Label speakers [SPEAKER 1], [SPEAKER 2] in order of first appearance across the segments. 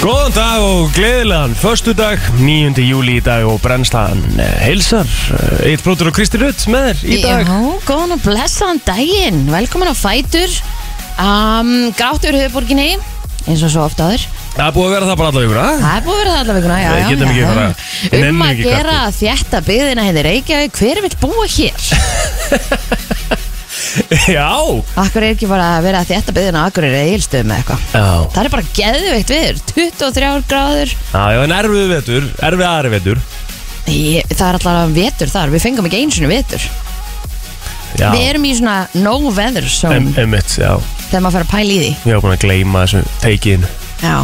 [SPEAKER 1] Góðan dag og gleðilegan Förstu dag, 9. júli í dag og brennslan eh, heilsar Eh, Eitt brótur og Kristi Rutt með þér í dag
[SPEAKER 2] Já, góðan og blessaðan daginn Velkomin á Fætur um, Grátur höfuborginni eins og svo ofta áður
[SPEAKER 1] Það er búið að vera það bara alla ykkur, að?
[SPEAKER 2] Það er búið að vera það alla vikuna já,
[SPEAKER 1] Við
[SPEAKER 2] já,
[SPEAKER 1] getum
[SPEAKER 2] já,
[SPEAKER 1] ekki
[SPEAKER 2] já.
[SPEAKER 1] bara- við
[SPEAKER 2] Um
[SPEAKER 1] nennum
[SPEAKER 2] að
[SPEAKER 1] ekki
[SPEAKER 2] gera þjætta byðina henni Reykjavík Hver vill búa hér?
[SPEAKER 1] Já
[SPEAKER 2] Akkur er ekki bara að vera að þjætta byðina Akkur er eilstöðum eða eitthvað
[SPEAKER 1] Já,
[SPEAKER 2] Það er bara geðveikt viður 23 gráður
[SPEAKER 1] já, en erfið vetur, erfið aðri vetur
[SPEAKER 2] Ég, Það er allavega vetur þar Við fengum ekki eins og vetur
[SPEAKER 1] Já,
[SPEAKER 2] Við erum í svona no weather
[SPEAKER 1] Em-
[SPEAKER 2] zone
[SPEAKER 1] emmitt, já
[SPEAKER 2] Þegar maður fer að pæla í því
[SPEAKER 1] Ég var búin að gleyma þessu teikiðinu
[SPEAKER 2] Já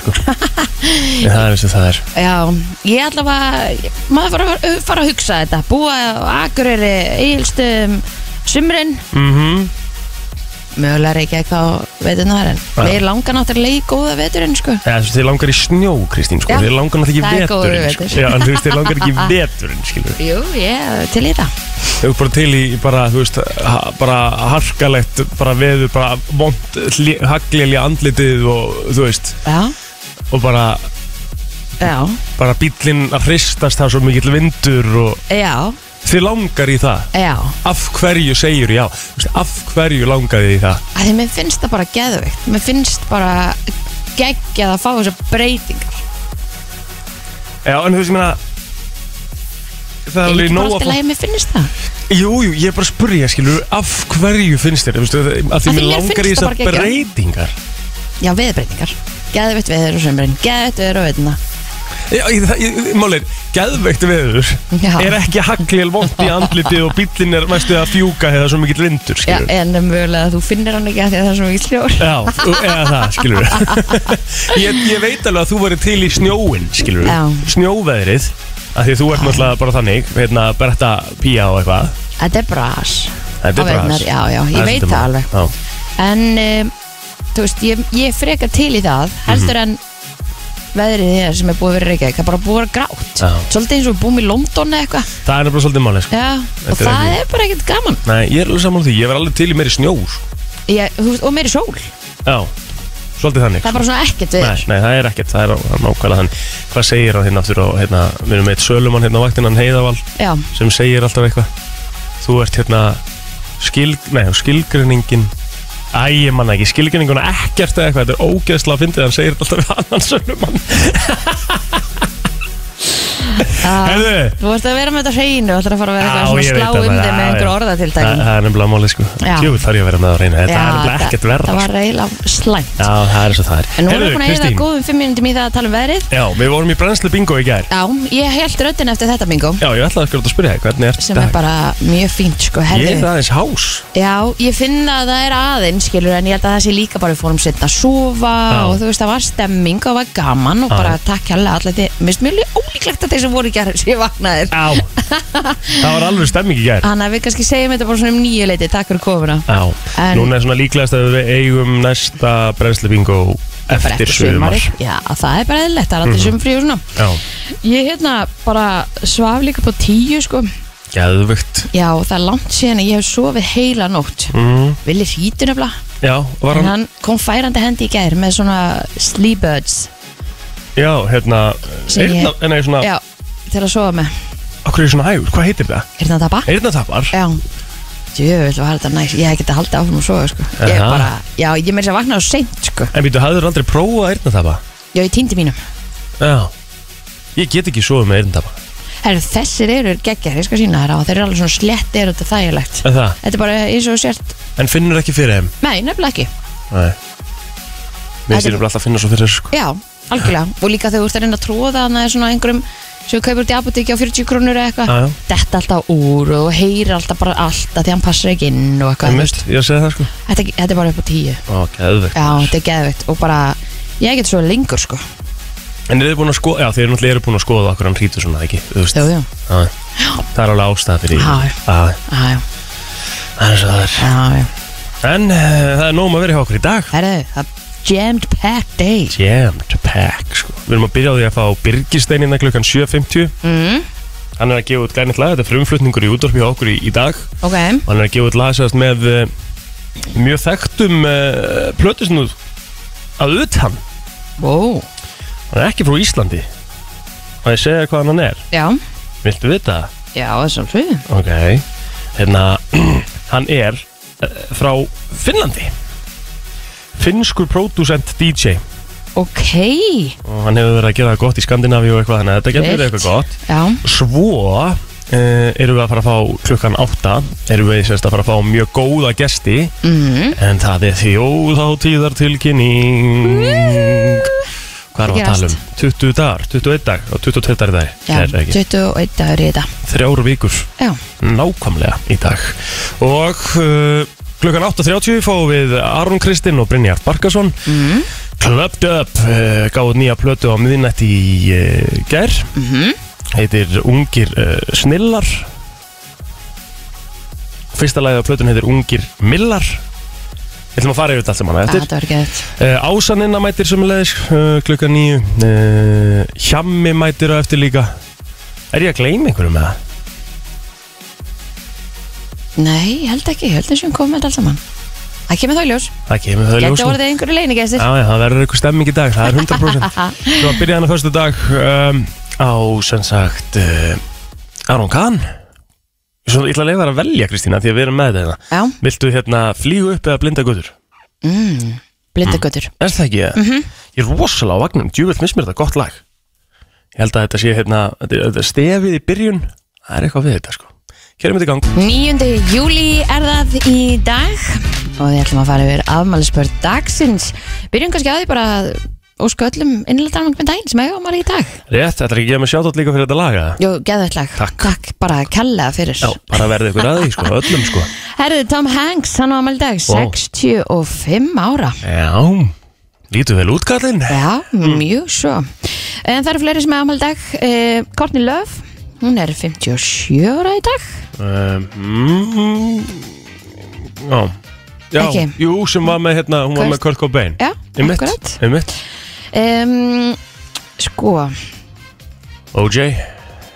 [SPEAKER 1] sko En það er eins og það er
[SPEAKER 2] Já, ég allavega, maður fara, að- fara að hugsa þetta, búa á Akureyri, Egilstum, Sumrin,
[SPEAKER 1] mm
[SPEAKER 2] mögulega reykja eitthvað á veturnar en
[SPEAKER 1] Já.
[SPEAKER 2] við langar náttúrulega í góða veturinn sko.
[SPEAKER 1] Eða, þú veist, þið langar í snjó, Kristín, sko
[SPEAKER 2] Já.
[SPEAKER 1] Þið langar náttúrulega
[SPEAKER 2] Það er
[SPEAKER 1] ekki
[SPEAKER 2] góður
[SPEAKER 1] veturinn, sko
[SPEAKER 2] vetur.
[SPEAKER 1] Já, en þú veist, þið langar ekki í veturinn, skilur
[SPEAKER 2] Jú, ég til í það.
[SPEAKER 1] Þau bara til í bara, þú veist, ha, bara harkalegt, bara veður, bara vond, haglilja andlitið og þú veist,
[SPEAKER 2] Já,
[SPEAKER 1] og bara,
[SPEAKER 2] já,
[SPEAKER 1] bara bíllinn að hristast það er svo mikill vindur og
[SPEAKER 2] já,
[SPEAKER 1] þið langar í það.
[SPEAKER 2] já,
[SPEAKER 1] Af hverju segir já? Þú veist, af hverju langar þið í það?
[SPEAKER 2] að því mér finnst það bara geðvikt, mér finnst bara geggjað að fá þessar breytingar.
[SPEAKER 1] Já, en þú veist, ég meina, það er
[SPEAKER 2] Ég
[SPEAKER 1] alveg
[SPEAKER 2] ekki bara
[SPEAKER 1] nóg
[SPEAKER 2] alltaf
[SPEAKER 1] að...
[SPEAKER 2] lægi, mér finnst það.
[SPEAKER 1] Jú, jú, ég er bara að spurja, skilur, af hverju finnst þér? Þú veist, að- að
[SPEAKER 2] Af
[SPEAKER 1] því
[SPEAKER 2] því
[SPEAKER 1] mér
[SPEAKER 2] mér
[SPEAKER 1] langar
[SPEAKER 2] finnst
[SPEAKER 1] í
[SPEAKER 2] það bara
[SPEAKER 1] þessar
[SPEAKER 2] geggjað.
[SPEAKER 1] breytingar.
[SPEAKER 2] Já, veðbreytingar, geðvikt veður og sumrin, geðvikt veður og veturna.
[SPEAKER 1] Já, ég, það- ég, Málið, geðveikt veður
[SPEAKER 2] Já.
[SPEAKER 1] er ekki haglil vond í andliti og bíllinn er mestu að fjúka eða svo mikill vindur,
[SPEAKER 2] Já, eh.
[SPEAKER 1] skilur
[SPEAKER 2] en mögulega þú finnir hann ekki að því að það er svo mikið sljór.
[SPEAKER 1] Já, þú- eða það, skilur ég, ég veit alveg að þú verið til í snjóin, skilur
[SPEAKER 2] Já.
[SPEAKER 1] Snjóveðrið, af því þú ert náttúrulega bara þannig, hérna, berta pía og eitthvað
[SPEAKER 2] Þetta er bras
[SPEAKER 1] Þetta er
[SPEAKER 2] Á
[SPEAKER 1] bara
[SPEAKER 2] veturnar,
[SPEAKER 1] aðeins-
[SPEAKER 2] Já, já, ég
[SPEAKER 1] aðeins
[SPEAKER 2] veit
[SPEAKER 1] þetta
[SPEAKER 2] það
[SPEAKER 1] mál.
[SPEAKER 2] alveg
[SPEAKER 1] Já,
[SPEAKER 2] En, um, þú veist, ég, ég er frekar til í það
[SPEAKER 1] Mhm.
[SPEAKER 2] Heldur en veðrið hér sem er búið að vera reykja Það er bara búið að vera grátt
[SPEAKER 1] Já.
[SPEAKER 2] Svolítið eins og við búum í London eða eitthvað
[SPEAKER 1] Það er nefnilega svolítið málið, sko
[SPEAKER 2] Já, og
[SPEAKER 1] Þetta er
[SPEAKER 2] það
[SPEAKER 1] ekki-
[SPEAKER 2] er bara ekkert gaman
[SPEAKER 1] Nei, ég er alveg saman því, ég verið alveg til í meiri snjó sko.
[SPEAKER 2] ég, þú veist, Og meiri sól
[SPEAKER 1] Já, svolítið þannig sko.
[SPEAKER 2] Það er bara svona ekkert
[SPEAKER 1] Nei,
[SPEAKER 2] veður
[SPEAKER 1] nei, það er ekkert, það er, það er nákvæmlega þannig Hvað segir hann hérna aftur á, hérna, við erum eitt sölumann hérna á vaktin, hann Heiðavall
[SPEAKER 2] Já,
[SPEAKER 1] sem segir alltaf eitthvað Þú ert hérna skil, nei, skilgreiningin Æ, ég manna ekki, skilgreininguna ekkert eða eitthvað, þetta er ógeðslega að fyndið, hann segir þetta alltaf við annan sölumann
[SPEAKER 2] það
[SPEAKER 1] Herðu,
[SPEAKER 2] Þú veist að vera með þetta hreinu og ætlar að fara að vera
[SPEAKER 1] Já,
[SPEAKER 2] eitthvað svona
[SPEAKER 1] ég veit
[SPEAKER 2] slá um
[SPEAKER 1] það bara,
[SPEAKER 2] þig með
[SPEAKER 1] já,
[SPEAKER 2] einhver
[SPEAKER 1] já. það
[SPEAKER 2] orðatiltækin
[SPEAKER 1] það er nefnilega málið sko
[SPEAKER 2] Já.
[SPEAKER 1] Jú, þarf ég að vera með á reyna, þetta er
[SPEAKER 2] Já,
[SPEAKER 1] nefnilega ekkert
[SPEAKER 2] Það
[SPEAKER 1] verra sko.
[SPEAKER 2] var eiginlega slæmt
[SPEAKER 1] Já, það er svo það er
[SPEAKER 2] En nú erum við búin að
[SPEAKER 1] Kristín,
[SPEAKER 2] eða góðum fimm minnum í það að tala um veðrið
[SPEAKER 1] já, við vorum í brennslu bingo í gær
[SPEAKER 2] Já, ég held röddin eftir þetta bingo
[SPEAKER 1] Já, ég ætlaði akkurat að spyrja þig, hvernig er
[SPEAKER 2] sem er bara mjög fínt sko,
[SPEAKER 1] Ég er
[SPEAKER 2] herðu
[SPEAKER 1] það aðeins hás
[SPEAKER 2] Já, ég finna að það er aðeins skilur en ég held að það sé líka bara við fórum setna að sofa
[SPEAKER 1] Já.
[SPEAKER 2] og þú veist það var stemming og það var gaman og
[SPEAKER 1] Já.
[SPEAKER 2] bara takk hérlega allir þið Mér finnst mjög ólíklegt að þeir sem voru í gerð sem vaknaðir
[SPEAKER 1] Já Það var alveg stemming í gær
[SPEAKER 2] Þannig að við kannski segjum þetta bara svona um nýju leiti Takk fyrir komuna
[SPEAKER 1] Já
[SPEAKER 2] Ah, En-
[SPEAKER 1] Núna er svona líklegast að við eigum næsta brennslu bingo
[SPEAKER 2] Bara
[SPEAKER 1] eftir Mhm. sumar
[SPEAKER 2] sumarið. Já, það er bara eðlilegt, það er aldrei mm. sumfrí og svona
[SPEAKER 1] Já
[SPEAKER 2] Ég hérna bara svaf líka på tíu sko
[SPEAKER 1] Gæðvögt
[SPEAKER 2] Já, það er langt síðan að ég hef sofið heila nótt
[SPEAKER 1] mm.
[SPEAKER 2] Vili hýtur nefnilega
[SPEAKER 1] Já, var
[SPEAKER 2] En
[SPEAKER 1] hann
[SPEAKER 2] hann kom færandi hendi í gær með svona sleebuds
[SPEAKER 1] Já, hérna
[SPEAKER 2] Sem ég-
[SPEAKER 1] Eyrna, nei, svona
[SPEAKER 2] Já, til að sofa með
[SPEAKER 1] Okkur er ég svona hægur, hvað heitir það?
[SPEAKER 2] Er það tappa?
[SPEAKER 1] Eyrnatappar
[SPEAKER 2] Já Jöfull var þetta næst Ég hef getið haldið áfram og sofa sko Ég
[SPEAKER 1] Aha.
[SPEAKER 2] bara Já, ég meira þess að vakna á seint sko
[SPEAKER 1] En býtu, hafður aldrei prófað eyrnatappa?
[SPEAKER 2] Já, ég týndi mínum
[SPEAKER 1] Já Ég get ekki sofið með eyrnatappa
[SPEAKER 2] Herru, þessir eru geggjar Ég skal sína þér á Þeir eru alveg svona slettir og þetta er þægilegt
[SPEAKER 1] En það,
[SPEAKER 2] Þetta er bara eins og þú sért
[SPEAKER 1] en finnur ekki fyrir þeim
[SPEAKER 2] Nei, nefnilega ekki
[SPEAKER 1] Nei Mér
[SPEAKER 2] Þetta-
[SPEAKER 1] styrir bara alltaf að finna svo fyrir þessu sko
[SPEAKER 2] Já, algjörlega Og líka þegar þú ert að reyna að tróða Þannig að svona einhverjum sem þú kaupir út í apotekki á 40 krónur eða eitthvað
[SPEAKER 1] Já, já.
[SPEAKER 2] Detta alltaf úr og heyrir alltaf bara allt að því hann passar ekki inn og eitthvað
[SPEAKER 1] Einmitt, Ég segi það sko
[SPEAKER 2] þetta, þetta er bara upp á tíu Já,
[SPEAKER 1] Ó, gæðvögt
[SPEAKER 2] þetta er geðveikt og bara Ég get svo lengur sko
[SPEAKER 1] En eru þið búin að skoða, já þeir náttúrulega eru búin að skoða okkur hann hrítur svona ekki, þú veist
[SPEAKER 2] Jú, jú.
[SPEAKER 1] Já. Það er alveg ástæða fyrir
[SPEAKER 2] Já.
[SPEAKER 1] því. Já,
[SPEAKER 2] Æ,
[SPEAKER 1] Það er svo það er
[SPEAKER 2] já, já.
[SPEAKER 1] En eh, það er nóg að vera hjá okkur í dag
[SPEAKER 2] Herru, það jammed packed day
[SPEAKER 1] Jammed pack sko Við erum að byrja á því að fá Birgisteinina klukkan 7.50
[SPEAKER 2] mm,
[SPEAKER 1] Hann er að gefa út glænit lag, þetta er frumflutningur í útdorfi hjá okkur í, í dag
[SPEAKER 2] Ok,
[SPEAKER 1] Og Hann er að gefa út lag sérst með eh, mjög þekktum uh, plötusnúð að utan
[SPEAKER 2] wow
[SPEAKER 1] Hann er ekki frá Íslandi Má ég segja þér hvaðan hann er?
[SPEAKER 2] Já,
[SPEAKER 1] Viltu vita það?
[SPEAKER 2] já, þess að hlutum
[SPEAKER 1] Ok Hérna, hann er eh, frá Finnlandi Finnskur producent DJ
[SPEAKER 2] Ok,
[SPEAKER 1] og hann hefur verið að gera það gott í Skandinavíu og eitthvað þannig að þetta getur verið
[SPEAKER 2] Vilt.
[SPEAKER 1] eitthvað gott
[SPEAKER 2] já,
[SPEAKER 1] Svo uh, erum við að fara að fá klukkan átta erum við sérst að fara að fá mjög góða gesti
[SPEAKER 2] mhm
[SPEAKER 1] en það er þjóðháttíðartilkynning Hvað erum við að tala um? 20 dagar, 21 dag og 22 dagar í dag
[SPEAKER 2] Já,
[SPEAKER 1] Er það ekki?
[SPEAKER 2] 21 dagur í þetta
[SPEAKER 1] Þrjár vikur
[SPEAKER 2] Já,
[SPEAKER 1] nákvæmlega í dag og uh, klukkan 8.30 fáum við Aron Kristinn og Brynjar Barkason
[SPEAKER 2] mhm,
[SPEAKER 1] Clubbed Up uh, gáði nýja plötu á miðinætt í uh, gær
[SPEAKER 2] mhm
[SPEAKER 1] heitir Ungir uh, Snillar fyrsta lagið á plötun heitir Ungir Millar við ætlum að fara yfir þetta allt saman á
[SPEAKER 2] Ah,
[SPEAKER 1] eftir
[SPEAKER 2] Þetta var gett
[SPEAKER 1] Uh, Ásaninna mætir sömulegis uh, klukkan nýju uh, Hjammi mætir á eftir líka Er ég að gleyma einhverju með það?
[SPEAKER 2] Nei, ég held ekki, ég held þessum komið þetta alls saman Það kemur þá í ljós
[SPEAKER 1] Það kemur það í
[SPEAKER 2] Gæti
[SPEAKER 1] ljós nú.
[SPEAKER 2] orðið einhverju leinigestir
[SPEAKER 1] Já, já, það verður eitthvað stemming í dag, það er 100% Svo að byrja hann að förstu dag um, á, sem sagt, uh, Aron Kahn Svo ég ætla að leifa þér að velja, Kristína, því að við erum með þetta hérna.
[SPEAKER 2] Já,
[SPEAKER 1] Viltu hérna flýgu upp eða blinda gutur?
[SPEAKER 2] mhm, blindagötur
[SPEAKER 1] Er það ekki?
[SPEAKER 2] Mhm.
[SPEAKER 1] Mm -hmm. Ég er rosalega á vagnum, djúvilt mismir þetta gott lag Ég held að þetta sé, hérna, þetta, þetta er stefið í byrjun Það er eitthvað við þetta, sko Kerum þetta í gang
[SPEAKER 2] 9. júli er það í dag og við ætlum að fara yfir afmælisbörn dagsins. Byrjum kannski að því bara að ósku öllum innlættanum með daginn sem eiga ámæli í dag.
[SPEAKER 1] Rétt, þetta er ekki að gefa mig sjátt líka fyrir þetta laga
[SPEAKER 2] Jó, geðvægt lag.
[SPEAKER 1] Takk.
[SPEAKER 2] Takk bara kella fyrir.
[SPEAKER 1] Já, bara verði ykkur að því, sko, öllum, sko
[SPEAKER 2] Herðu, Tom Hanks, hann á ámæli í dag,
[SPEAKER 1] Vá.
[SPEAKER 2] 65 ára.
[SPEAKER 1] Já, lítu vel út, kallinn
[SPEAKER 2] Já,
[SPEAKER 1] Mm.
[SPEAKER 2] mjög svo. En það eru fleiri sem eiga ámæli í dag. Eh, Courtney Love, hún er 57 ára í dag.
[SPEAKER 1] Um, mm, Já Já,
[SPEAKER 2] Ekki?
[SPEAKER 1] jú, sem var með hérna, hún var
[SPEAKER 2] Kurt-
[SPEAKER 1] með Kurt Cobain
[SPEAKER 2] Já,
[SPEAKER 1] Einmitt,
[SPEAKER 2] akkurat.
[SPEAKER 1] einmitt
[SPEAKER 2] Um, sko,
[SPEAKER 1] OJ,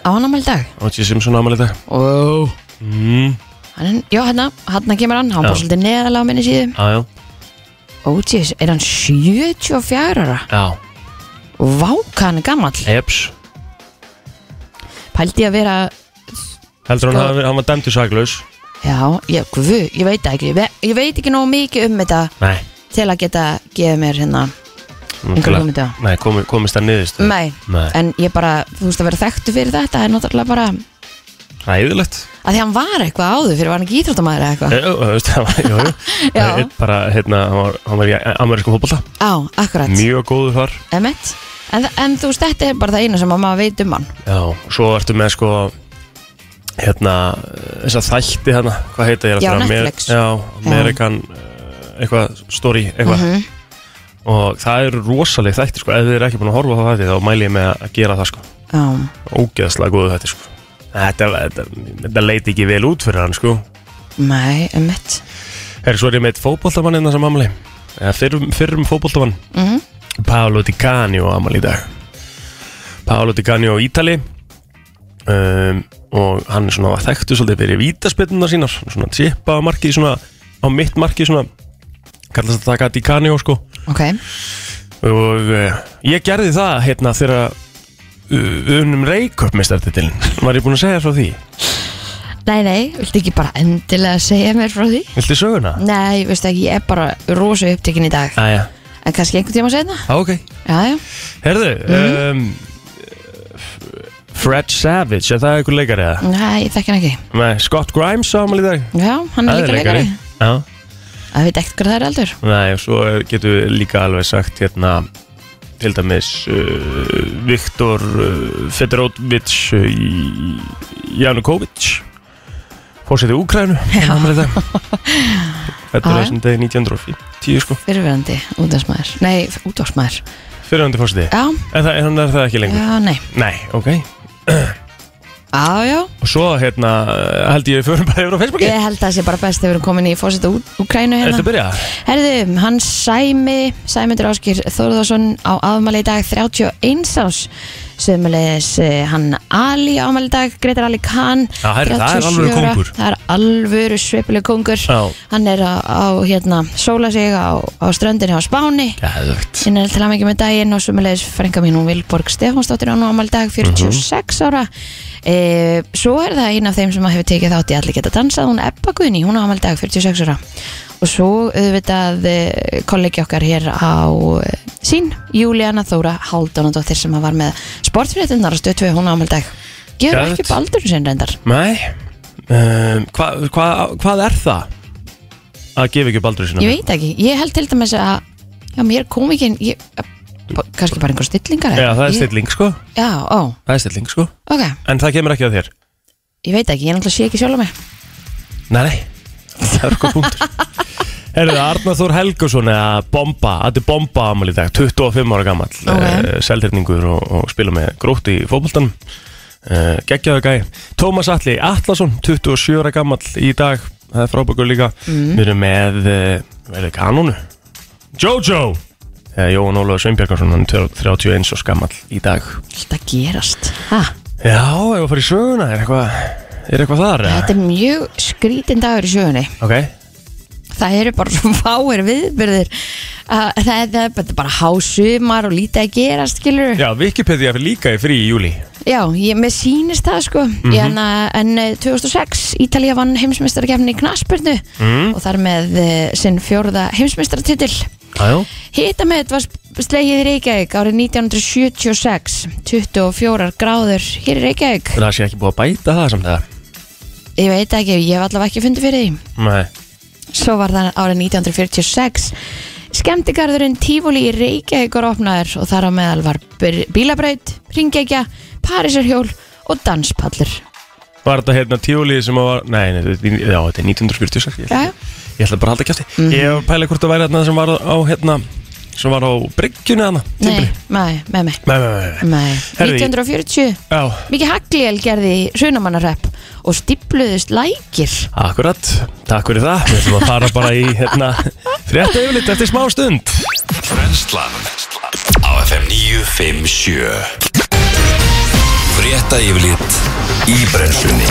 [SPEAKER 2] á hann ámæli í dag.
[SPEAKER 1] OJ Simpson ámæli þetta
[SPEAKER 2] Ó. Oh.
[SPEAKER 1] mm,
[SPEAKER 2] Hann, já, hérna, hérna kemur hann, hann
[SPEAKER 1] Já.
[SPEAKER 2] bara svolítið neðalega á minni síðu.
[SPEAKER 1] Já, já,
[SPEAKER 2] Ótjís, er hann 74 ára?
[SPEAKER 1] já,
[SPEAKER 2] Vá, hvað hann er gammal.
[SPEAKER 1] eps
[SPEAKER 2] Pældi ég að vera,
[SPEAKER 1] Heldur hann
[SPEAKER 2] Sko-
[SPEAKER 1] hafi verið, hann var dæmdur saklaus
[SPEAKER 2] já, ég, guð, ég veit það ekki, ég, ve- ég veit ekki nógu mikið um þetta
[SPEAKER 1] Nei,
[SPEAKER 2] til að geta gefið mér hérna einhver
[SPEAKER 1] náttúrulega-
[SPEAKER 2] hugmynd á.
[SPEAKER 1] Nei, komi, komist það niðurst
[SPEAKER 2] Nei,
[SPEAKER 1] Nei,
[SPEAKER 2] en ég bara, þú veist að vera þekktu fyrir þetta er náttúrulega bara,
[SPEAKER 1] ræðilegt
[SPEAKER 2] að því hann var eitthvað áður fyrir, var hann ekki íþróttamæður eða eitthvað?
[SPEAKER 1] Jú, þú veist, það var, jú, jú
[SPEAKER 2] Já.
[SPEAKER 1] Einn Bara, hérna, hann var, hann var í amerískum fótbolta
[SPEAKER 2] Á, akkurat,
[SPEAKER 1] Mjög góður þar
[SPEAKER 2] emitt. En, þa- en þú veist, þetta er bara það eina sem að maður veit um hann.
[SPEAKER 1] Já, svo ertu með sko hérna, þess að þætti hérna, hvað heita ég er
[SPEAKER 2] Já,
[SPEAKER 1] að
[SPEAKER 2] Netflix.
[SPEAKER 1] Já, Amerikan eh, eitthvað, story, eitthvað
[SPEAKER 2] Mhm.
[SPEAKER 1] og það eru rosaleg þætti sko, ef þið eru ekki búin að horfa á það þá mæli ég með að gera það sko
[SPEAKER 2] Já,
[SPEAKER 1] ógeðslega góðu þætti sko Þetta, þetta, þetta leiti ekki vel út fyrir hann sko
[SPEAKER 2] nei, emitt.
[SPEAKER 1] Herri, svo er ég með eitt fótboltamann innan sem amali eða fyrrum, fyrrum fótboltamann
[SPEAKER 2] Mhm.
[SPEAKER 1] Paolo Di Canio amal í dag Paolo Di Canio á Ítali um, og hann er svona þekktu svolítið fyrir vítaspilnuna sínar svona tippa á markið svona á mitt markið svona kallast að taka Di Canio sko
[SPEAKER 2] Ok,
[SPEAKER 1] og uh, ég gerði það hérna þegar uh, við unnum reikup með startitilin var ég búinn að segja frá því
[SPEAKER 2] nei, nei, viltu ekki bara endilega segja mér frá því?
[SPEAKER 1] Viltu söguna?
[SPEAKER 2] Nei, veistu ekki, ég er bara rosu upptekin í dag
[SPEAKER 1] Æja,
[SPEAKER 2] En kannski einhvern tíma segna?
[SPEAKER 1] ah, ok
[SPEAKER 2] Já, já,
[SPEAKER 1] Herðu
[SPEAKER 2] Mhm.
[SPEAKER 1] um, Fred Savage, er það einhver leikari eða?
[SPEAKER 2] nei, ég þekki hann ekki
[SPEAKER 1] Nei, Scott Grimes ámali í dag
[SPEAKER 2] Já, hann er
[SPEAKER 1] Það
[SPEAKER 2] líka leikari
[SPEAKER 1] Já,
[SPEAKER 2] Það veit ekkert hvað það er aldur
[SPEAKER 1] nei, og svo er- getum við líka alveg sagt hérna til dæmis uh, Viktor uh, Fedorovich uh, í- Janukovic fórsetið Úkrænu
[SPEAKER 2] Já.
[SPEAKER 1] ámali í dag Þetta er
[SPEAKER 2] Já, já.
[SPEAKER 1] þessum degi 1910 sko
[SPEAKER 2] Fyrirverandi útdagsmaður Nei, útdagsmaður
[SPEAKER 1] fyrirhandi fórsetið
[SPEAKER 2] Já,
[SPEAKER 1] En það, hann er það ekki lengur
[SPEAKER 2] já, nei
[SPEAKER 1] Nei, ok
[SPEAKER 2] Já, já,
[SPEAKER 1] Og svo hérna uh, held ég við förum bara yfir á Facebooki
[SPEAKER 2] ég held að það sé bara best þegar við erum komin í fórseta Úkrænu
[SPEAKER 1] Ertu
[SPEAKER 2] hérna
[SPEAKER 1] að byrja?
[SPEAKER 2] Herðu, hann Sæmi, Sæmundur Áskir Þórðarsson á afmæli í dag 31 árs sömulegis hann Ali ámæli dag, Gretar Ali Khan
[SPEAKER 1] Já, herri, það er
[SPEAKER 2] 37
[SPEAKER 1] alvöru
[SPEAKER 2] ára.
[SPEAKER 1] kóngur.
[SPEAKER 2] það er alvöru sveipileg kongur
[SPEAKER 1] Já.
[SPEAKER 2] hann er á, á hérna, sóla sig á, á ströndinni á Spáni
[SPEAKER 1] Geðvögt
[SPEAKER 2] Hinn er til að mikið með daginn og sumulegis frænka mín hún Vilborg Stefánsdóttir á nú ámæli dag 46 ára e, Svo er það einn af þeim sem hefur tekið þátt í allir geta dansað hún Ebba Guðni, hún á ámæli dag 46 ára og svo auðvitað e, kollegi okkar hér á e, sín, Júlíana Þóra Haldónadóttir sem var með sportfréttinnar og stöðtvið hún á ámæli dag Gjör
[SPEAKER 1] Geðvegt.
[SPEAKER 2] ekki baldur sinn reyndar
[SPEAKER 1] Nei um, hva, hva, Hvað er það? Að gefa ekki upp aldrei sinna
[SPEAKER 2] Ég veit ekki, ég held til dæmis að já, mér kom ekki kannski bara einhver stillingar
[SPEAKER 1] Já, það er
[SPEAKER 2] Ég-
[SPEAKER 1] stilling sko
[SPEAKER 2] Já, ó,
[SPEAKER 1] Það er stilling sko
[SPEAKER 2] ok
[SPEAKER 1] En það kemur ekki á þér
[SPEAKER 2] Ég veit ekki, ég náttúrulega sé ekki sjálf mig
[SPEAKER 1] Nei, nei Það er okkur punktur Herðu, Arnar Þór Helgusson eða Bomba, þetta er Bomba amal í dag 25 ára gammal
[SPEAKER 2] Ok.
[SPEAKER 1] okay. Seldirningur og, og spila með grótt í fótboltan uh, Geggjaðu gæ Tómas Atli Atlason, 27 ára gammal í dag Það er frábækur líka
[SPEAKER 2] Mm.
[SPEAKER 1] Við erum með, uh, verður kanonu Jojo Eða Jóhann Ólafur Sveinbjörgarsson, hann er 31 og skammal í dag
[SPEAKER 2] Alltaf gerast ha,
[SPEAKER 1] Já, ef að fara í söguna, er eitthvað, er eitthvað þar? eða?
[SPEAKER 2] Þetta er mjög skrítin dagur í sjögunni
[SPEAKER 1] Ok,
[SPEAKER 2] Það eru bara svo fáir viðbyrðir uh, það, er- það er bara- bara hásumar og lítið að gerast skilur
[SPEAKER 1] Já, Wikipedia fyrir líka í frí í júli
[SPEAKER 2] Já, ég, mér sýnist það sko
[SPEAKER 1] Mhm.
[SPEAKER 2] mm En eh, 2006 Ítalía vann heimsmeistarakefni í knaspurnu
[SPEAKER 1] Mhm.
[SPEAKER 2] og þar með eh, sinn fjórða heimsmeistaratitill
[SPEAKER 1] Jájó
[SPEAKER 2] Hittamet var slegið í Reykjavík árið 1976 24 gráður hér í Reykjavík
[SPEAKER 1] Það sé ekki búið að bæta það samt það
[SPEAKER 2] Ég veit ekki, ég hef allavega ekki fundið fyrir því
[SPEAKER 1] Nei
[SPEAKER 2] Svo var það árið 1946 Skemmtigarðurinn Tífóli í Reykjavík var opnaður og þar á meðal var byr- bílabraut, ringegja, parísarhjól og danspallur.
[SPEAKER 1] Var þetta hérna tíulið sem að var Nei, nei þetta er- já, þetta er 1946 Ég,
[SPEAKER 2] Já, já.
[SPEAKER 1] ég ætla bara að halda kjátti mm -hmm. Ég pæla hvort það væri hérna sem var á hérna Sem var á bryggjunni hana
[SPEAKER 2] Nei,
[SPEAKER 1] Nei,
[SPEAKER 2] nei, með mig.
[SPEAKER 1] nei, nei, nei.
[SPEAKER 2] Nei.
[SPEAKER 1] Herði,
[SPEAKER 2] 1940,
[SPEAKER 1] Já,
[SPEAKER 2] mikið hagliel gerði hrunamannarrepp og stípluðust lækir.
[SPEAKER 1] akkurat Takk fyrir það Við ætlum að fara bara í hérna Frétta yfirlit eftir smá stund
[SPEAKER 3] Brenslan Á FM 957 Frétta yfirlit í brenslunni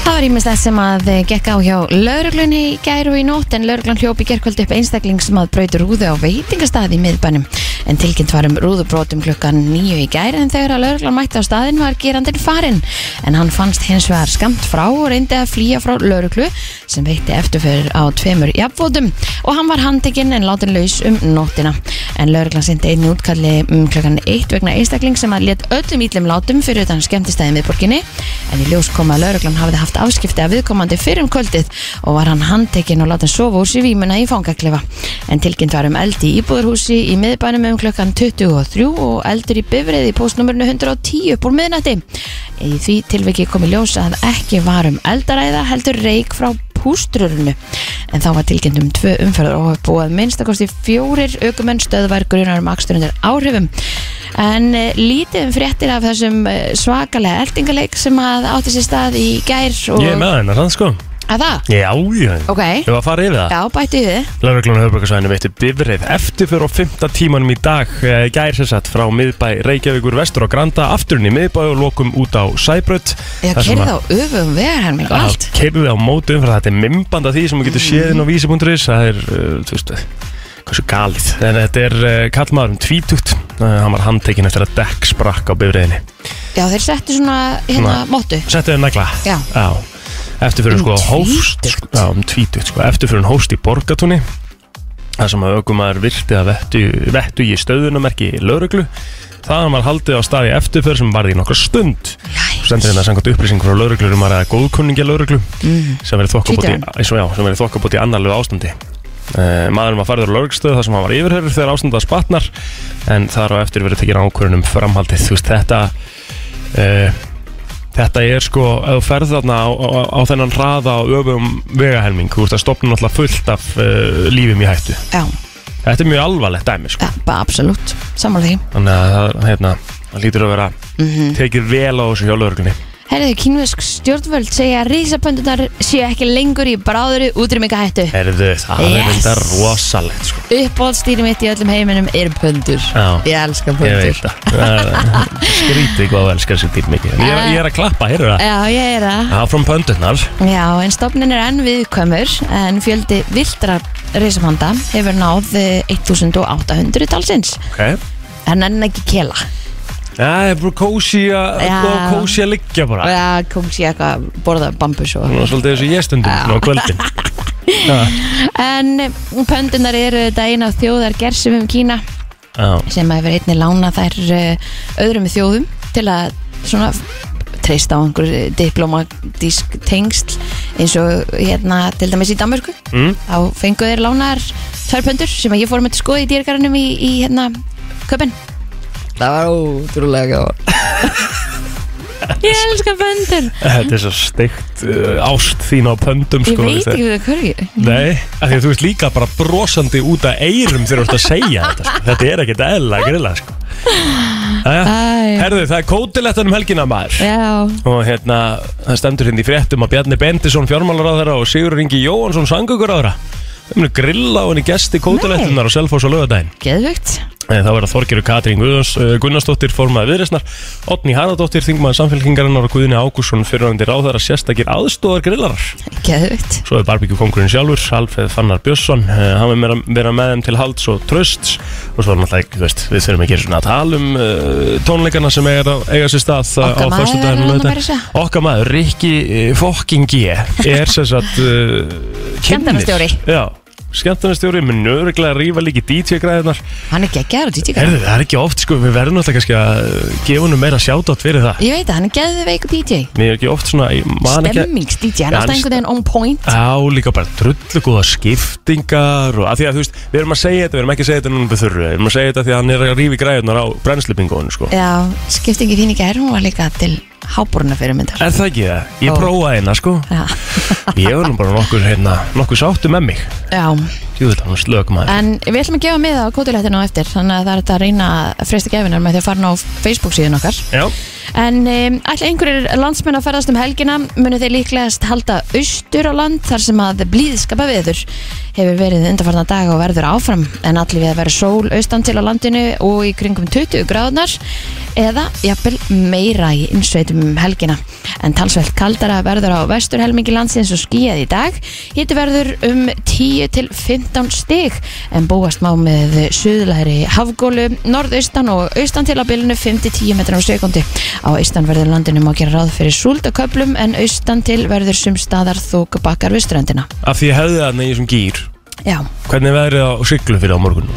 [SPEAKER 2] Það var ímest þess sem að eh, gekk á hjá lauruglunni í gæru og í nótt en lauruglan hljóp í gerkvöldu upp einstakling sem að brauti rúðu á veitingastaði í miðbænum en tilkynnt var um rúðubrótum klukkan nýju í gæru en þegar að lauruglan mætti á staðin var gerandinn farinn en hann fannst hins vegar skamt frá og reyndi að flýja frá lauruglu sem veitti eftirför á tveimur jafnvótum og hann var handtekinn en látin laus um nóttina en lauruglan sindi einu útkalli um klukkan 1 vegna einstakling sem að let öllum ítlum látum fyrir utan skemmtistæði miðborginni en í ljós kom að lauruglan hafði haft afskipti af viðkomandi fyrir um kvöldið og var hann handtekinn og látin sofa úr sér vímuna í fangaklefa en tilkynnt var um eldi í íbúðurhúsi í miðbænum um klukkan 23 og eldur í bifrið í postnumurnu 110 upp úr miðnætti í því tilviki kom í ljós að ekki var um eldaræða heldur reik frá pústrurinu en þá var tilkynnt um tvö umferðar og hafa búið minnstakosti fjórir aukumenn stöðvar grunar um akstur undir áhrifum en uh, lítið um fréttir af þessum eh, svakalega eldingaleik sem að átti sér stað í gær og
[SPEAKER 1] Ég er með hennar, þannig sko
[SPEAKER 2] að það,
[SPEAKER 1] Já, já
[SPEAKER 2] ok,
[SPEAKER 1] Ég var að fara yfir það
[SPEAKER 2] já bættu við þið
[SPEAKER 1] Lörglun höfbrukarsvæðinu veitti bifreið eftirför á 5. tímanum í dag eh, í gær sem sagt frá miðbæ Reykjavíkur vestur og Granda afturinn í miðbæ og lokum út á Sæbraut
[SPEAKER 2] Já, kerði á öfum vegarherming og allt
[SPEAKER 1] Kerði á mótum fyrir þetta er mimband af því sem þú getur séð inn á vísi.is það er, eh, þú veist, eh, hversu galið en þetta er uh, kallmaður um tvítugt uh, hann var handtekinn eftir að dekk sprakk á bifreiðinni
[SPEAKER 2] Já, þeir settu svona hérna
[SPEAKER 1] Svona-
[SPEAKER 2] móttu
[SPEAKER 1] Settu þér negla
[SPEAKER 2] Já.
[SPEAKER 1] Eftirfyrir
[SPEAKER 2] Um
[SPEAKER 1] sko hóst
[SPEAKER 2] tvítugt.
[SPEAKER 1] sko, Já, um tvítugt sko Eftirfyrir hóst í borgatúni Það sem að aukumar virti að vettu, vettu í stöðunamerki lauruglu Þaðan var haldið á staði eftirför sem varði í nokkra stund
[SPEAKER 2] Jæs.
[SPEAKER 1] Sendir hérna samkvæmt upplýsing frá lauruglu um að ræða góðkunningja lauruglu sem verið þokkabóti
[SPEAKER 2] Tvítugan.
[SPEAKER 1] eins og já, sem verið þokkabóti annarlegu ástandi Uh, maðurinn var færður á lauruglugstöðu þar sem hann var yfirhörður þegar ástandað spatnar en þar á eftir verið tekin ákvörðunum framhaldið þú veist þetta uh, Þetta er sko, ef þú ferð þarna á, á, á þennan hraða á öfum vegahelming, þú veist að stopna náttúrulega fullt af uh, lífum í hættu.
[SPEAKER 2] Já,
[SPEAKER 1] Þetta er mjög alvarlegt dæmi sko.
[SPEAKER 2] já, bara absolutt, sammála því Mhm.
[SPEAKER 1] Þannig að það, hérna, það lítur að vera tekið vel á þessu hjá lögurlunni.
[SPEAKER 2] Herðu, kínversk stjórnvöld segja að risapöndunar séu ekki lengur í bráðuru útrýmika hættu.
[SPEAKER 1] Erðu, það
[SPEAKER 2] Yes.
[SPEAKER 1] er enda rosalegt sko.
[SPEAKER 2] Uppbóðstýri mitt í öllum heiminum er pöndur.
[SPEAKER 1] Já.
[SPEAKER 2] Ég elska
[SPEAKER 1] Ég
[SPEAKER 2] pöndur.
[SPEAKER 1] veit það Það er- Skrítið hvað þú elskar sér dýr mikið ég er, ég er að klappa, heyrðu það
[SPEAKER 2] Já, ég er það.
[SPEAKER 1] Það er frá pöndurnar
[SPEAKER 2] Já, en stofnin er enn viðkvæmur en fjöldi viltra risapönda hefur náð eh, 1800 talsins.
[SPEAKER 1] okay.
[SPEAKER 2] En enn ekki kela.
[SPEAKER 1] Já, það er bara kósi að
[SPEAKER 2] Já.
[SPEAKER 1] og kósi að liggja bara
[SPEAKER 2] Já, kom sér eitthvað að borða bambus og...
[SPEAKER 1] Nú er svolítið þessu ég stundum svona á kvöldin
[SPEAKER 2] En pöndunar eru þetta eina þjóðar gersum um Kína
[SPEAKER 1] Já,
[SPEAKER 2] sem hefur einni lána þær eh, öðrum þjóðum til að svona treysta á einhver eh, diplomatísk tengsl eins og hérna til dæmis í Danmörku
[SPEAKER 1] Mm.
[SPEAKER 2] þá fengu þeir lánaðar tvær pöndur sem að ég fór með til skoði í dýrgarunum í, í hérna köpinn
[SPEAKER 4] Það var ótrúlega gáð
[SPEAKER 2] ég elska pöndur
[SPEAKER 1] þetta er svo steikt uh, ást þín á pöndum
[SPEAKER 2] ég
[SPEAKER 1] sko,
[SPEAKER 2] veit
[SPEAKER 1] þetta-
[SPEAKER 2] ekki við hverju
[SPEAKER 1] Nei, af því að þú ert líka bara brosandi út af eyrum þegar þú ert að segja þetta sko. Þetta er ekkert eðla grilla sko. Æja,
[SPEAKER 2] Æ.
[SPEAKER 1] herðu það er kótilettan um helgina maður
[SPEAKER 2] já,
[SPEAKER 1] Og hérna, það stendur hérna í fréttum að Bjarni Bendisson fjármálaráðara og Sigur Ingi Jóhansson sanguguráðara Þau munu grilla á henni gesti kótilettunar og selfos á lögadaginn
[SPEAKER 2] geðvögt
[SPEAKER 1] Eh, Það verða Þorgeru Katrín Guðjóns, eh, Gunnarsdóttir formaði viðreysnar, Otni Harðardóttir þingmaði samfélkingarinnar og Guðni Ágússon fyrirvændi ráðara sérstakir aðstóðar grillarar
[SPEAKER 2] geðvögt
[SPEAKER 1] Svo er barbíkjúkongurinn sjálfur, Alfred Fannar Björnsson eh, hann er meira- vera með þeim til halds og trösts og svo er náttúrulega, þú veist, við þurfum ekki einu sinni að tala um uh, tónleikana sem eiga, eiga sér stað eh,
[SPEAKER 2] Okkar
[SPEAKER 1] á
[SPEAKER 2] maður er
[SPEAKER 1] föstudaginn og
[SPEAKER 2] þarna
[SPEAKER 1] laugardaginn.
[SPEAKER 2] bara að segja.
[SPEAKER 1] Okkar maður, Rikki Fokkingi er sem sagt uh,
[SPEAKER 2] Skemmtanastjóri.
[SPEAKER 1] Já, skemmtarnastjóri mun öruglega rífa líki DJ-græðinar
[SPEAKER 2] hann er geggjaður og DJ
[SPEAKER 1] Herðu, það er ekki oft, sko, við verðum náttúrulega kannski að eh, gefa hennu meira sjátátt fyrir það
[SPEAKER 2] ég veit að hann er geðveik DJ
[SPEAKER 1] Mér er ekki oft svona, ég man ekki
[SPEAKER 2] stemmings DJ, hann
[SPEAKER 1] Já,
[SPEAKER 2] er alltaf
[SPEAKER 1] hann-
[SPEAKER 2] einhvern veginn on point
[SPEAKER 1] Já, líka bara drullu góða skiptingar og að því að þú veist, við erum að segja þetta, við erum ekki að segja þetta núna við þurru, við erum að segja þetta því að hann er að rífi græðunar á brennslipingunum, sko.
[SPEAKER 2] Já, skiptingi þín í gær, hún var líka til háborna fyrir myndar
[SPEAKER 1] Er það ekki það? Ég
[SPEAKER 2] Ó.
[SPEAKER 1] prófaði hérna, sko.
[SPEAKER 2] Já,
[SPEAKER 1] Ég var nú bara nokkur, hérna, nokkur sáttu með mig.
[SPEAKER 2] já.
[SPEAKER 1] Jú, þetta var slögmaður.
[SPEAKER 2] en við ætlum að gefa miða á kótulættinu á eftir þannig að það er þetta að reyna að freysta gefinar með því að fara inn á Facebook síðan okkar
[SPEAKER 1] Já,
[SPEAKER 2] En um, allir einhverjir landsmenn að ferðast um helgina munu þeir líklegast halda austur á land þar sem að blíðskapa veður hefur verið undanfarna daga og verður áfram en allir við að vera sól austan til á landinu og í kringum 20 gráðnar eða jafnvel meira í innsveitum um helgina en talsveld kaldara verður á vestur helmingi landsins og skíjað í dag hiti verður um 10 til 15 stig en búast má með suðlæri hafgólu norðaustan og austan til að bylunu 5-10 metrar á sekundi á austanverður landinu má gera ráð fyrir súldaköplum en austan til verður sum staðar þók bakkar við ströndina
[SPEAKER 1] af því ég hefði þarna í þessum gýr.
[SPEAKER 2] Já,
[SPEAKER 1] Hvernig er veðrið á siglu fyrir á morgun?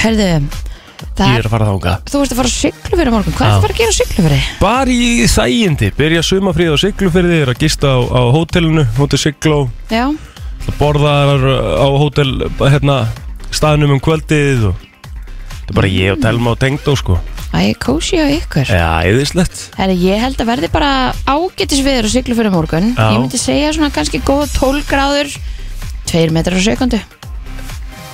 [SPEAKER 2] herðu
[SPEAKER 1] Ég
[SPEAKER 2] það
[SPEAKER 1] er
[SPEAKER 2] er
[SPEAKER 1] að fara þáka.
[SPEAKER 2] Þú ert að fara á syklufyrir morgun, hvað
[SPEAKER 1] Já.
[SPEAKER 2] er það að fara að gera á syklufyrir?
[SPEAKER 1] Bara í þægindi, byrja sumafríð á Siglufirði, er að gista á, á hótelinu, hótel Sigló,
[SPEAKER 2] Já,
[SPEAKER 1] borðar uh, á hótel hérna, staðnum um kvöldið og þetta er bara ég og Telma og Tengdó sko
[SPEAKER 2] æ, kósi á ykkur
[SPEAKER 1] Já, eðislegt
[SPEAKER 2] Herri, ég held að verði bara ágætisviður og siglu fyrir morgun.
[SPEAKER 1] Já.
[SPEAKER 2] Ég myndi segja svona kannski góð 12 gráður, 2 metrar á sekundu.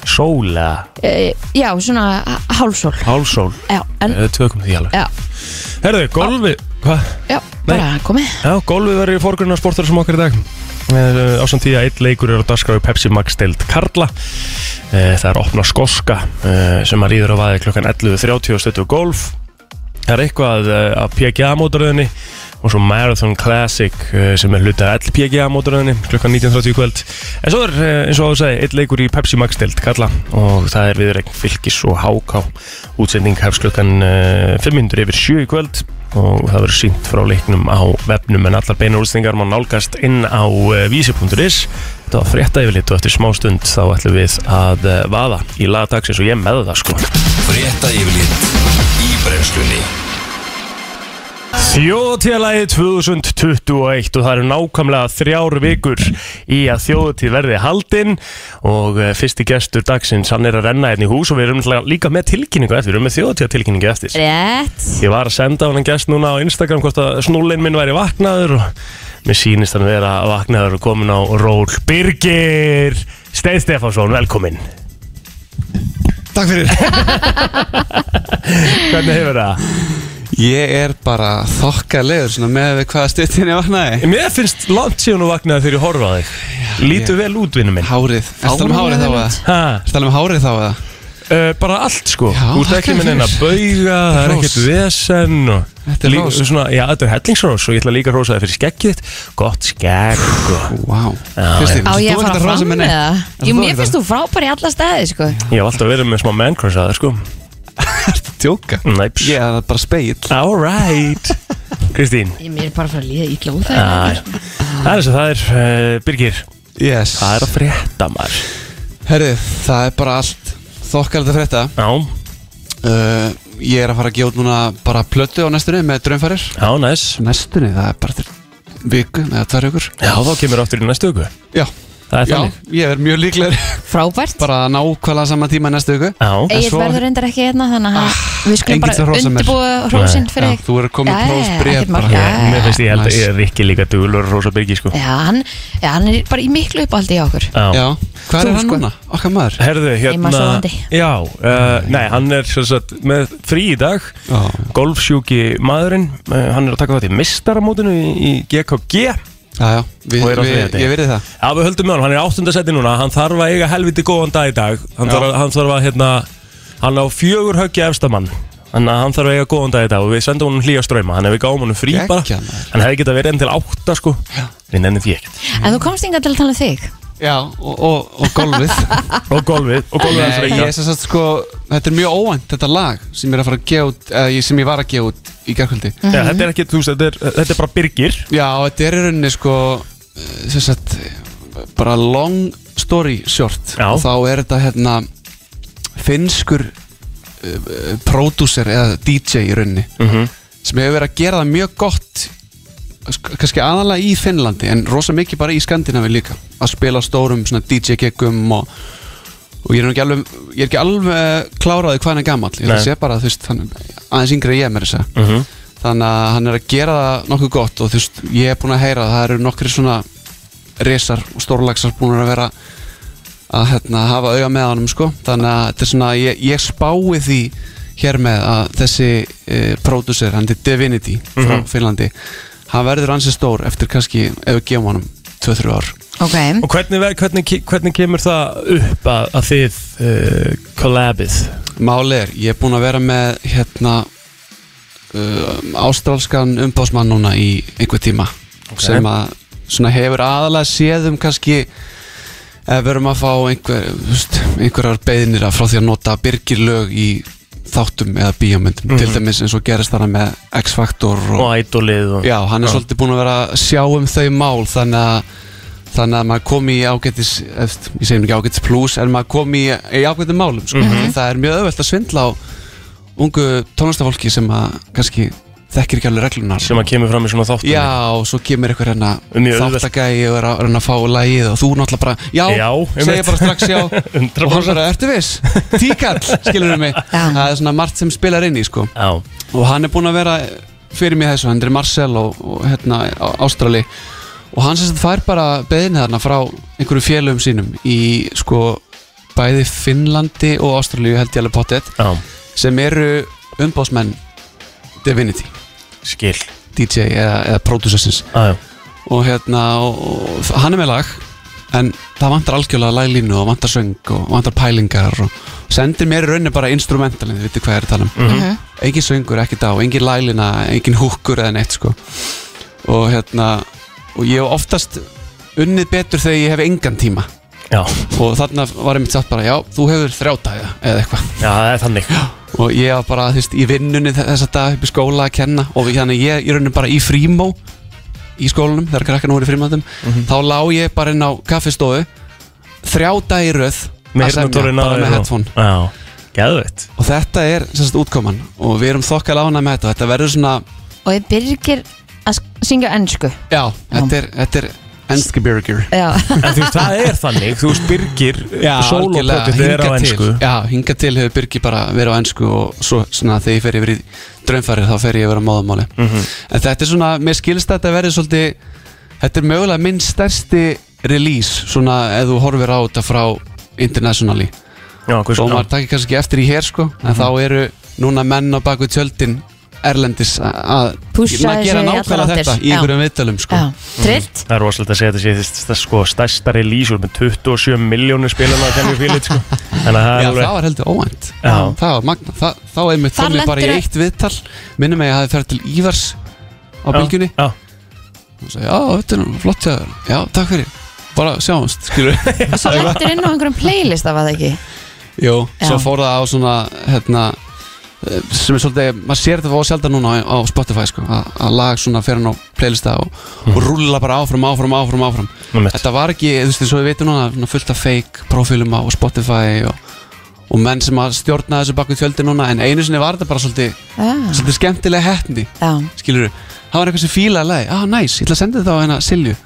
[SPEAKER 1] Sóla,
[SPEAKER 2] E, já, svona h- hálfsól.
[SPEAKER 1] hálsól
[SPEAKER 2] Já, en,
[SPEAKER 1] Við tökum því alveg
[SPEAKER 2] já,
[SPEAKER 1] Herðu, golfi, hvað?
[SPEAKER 2] já, bara komið.
[SPEAKER 1] Já, golfi verður í fórgrunna sportar sem okkar í dag Eh, á samt því að eitt leikur er á dagskrá í Pepsi Max deild Karla Eh, Það er opna skoska eh, sem að rýður á vaði klukkan 11.30 og stötu golf Það er eitthvað eh, af PGA mótaröðinni og svo Marathon Classic eh, sem er hluta all PGA mótaröðinni klukkan 19.30 í kvöld En svo er eh, eins og áður sagði, eitt leikur í Pepsi Max deild Karla og það er viðreikn fylgis og háká útsending hefst klukkan eh, 500 yfir 7 í kvöld og það verður sínt frá leiknum á vefnum en allar beinar útsendingar má nálgast inn á eh, vísi.is Þetta var frétta yfirlit og eftir smá stund þá ætlum við að eh, vaða í lagdagsins og ég er með það sko
[SPEAKER 3] Frétta yfirlit í brennslunni
[SPEAKER 1] Þjóðtíðalagið 2021 og það eru nákvæmlega þrjár vikur í að þjóðtíð verði haldinn og eh, fyrsti gestur dagsins hann er að renna hérna í hús og við erum náttúrulega líka með tilkynningu eftir, við erum með þjóðtíðatilkynningu eftir
[SPEAKER 2] Rétt.
[SPEAKER 1] Ég var að senda hann gest núna á Instagram hvort að snúlinn minn væri vaknaður og mér sýnist hann vera vaknaður og komin á ról Birgir Steið Stefánsson, velkomin
[SPEAKER 5] Takk fyrir
[SPEAKER 1] Hvernig hefur það?
[SPEAKER 5] Ég er bara þokkalegur svona með við hvaða stuttin ég vaknaði
[SPEAKER 1] Mér finnst langt síðan og vaknaði þegar ég horfa á þig Lítu vel út, vinnu minn
[SPEAKER 5] Hárið, ertu að tala um hárið þá eða?
[SPEAKER 1] ha,
[SPEAKER 5] Ertu að tala um hárið þá eða?
[SPEAKER 1] uh, Bara allt sko
[SPEAKER 5] Já,
[SPEAKER 1] Þú ert
[SPEAKER 5] þakka
[SPEAKER 1] ekki með
[SPEAKER 5] þér.
[SPEAKER 1] neina bauga Það er
[SPEAKER 5] Hrós.
[SPEAKER 1] ekkert vesen og,
[SPEAKER 5] Þetta er
[SPEAKER 1] Lí-
[SPEAKER 5] hrós.
[SPEAKER 1] Svona, já, þetta er hellingsrós Og ég ætla líka að hrósa þig fyrir skeggið þitt Gott skegg og-
[SPEAKER 5] Vá,
[SPEAKER 1] Já,
[SPEAKER 5] Kristín,
[SPEAKER 2] Á ég að
[SPEAKER 5] þú ert
[SPEAKER 2] fara
[SPEAKER 5] að hrósa
[SPEAKER 2] fram
[SPEAKER 5] mér
[SPEAKER 2] með
[SPEAKER 5] neitt
[SPEAKER 2] það? Jú,
[SPEAKER 5] Ertu þú
[SPEAKER 2] mér
[SPEAKER 5] ekkert
[SPEAKER 2] finnst þú frábær í alla stæði, sko
[SPEAKER 1] Ég hef alltaf verið með smá man-crush að það sko
[SPEAKER 5] að djóka?
[SPEAKER 1] Næps
[SPEAKER 5] Ég er bara speil
[SPEAKER 1] Alright Kristín
[SPEAKER 2] Ég mér er bara að fara að líða ítla út það
[SPEAKER 1] Já, já. Það er þess að það er uh, Birgir,
[SPEAKER 5] Yes
[SPEAKER 1] það er að frétta maður
[SPEAKER 5] Herðu, það er bara allt þokkalegt að frétta
[SPEAKER 1] Já,
[SPEAKER 5] uh, Ég er að fara að gefa út núna bara plötu á næstunni með draumfærir
[SPEAKER 1] já, næs
[SPEAKER 5] Næstunni, það er bara til viku eða tvær vikur
[SPEAKER 1] Já, þá kemur áttur í næstu viku
[SPEAKER 5] Já,
[SPEAKER 1] Það er
[SPEAKER 5] já
[SPEAKER 1] þannig
[SPEAKER 5] ég er mjög líklegur
[SPEAKER 2] Frábært
[SPEAKER 5] bara nákvæmlega sama tíma næstu viku
[SPEAKER 1] Já,
[SPEAKER 2] Egil
[SPEAKER 5] svo- Ah,
[SPEAKER 2] verður reyndar ekki hérna, þannig að við skulum
[SPEAKER 5] enginn sem
[SPEAKER 2] bara
[SPEAKER 5] hrósar mér.
[SPEAKER 2] undirbúa hrósinn
[SPEAKER 1] Nei,
[SPEAKER 2] fyrir
[SPEAKER 5] Já, þú er komin
[SPEAKER 2] Já, já,
[SPEAKER 5] prófsbréf
[SPEAKER 2] ekkert
[SPEAKER 5] bara.
[SPEAKER 2] mál. Já, já,
[SPEAKER 1] mér
[SPEAKER 2] já.
[SPEAKER 1] finnst ég held að
[SPEAKER 5] Næs.
[SPEAKER 1] ég er ekki líka dugulur að rosa Birgir sko
[SPEAKER 2] Já, hann, já, hann er bara í miklu uppáldi í okkur
[SPEAKER 1] Já,
[SPEAKER 5] Já, hvað
[SPEAKER 2] Þú
[SPEAKER 5] er hann
[SPEAKER 2] sko.
[SPEAKER 5] núna? Okkar maður
[SPEAKER 1] herðu,
[SPEAKER 2] Heima
[SPEAKER 1] hérna
[SPEAKER 2] sofandi.
[SPEAKER 1] Já, uh, nei, hann er sem sagt með frí í dag
[SPEAKER 5] Já.
[SPEAKER 1] Golfsjúki maðurinn uh, Hann er að taka þátt í mistaramótinu í, í GKG
[SPEAKER 5] Já, já, við,
[SPEAKER 1] Og er á
[SPEAKER 5] við,
[SPEAKER 1] þriðjudegi.
[SPEAKER 5] ég verði það
[SPEAKER 1] Já, við höldum með hann, hann er áttundasæti núna Hann þarf að eiga helviti góðan dag í dag Hann,
[SPEAKER 5] Já.
[SPEAKER 1] þarf að, hann þarf að, hérna Hann á fjögur höggja efstamann Þannig að hann þarf að eiga góðan dag í dag Og við sendum honum hlýja ströyma Þannig að við gáum honum frí
[SPEAKER 5] Geggjað,
[SPEAKER 1] bara
[SPEAKER 5] maður.
[SPEAKER 1] Hann hefði getað verið enn til átta sko Við nennum því ekkert
[SPEAKER 5] Mm.
[SPEAKER 2] En þú komst inga til að tala um þig
[SPEAKER 5] Já, og, og, og golfið
[SPEAKER 1] Og golfið, og golfið hans
[SPEAKER 5] Nei, ég
[SPEAKER 1] reykja
[SPEAKER 5] er sem sagt sko Þetta er mjög óvænt þetta lag sem ég er að fara að gefa út eða ég- sem ég var að gefa út í gerkvöldi
[SPEAKER 1] Já, þetta er ekki, þú veist, þetta er, þetta er bara Birgir
[SPEAKER 5] Já, og þetta er í rauninni sko eh, sem sagt bara long story short
[SPEAKER 1] Já.
[SPEAKER 5] og þá er þetta hérna finnskur uh, pródúser eða DJ í rauninni
[SPEAKER 1] Mhm.
[SPEAKER 5] sem hefur verið að gera það mjög gott sk- kannski aðalega í Finnlandi en rosa mikið bara í Skandinavi líka að spila á stórum svona DJ geggum og, og ég er nú ekki alveg ég er ekki alveg kláraði hvað hann er gamall ég ætla að
[SPEAKER 1] Nei.
[SPEAKER 5] sé bara þú veist hann, aðeins yngri en ég mér þess að
[SPEAKER 1] mm -hmm.
[SPEAKER 5] þannig að hann er að gera það nokkuð gott og þú veist, ég er búin að heyra að það eru nokkri svona resar og stórlagsar búin að vera að hérna, hafa auga með honum sko þannig að þetta er svona, ég, ég spái því hér með að þessi e, pródusser, hann er Divinity frá Finnlandi, hann verður ansi stór eftir kannski, ef við gefum honum 2-3 ár
[SPEAKER 2] Ok,
[SPEAKER 1] Og hvernig, ver- hvernig, ke- hvernig kemur það upp að, að þið uh, collabið?
[SPEAKER 5] Máli er, ég er búinn að vera með hérna uh, ástrálskan umbásmann núna í einhver tíma sem að svona hefur aðalega séð um kannski ef við erum að fá einhver, húst, einhverjar beðinir að frá því að nota byrgirlög í þáttum eða bíómyndum til dæmis eins og gerist þarna með X-Factor
[SPEAKER 1] Mhm. Og ædolið og...
[SPEAKER 5] Já, hann er svolítið búinn að vera að sjá um þau mál þannig að þannig að maður kom í ágætis eft, ég segjum ekki ágætis plus en maður kom í, í ágætis málum sko.
[SPEAKER 1] Mhm.
[SPEAKER 5] það er mjög auðvelt að svindla á ungu tónlistafólki sem að kannski þekkir ekki alveg reglunar
[SPEAKER 1] Sem að kemur fram í svona þáttum Um
[SPEAKER 5] Já, og svo kemur einhver hérna
[SPEAKER 1] Mjög auðvelt.
[SPEAKER 5] þáttagæi og er að, er að fá lagið og þú náttúrulega bara, já,
[SPEAKER 1] Já,
[SPEAKER 5] segja
[SPEAKER 1] einmitt.
[SPEAKER 5] bara strax já
[SPEAKER 1] 100%.
[SPEAKER 5] og hann bara, ertu viss? Tíkall, skilur mig
[SPEAKER 2] Já.
[SPEAKER 5] það er svona margt sem spilar inn í sko
[SPEAKER 1] Já,
[SPEAKER 5] og hann er búinn að vera fyrir mig þessu, hann er Marcel og, og hérna á- Ástrali og hann sem sagt fær bara beðin þarna frá einhverju félögum sínum í sko bæði Finnlandi og Ástralíu held ég alveg pottet
[SPEAKER 1] já,
[SPEAKER 5] sem eru umbásmenn Divinity,
[SPEAKER 1] skil
[SPEAKER 5] DJ eða, eða Producersins
[SPEAKER 1] Já, já,
[SPEAKER 5] og hérna og, og, hann er með lag en það vantar algjörlega laglínu og vantar söng og vantar pælingar og sendir mér í rauninni bara instrumentalin, þið viti hvað ég er að tala um
[SPEAKER 1] mm
[SPEAKER 5] engin söngur, ekkert á, engin lælina engin húkkur eða neitt sko og hérna og ég hef oftast unnið betur þegar ég hef engan tíma
[SPEAKER 1] já,
[SPEAKER 5] og þarna var ég mitt satt bara, já, þú hefur þrjá daga eða eitthvað
[SPEAKER 1] já, það er þannig
[SPEAKER 5] og ég var bara, þú veist, í vinnunni þe- þessa dag upp í skóla að kenna og hérna ég, ég raunum bara í frímó í skólanum, þegar krakkan voru í frímóðum
[SPEAKER 1] Mhm.
[SPEAKER 5] þá lá ég bara inn á kaffistofu þrjá dag í röð
[SPEAKER 1] Með
[SPEAKER 5] að semja,
[SPEAKER 1] heyrnartólin á
[SPEAKER 5] bara
[SPEAKER 1] þér
[SPEAKER 5] með
[SPEAKER 1] og-
[SPEAKER 5] headphone
[SPEAKER 1] Já, geðveitt
[SPEAKER 5] og þetta er, sem sagt, útkoman og við erum þokkala ánað með þetta, þetta verður svona
[SPEAKER 2] og þið byrgir að s- syngja á ennsku
[SPEAKER 5] Já, þetta er, þetta er Enskibjörgjur
[SPEAKER 2] Já,
[SPEAKER 1] En þú veist, það er þannig, þú veist, Birgir Sólopotið er á ennsku
[SPEAKER 5] til, Já, hinga til hefur Birgi bara verið á ennsku og svo svona þegar ég fer yfir í draunfæri þá fer ég yfir á móðamáli
[SPEAKER 1] Mhm.
[SPEAKER 5] En þetta er svona, mér skilst að þetta verið svolítið Þetta er mögulega minn stærsti release svona ef þú horfir á þetta frá internationally
[SPEAKER 1] Já, hvers, Mhm.
[SPEAKER 5] og
[SPEAKER 1] já,
[SPEAKER 5] maður takkir kannski ekki eftir í hér sko en þá eru núna menn á baku tjöldin erlendis a- að
[SPEAKER 2] Pusha
[SPEAKER 5] maður
[SPEAKER 2] þessu
[SPEAKER 5] gera
[SPEAKER 2] í
[SPEAKER 5] nákvæmlega
[SPEAKER 2] allar áttir.
[SPEAKER 5] þetta í
[SPEAKER 2] Já.
[SPEAKER 5] einhverjum viðtölum sko.
[SPEAKER 2] Já, trillt
[SPEAKER 1] Það er rosalega að segja þetta sé þess- þess sko stærstari lýsur með 27 miljónir spilana að kennu fílit sko Þannig að
[SPEAKER 5] Já,
[SPEAKER 1] það er
[SPEAKER 5] það
[SPEAKER 1] alveg
[SPEAKER 5] var heldur óvænt
[SPEAKER 1] Já.
[SPEAKER 5] Það var magna, Þa, þá einmitt
[SPEAKER 2] Þar
[SPEAKER 5] fór mér bara í
[SPEAKER 2] lentirðu-
[SPEAKER 5] eitt viðtal Minnum mig að ég hafi ferð til Ívars á
[SPEAKER 1] Já,
[SPEAKER 5] bylgjunni
[SPEAKER 1] Já,
[SPEAKER 5] og sagði, já, þetta er nú flott hjá þér Já, takk fyrir, bara sjáumst, skilur
[SPEAKER 2] og svo lentur inn á einhverjum playlist af að það ekki
[SPEAKER 5] Jú,
[SPEAKER 2] Já.
[SPEAKER 5] svo fór það á svona, hérna eh, sem er svolítið, maður sér þetta fá sjaldan núna á, á Spotify, sko, að, að lag svona fer hann á playlista og, og rúlla bara áfram, áfram, áfram, áfram
[SPEAKER 1] einmitt.
[SPEAKER 5] Þetta var ekki, þú veist, eins og við veitum núna svona fullt af fake profilum á Spotify og, og menn sem að stjórna þessu baku tjöldi núna, en einu sinni var þetta bara svolítið,
[SPEAKER 2] Já,
[SPEAKER 5] svolítið skemmtileg hettni,
[SPEAKER 2] Ah. já,
[SPEAKER 5] skilur það var eitthvað sem fílaði lagi, ah, næs, nice, ég ætla að senda þetta á hérna Silju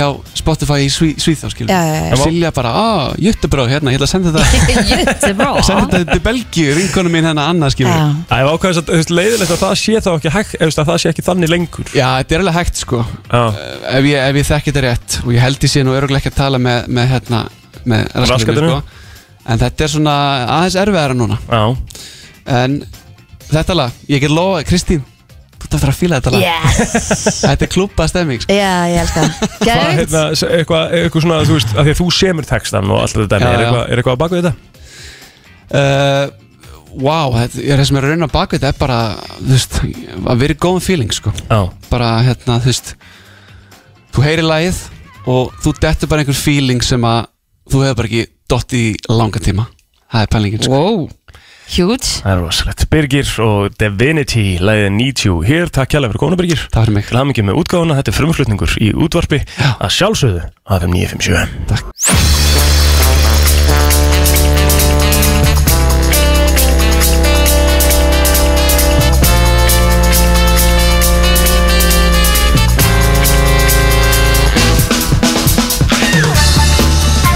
[SPEAKER 5] hjá Spotify í Sví, Svíþá, skilur
[SPEAKER 2] já, já, já.
[SPEAKER 5] Silja bara, ah, jöttubráð, hérna, ég ætla að senda þetta
[SPEAKER 2] Jöttu bró
[SPEAKER 5] senda þetta til Belgíu, vinkonu mín hérna Anna, skilur
[SPEAKER 2] Já,
[SPEAKER 1] Það er ákveðast að þú veist, leiðilegt að það sé þá ekki hægt, eða það sé ekki þannig lengur
[SPEAKER 5] Já, þetta er alveg hægt, sko
[SPEAKER 1] Já,
[SPEAKER 5] ef ég, ef ég þekki þetta rétt og ég held ég sé nú öruglega ekki að tala með, með, hérna, með sko. raskatunni,
[SPEAKER 1] Raskatunni.
[SPEAKER 5] en þetta er svona aðeins erfiðara núna
[SPEAKER 1] já,
[SPEAKER 5] en þetta lag, ég get lofa Kristín, þú ert eftir að fíla þetta lag
[SPEAKER 2] yes
[SPEAKER 5] þetta er klúpa stemming sko.
[SPEAKER 2] Já, ég held það
[SPEAKER 1] Hvað,
[SPEAKER 2] Geðvikt
[SPEAKER 1] hérna, s- eitthvað, eitthvað svona, þú veist, af því að þú semur textan og allt þetta dæmi,
[SPEAKER 5] Já,
[SPEAKER 1] er
[SPEAKER 5] já.
[SPEAKER 1] eitthvað, er eitthvað að baka við þetta?
[SPEAKER 5] uh, wow, þetta, ég er það sem er að rauna bak við þetta er bara, þú veist að vera góðum feeling, sko
[SPEAKER 1] Já,
[SPEAKER 5] bara, hérna, þú veist þú heyri lagið og þú dettur bara einhver feeling sem að þú hefur bara ekki dottið í langa tíma það er pælingin, sko
[SPEAKER 4] Wow
[SPEAKER 2] Huge
[SPEAKER 1] það er rosalegt Birgir og Divinity, leiðið 90 Hér, takk kjærlega fyrir konu Birgir
[SPEAKER 5] það fyrir mig
[SPEAKER 1] Hlamingi með útgáfuna, þetta er frumflutningur í útvarpi að sjálfsögðu af 957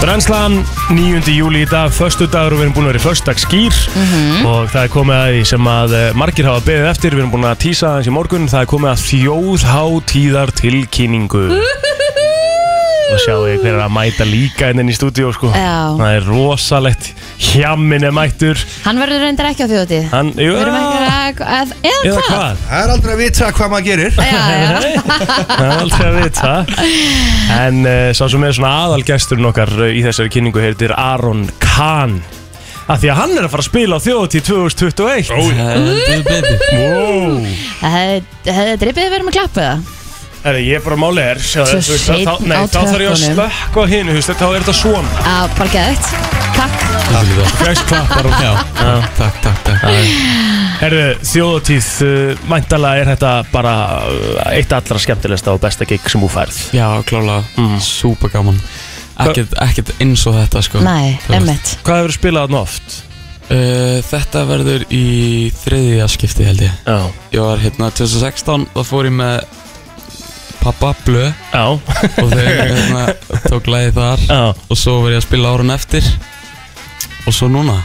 [SPEAKER 1] Brennslan, 9. júli í dag, förstu dagur og við erum búin að vera í förstagsskýr
[SPEAKER 2] Mhm.
[SPEAKER 1] og það er komið að því sem að eh, margir hafa beðið eftir, við erum búin að tísa aðeins í morgun, það er komið að þjóðhátíðar tilkynningu og sjáu þið hver er að mæta líka inn í stúdíó sko,
[SPEAKER 2] Já.
[SPEAKER 1] það er rosalegt, hjammin er mættur,
[SPEAKER 2] Hann verður reyndar ekki á þjóðatíð
[SPEAKER 1] hann, jú,
[SPEAKER 2] Við erum ekki að, að Eða
[SPEAKER 1] eða
[SPEAKER 2] hvað?
[SPEAKER 1] hvað?
[SPEAKER 6] Það er aldrei að vita hvað maður gerir
[SPEAKER 2] Já, já,
[SPEAKER 1] Það er aldrei að vita En uh, sá sem er svona aðalgesturinn okkar eh, í þessari kynningu heitir Aron Kahn að því að hann er að fara að spila á þjóðatíð 2021 oh, wow.
[SPEAKER 2] Það hefði- Hefði drippið verið með klappu það?
[SPEAKER 1] Herri, ég er bara máli er sjá,
[SPEAKER 2] Svo
[SPEAKER 1] þú veist, að
[SPEAKER 2] seinn
[SPEAKER 1] þá, nei,
[SPEAKER 2] á
[SPEAKER 1] þá þarf ég að
[SPEAKER 2] tröppunum.
[SPEAKER 1] slökka á hinu þú veist, þá er þetta svona
[SPEAKER 2] Á, bara geðvikt Takk
[SPEAKER 1] Fjöks klappar og
[SPEAKER 5] takk, takk, takk
[SPEAKER 1] Herri, þjóðatíð uh, mæntalega er þetta bara eh, eitt allra skemmtilegsta og besta gig sem þú færð
[SPEAKER 7] Já, klálega, mm. super gaman ekkert, ekkert eins og þetta sko
[SPEAKER 2] Nei,
[SPEAKER 7] Þú veist.
[SPEAKER 2] emmitt
[SPEAKER 1] Hvað hefur spilað þarna oft?
[SPEAKER 7] uh, Þetta verður í þriðja skipti held ég
[SPEAKER 1] Já,
[SPEAKER 7] Ég var hérna 2016 og fór ég með pappa blö
[SPEAKER 1] já,
[SPEAKER 7] og þau hérna, tók lagið þar
[SPEAKER 1] já
[SPEAKER 7] og svo verð ég að spila árun eftir og svo núna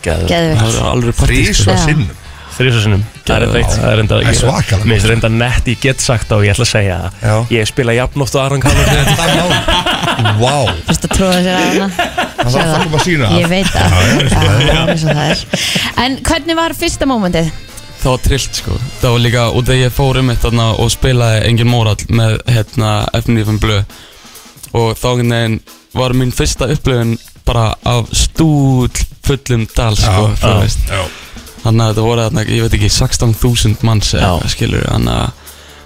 [SPEAKER 1] Geðveikt.
[SPEAKER 7] það
[SPEAKER 2] Geðvikt
[SPEAKER 7] verður alveg partí
[SPEAKER 6] Þrís
[SPEAKER 7] sko.
[SPEAKER 6] og
[SPEAKER 2] Já.
[SPEAKER 6] sinnum
[SPEAKER 1] Þrísa sinnum Það er reyndar eitt Það er reyndar
[SPEAKER 6] Það er svakalega.
[SPEAKER 1] Mér er reyndar nett Ég get sagt það og ég ætla að segja það
[SPEAKER 6] Já.
[SPEAKER 1] Ég spila jafnótt og Aron Kallar
[SPEAKER 6] Það er mál Vá
[SPEAKER 2] Þú veist að tróða sér á hana
[SPEAKER 6] Það þarf að koma að sína
[SPEAKER 2] Ég
[SPEAKER 6] það
[SPEAKER 2] veit það Já, það er svo það er En hvernig var fyrsta mómentið?
[SPEAKER 7] það var trillt sko það var líka út að ég fór um eitt þarna og spilaði engin mórall með hérna FNF blö og þá einhvern veginn var mín fyrsta upplöfun bara af stúl fullum dal sko
[SPEAKER 6] Já,
[SPEAKER 7] þú
[SPEAKER 1] já.
[SPEAKER 7] veist
[SPEAKER 6] Já.
[SPEAKER 7] þannig að þetta voru þarna, ég veit ekki 16.000 manns eða
[SPEAKER 1] Já.
[SPEAKER 7] eitthvað, skilur þannig að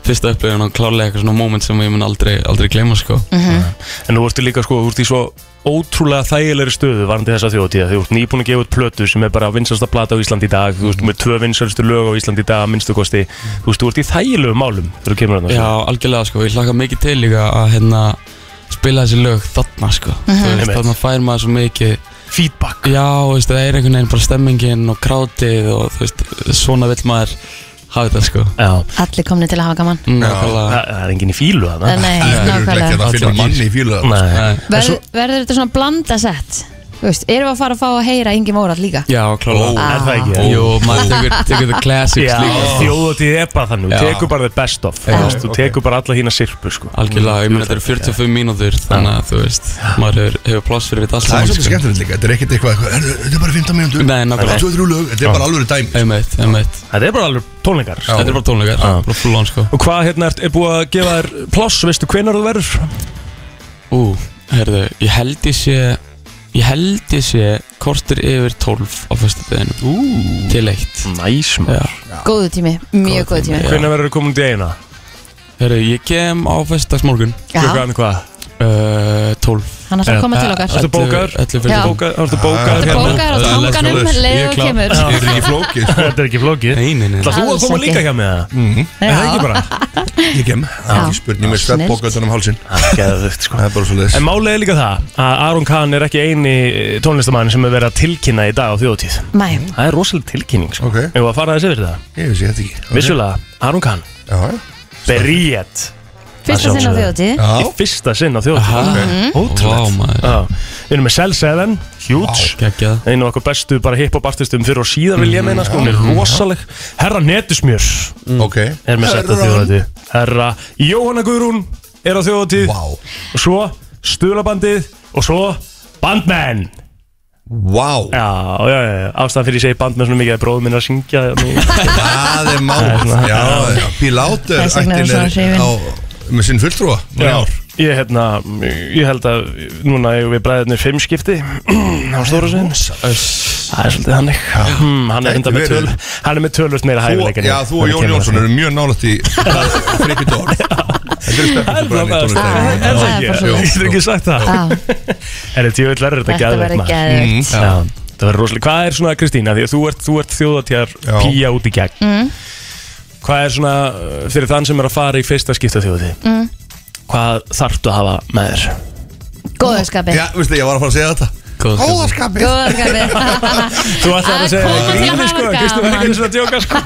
[SPEAKER 7] fyrsta upplöfun og klárlega eitthvað svona moment sem ég mun aldrei, aldrei gleyma sko
[SPEAKER 1] En þú ertu líka sko Þú ert í svo ótrúlega þægilegri stöðu Varandi þessa þjóðtíða Þú ert nýbúin að gefa út plötu Sem er bara vinsalsta plata á Íslandi í dag Þú veist með tvö vinsalstu lög á Íslandi í dag að Minnstu kosti Þú veist, þú ert í þægilegu málum Þegar þú kemur hann
[SPEAKER 7] Já, algjörlega sko, ég hlakka mikið til líka að hérna spila þessi lög þarna sko
[SPEAKER 6] Mhm.
[SPEAKER 7] Þú veist,
[SPEAKER 1] Einmitt.
[SPEAKER 7] þarna fær maður svo mikið
[SPEAKER 1] Feedback
[SPEAKER 7] Já, þú veist, það er einhvern veginn bara stemmingin og krátið og þú veist, svona vill maður hafa þetta sko
[SPEAKER 1] Já
[SPEAKER 2] Allir komni til að hafa gaman
[SPEAKER 7] mm, nákvæmlega.
[SPEAKER 1] Það það er enginn í fílu þarna
[SPEAKER 2] Nei,
[SPEAKER 6] Það er ekki
[SPEAKER 2] nákvæmlega
[SPEAKER 6] að finna manni í fílu
[SPEAKER 1] Nei
[SPEAKER 7] Nei.
[SPEAKER 2] Verð- Verður þetta svona blanda sett? Þú veist, erum við að fara að fá að heyra Ingi Móral líka?
[SPEAKER 7] Já, klála
[SPEAKER 1] Ó, er það ekki?
[SPEAKER 7] Jú, maður tekur, tekur the classics
[SPEAKER 1] Já,
[SPEAKER 7] líka sko.
[SPEAKER 1] þjóðatíð er bara þannig,
[SPEAKER 7] Já.
[SPEAKER 1] þú tekur bara the best of
[SPEAKER 7] Já.
[SPEAKER 1] þú veist, Þú tekur bara alla þína sirpu sko.
[SPEAKER 7] Algjörlega, ég meina þetta eru 45 mínútur þannig að þú veist, maður hefur, hefur pláss fyrir þetta allt
[SPEAKER 6] Það
[SPEAKER 7] saman
[SPEAKER 6] er svolítið
[SPEAKER 7] sko.
[SPEAKER 6] skemmtilegt líka, þetta er ekkert eitthvað eitthvað, "Herru, Þetta er bara 15 mínútur
[SPEAKER 7] Nei, nákvæmlega.
[SPEAKER 6] Tvö, þrjú lög, þetta er bara alveg dæmi sko.
[SPEAKER 7] Einmitt, einmitt
[SPEAKER 1] Þetta er bara alveg tónleikar sko.
[SPEAKER 7] Þetta er bara tónleikar, bara full on sko
[SPEAKER 1] Og hvað hérna er, er búið að gefa þér pláss, veistu hvenar þú verður?
[SPEAKER 7] Ú, herðu, ég held ég sé Ég held ég sé kortur yfir 12 á föstudeginu Ú Til eitt
[SPEAKER 1] Næs
[SPEAKER 7] Já.
[SPEAKER 2] Góðu tími, mjög
[SPEAKER 7] Góður
[SPEAKER 2] góðu tími
[SPEAKER 7] tími,
[SPEAKER 1] Hvenær verður þú komin til eigina?
[SPEAKER 7] Herðu, ég kem á föstudagsmorgun
[SPEAKER 2] Já,
[SPEAKER 1] Klukkan hvað?
[SPEAKER 7] uh, 12
[SPEAKER 2] hann ætlar að koma til okkar
[SPEAKER 1] Eh, Ertu bókaður?
[SPEAKER 7] Öllu
[SPEAKER 2] Já.
[SPEAKER 7] fyrir
[SPEAKER 1] Bóka- Ertu bókaður
[SPEAKER 6] Ertu
[SPEAKER 1] hérna?
[SPEAKER 2] Bókar á
[SPEAKER 7] Let's go,
[SPEAKER 2] tanganum,
[SPEAKER 7] let's go.
[SPEAKER 2] leið
[SPEAKER 7] Ég er
[SPEAKER 2] og
[SPEAKER 7] klár.
[SPEAKER 2] kemur
[SPEAKER 6] Þetta er ekki flókið sko.
[SPEAKER 1] Þetta er ekki flókið
[SPEAKER 7] Nei, nei, nei
[SPEAKER 1] Það þú að
[SPEAKER 2] Alls
[SPEAKER 1] koma
[SPEAKER 2] ekki.
[SPEAKER 1] líka hjá með það? Er það ekki bara?
[SPEAKER 6] Ég kem, það er ekki spurning með svepp
[SPEAKER 2] Snillt.
[SPEAKER 6] bókautan um hálsin
[SPEAKER 1] Geðvögt sko
[SPEAKER 6] Það er bara svo leiðis
[SPEAKER 1] En málið er líka það að Aron Kahn er ekki eini tónlistamann sem er verið að tilkynna í dag á þjóðtíð
[SPEAKER 2] Mæ,
[SPEAKER 1] Mm. Það er rosalega tilkynning sko
[SPEAKER 6] Ok.
[SPEAKER 1] Ef að fara þessi yfir það
[SPEAKER 6] Ég vissi þetta ekki Ok.
[SPEAKER 1] Vissulega, Aron Kahn,
[SPEAKER 6] Já, já.
[SPEAKER 1] Berriet
[SPEAKER 2] fyrsta sinn
[SPEAKER 1] Það
[SPEAKER 2] á
[SPEAKER 1] sjálfsögðu.
[SPEAKER 2] þjóðtíð
[SPEAKER 1] Í
[SPEAKER 6] Já, Mhm.
[SPEAKER 1] fyrsta sinn á þjóðtíð
[SPEAKER 7] Aha. Vá,
[SPEAKER 1] Ótrúlegt
[SPEAKER 7] maður.
[SPEAKER 1] Já. Við erum með Cell 7, huge
[SPEAKER 7] Gekkjað
[SPEAKER 1] einu af okkur bestu bara hip-hop artistum fyrir og síðan vil
[SPEAKER 6] Mhm.
[SPEAKER 1] ég meina sko, hún er rosaleg Herra Netusmjör
[SPEAKER 6] Mm. ok
[SPEAKER 1] er með sett á þjóðatíð Herra Jóhanna Guðrún er á þjóðatíð
[SPEAKER 6] Vá
[SPEAKER 1] og svo Stulabandið og svo Bandmenn
[SPEAKER 6] Vá
[SPEAKER 1] Já, já, já, já. ástæðan fyrir ég segi Bandmenn svona mikið að bróðum minn er að syngja mig-
[SPEAKER 6] Það er mál
[SPEAKER 1] svona-
[SPEAKER 6] Já, já Pilátur
[SPEAKER 2] Þess vegna er hann svona hrifinn.
[SPEAKER 6] Með sinn fulltrúa núna í
[SPEAKER 1] Já,
[SPEAKER 6] ár.
[SPEAKER 1] ég, hérna, ég held að núna eigum við bræðinni fimm skipti á stóra sinn Það er svolítið þannig Hmm, Hann er
[SPEAKER 6] Gæti
[SPEAKER 1] enda með
[SPEAKER 6] verið.
[SPEAKER 1] töl Hann er með tölvöld meira
[SPEAKER 6] Þú-
[SPEAKER 1] hæfileikin
[SPEAKER 6] Já, þú og Jón Jónsson eru mjög nálægt í Frikki Dór Þetta er
[SPEAKER 1] Það er
[SPEAKER 6] stefnum
[SPEAKER 1] bara
[SPEAKER 2] tónlistarheimi.
[SPEAKER 1] Er
[SPEAKER 2] Já,
[SPEAKER 1] það ekki?
[SPEAKER 2] bara
[SPEAKER 1] Ég
[SPEAKER 2] svoleiðis.
[SPEAKER 1] getur ekki sagt það
[SPEAKER 2] Já,
[SPEAKER 1] Er þetta jöfnvel verður þetta
[SPEAKER 2] Þetta
[SPEAKER 1] gæðveit
[SPEAKER 2] verður
[SPEAKER 1] maður Mm.
[SPEAKER 2] geðveikt
[SPEAKER 1] Já, Það verður rosalega Hvað er svona Kristína Því að þú ert, þú ert þjóðatjar
[SPEAKER 6] Já.
[SPEAKER 1] píja út í gegn
[SPEAKER 2] Mm.
[SPEAKER 1] Hvað er svona uh, Fyrir þann sem er að fara í fyrsta skipta þjóðati mm. Hvað þarftu að hafa með þér
[SPEAKER 2] Góðu skapi
[SPEAKER 6] Já, veistu, ég var að fara að segja þetta Góðaskapið
[SPEAKER 2] Góðu skapi
[SPEAKER 1] Þú ætlar
[SPEAKER 2] Að
[SPEAKER 1] að segja
[SPEAKER 2] koma til að
[SPEAKER 1] Gríni
[SPEAKER 2] hafa
[SPEAKER 1] sko
[SPEAKER 2] gaman.
[SPEAKER 1] Kristín verður ekki eins og að djóka sko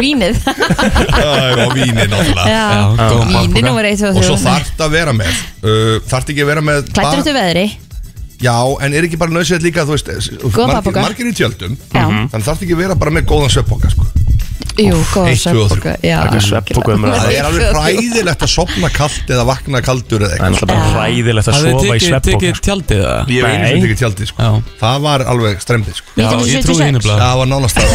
[SPEAKER 2] Vínið
[SPEAKER 6] Og vínið náttúrulega
[SPEAKER 2] Já,
[SPEAKER 7] góðan
[SPEAKER 2] Vínið
[SPEAKER 7] bakpoka.
[SPEAKER 2] nummer 1 og
[SPEAKER 6] Og svo
[SPEAKER 2] 3
[SPEAKER 6] þarft að vera með uh, Þarft ekki að vera með
[SPEAKER 2] Klættur þetta veðri
[SPEAKER 6] Já, en er ekki bara nöðsett líka Þú veist,
[SPEAKER 2] Góðan
[SPEAKER 6] margir,
[SPEAKER 2] bakpoka.
[SPEAKER 6] margir í tjöldum
[SPEAKER 2] Já.
[SPEAKER 6] Þannig þarft ekki að vera bara með góðan sveppoka sko.
[SPEAKER 2] Jú, góða
[SPEAKER 6] Eitt, tvö og
[SPEAKER 2] svefnpoka Já,
[SPEAKER 1] Taka svefnpoka um
[SPEAKER 2] algjörlega.
[SPEAKER 1] það.
[SPEAKER 6] Það er alveg hræðilegt að sopna kalt Eða vakna kaldur eða
[SPEAKER 1] Það er
[SPEAKER 6] eitthvað
[SPEAKER 1] náttúrulega bara hræðilegt að
[SPEAKER 7] Hafið
[SPEAKER 1] sofa í
[SPEAKER 7] þið tekið-
[SPEAKER 1] svefnbók
[SPEAKER 7] tekið tjaldið það?
[SPEAKER 6] Ég hef einu
[SPEAKER 1] Nei.
[SPEAKER 6] sem tekið tjaldið sko.
[SPEAKER 7] Já.
[SPEAKER 6] Það var alveg strembið sko.
[SPEAKER 7] Já, ég trúi
[SPEAKER 2] 1976.
[SPEAKER 7] henni blá
[SPEAKER 6] Það var nánast að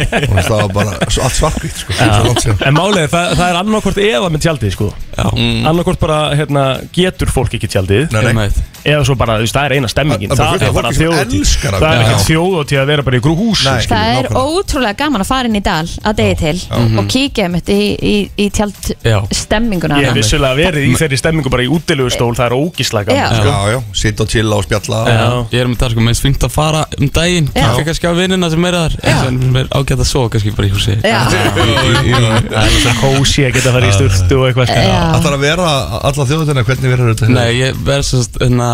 [SPEAKER 6] Það var bara svo- allt svarkvít sko. Svo langt síðan.
[SPEAKER 1] En málið, það, það er annarkvort eða með tjaldið sko mm. Annarkvort bara hérna, getur fólk ekki tjaldið
[SPEAKER 6] Nei, nei.
[SPEAKER 1] eða svo bara, þú veist, það er eina stemmingin
[SPEAKER 6] Það-
[SPEAKER 1] það
[SPEAKER 6] það
[SPEAKER 1] er bara
[SPEAKER 6] fólk sem
[SPEAKER 1] þjóðutíð
[SPEAKER 6] elskar að
[SPEAKER 1] það er
[SPEAKER 6] vera.
[SPEAKER 1] ekki þjóðutíð að vera bara í grú hús
[SPEAKER 6] Nei.
[SPEAKER 1] skilur.
[SPEAKER 2] Það er
[SPEAKER 6] Nákvæmlega.
[SPEAKER 2] ótrúlega gaman að fara inn í dal að degi til og kíkja mitt í, í, í tjald
[SPEAKER 7] Já.
[SPEAKER 2] stemminguna
[SPEAKER 1] Mhm. ég hef vissulega verið í þeirri stemmingu bara í útilegustól það er ógíslega
[SPEAKER 2] Já.
[SPEAKER 1] gaman, sko.
[SPEAKER 6] Já, já, sitt og chilla og spjalla
[SPEAKER 7] Já.
[SPEAKER 1] Já.
[SPEAKER 7] Ég er með það sko, mér finnst fínt að fara um daginn
[SPEAKER 2] Já.
[SPEAKER 7] Kaka kannski á vinnina sem er þar eins og sem er ágætt að sofa kannski bara í húsi
[SPEAKER 2] Já,
[SPEAKER 1] það er svo kósi að geta að fara í sturtu og eitthvað sko.
[SPEAKER 2] já,
[SPEAKER 6] Það er að vera alla þjóðutina Hvernig verður þetta?
[SPEAKER 7] Nei, ég verð sérst hérna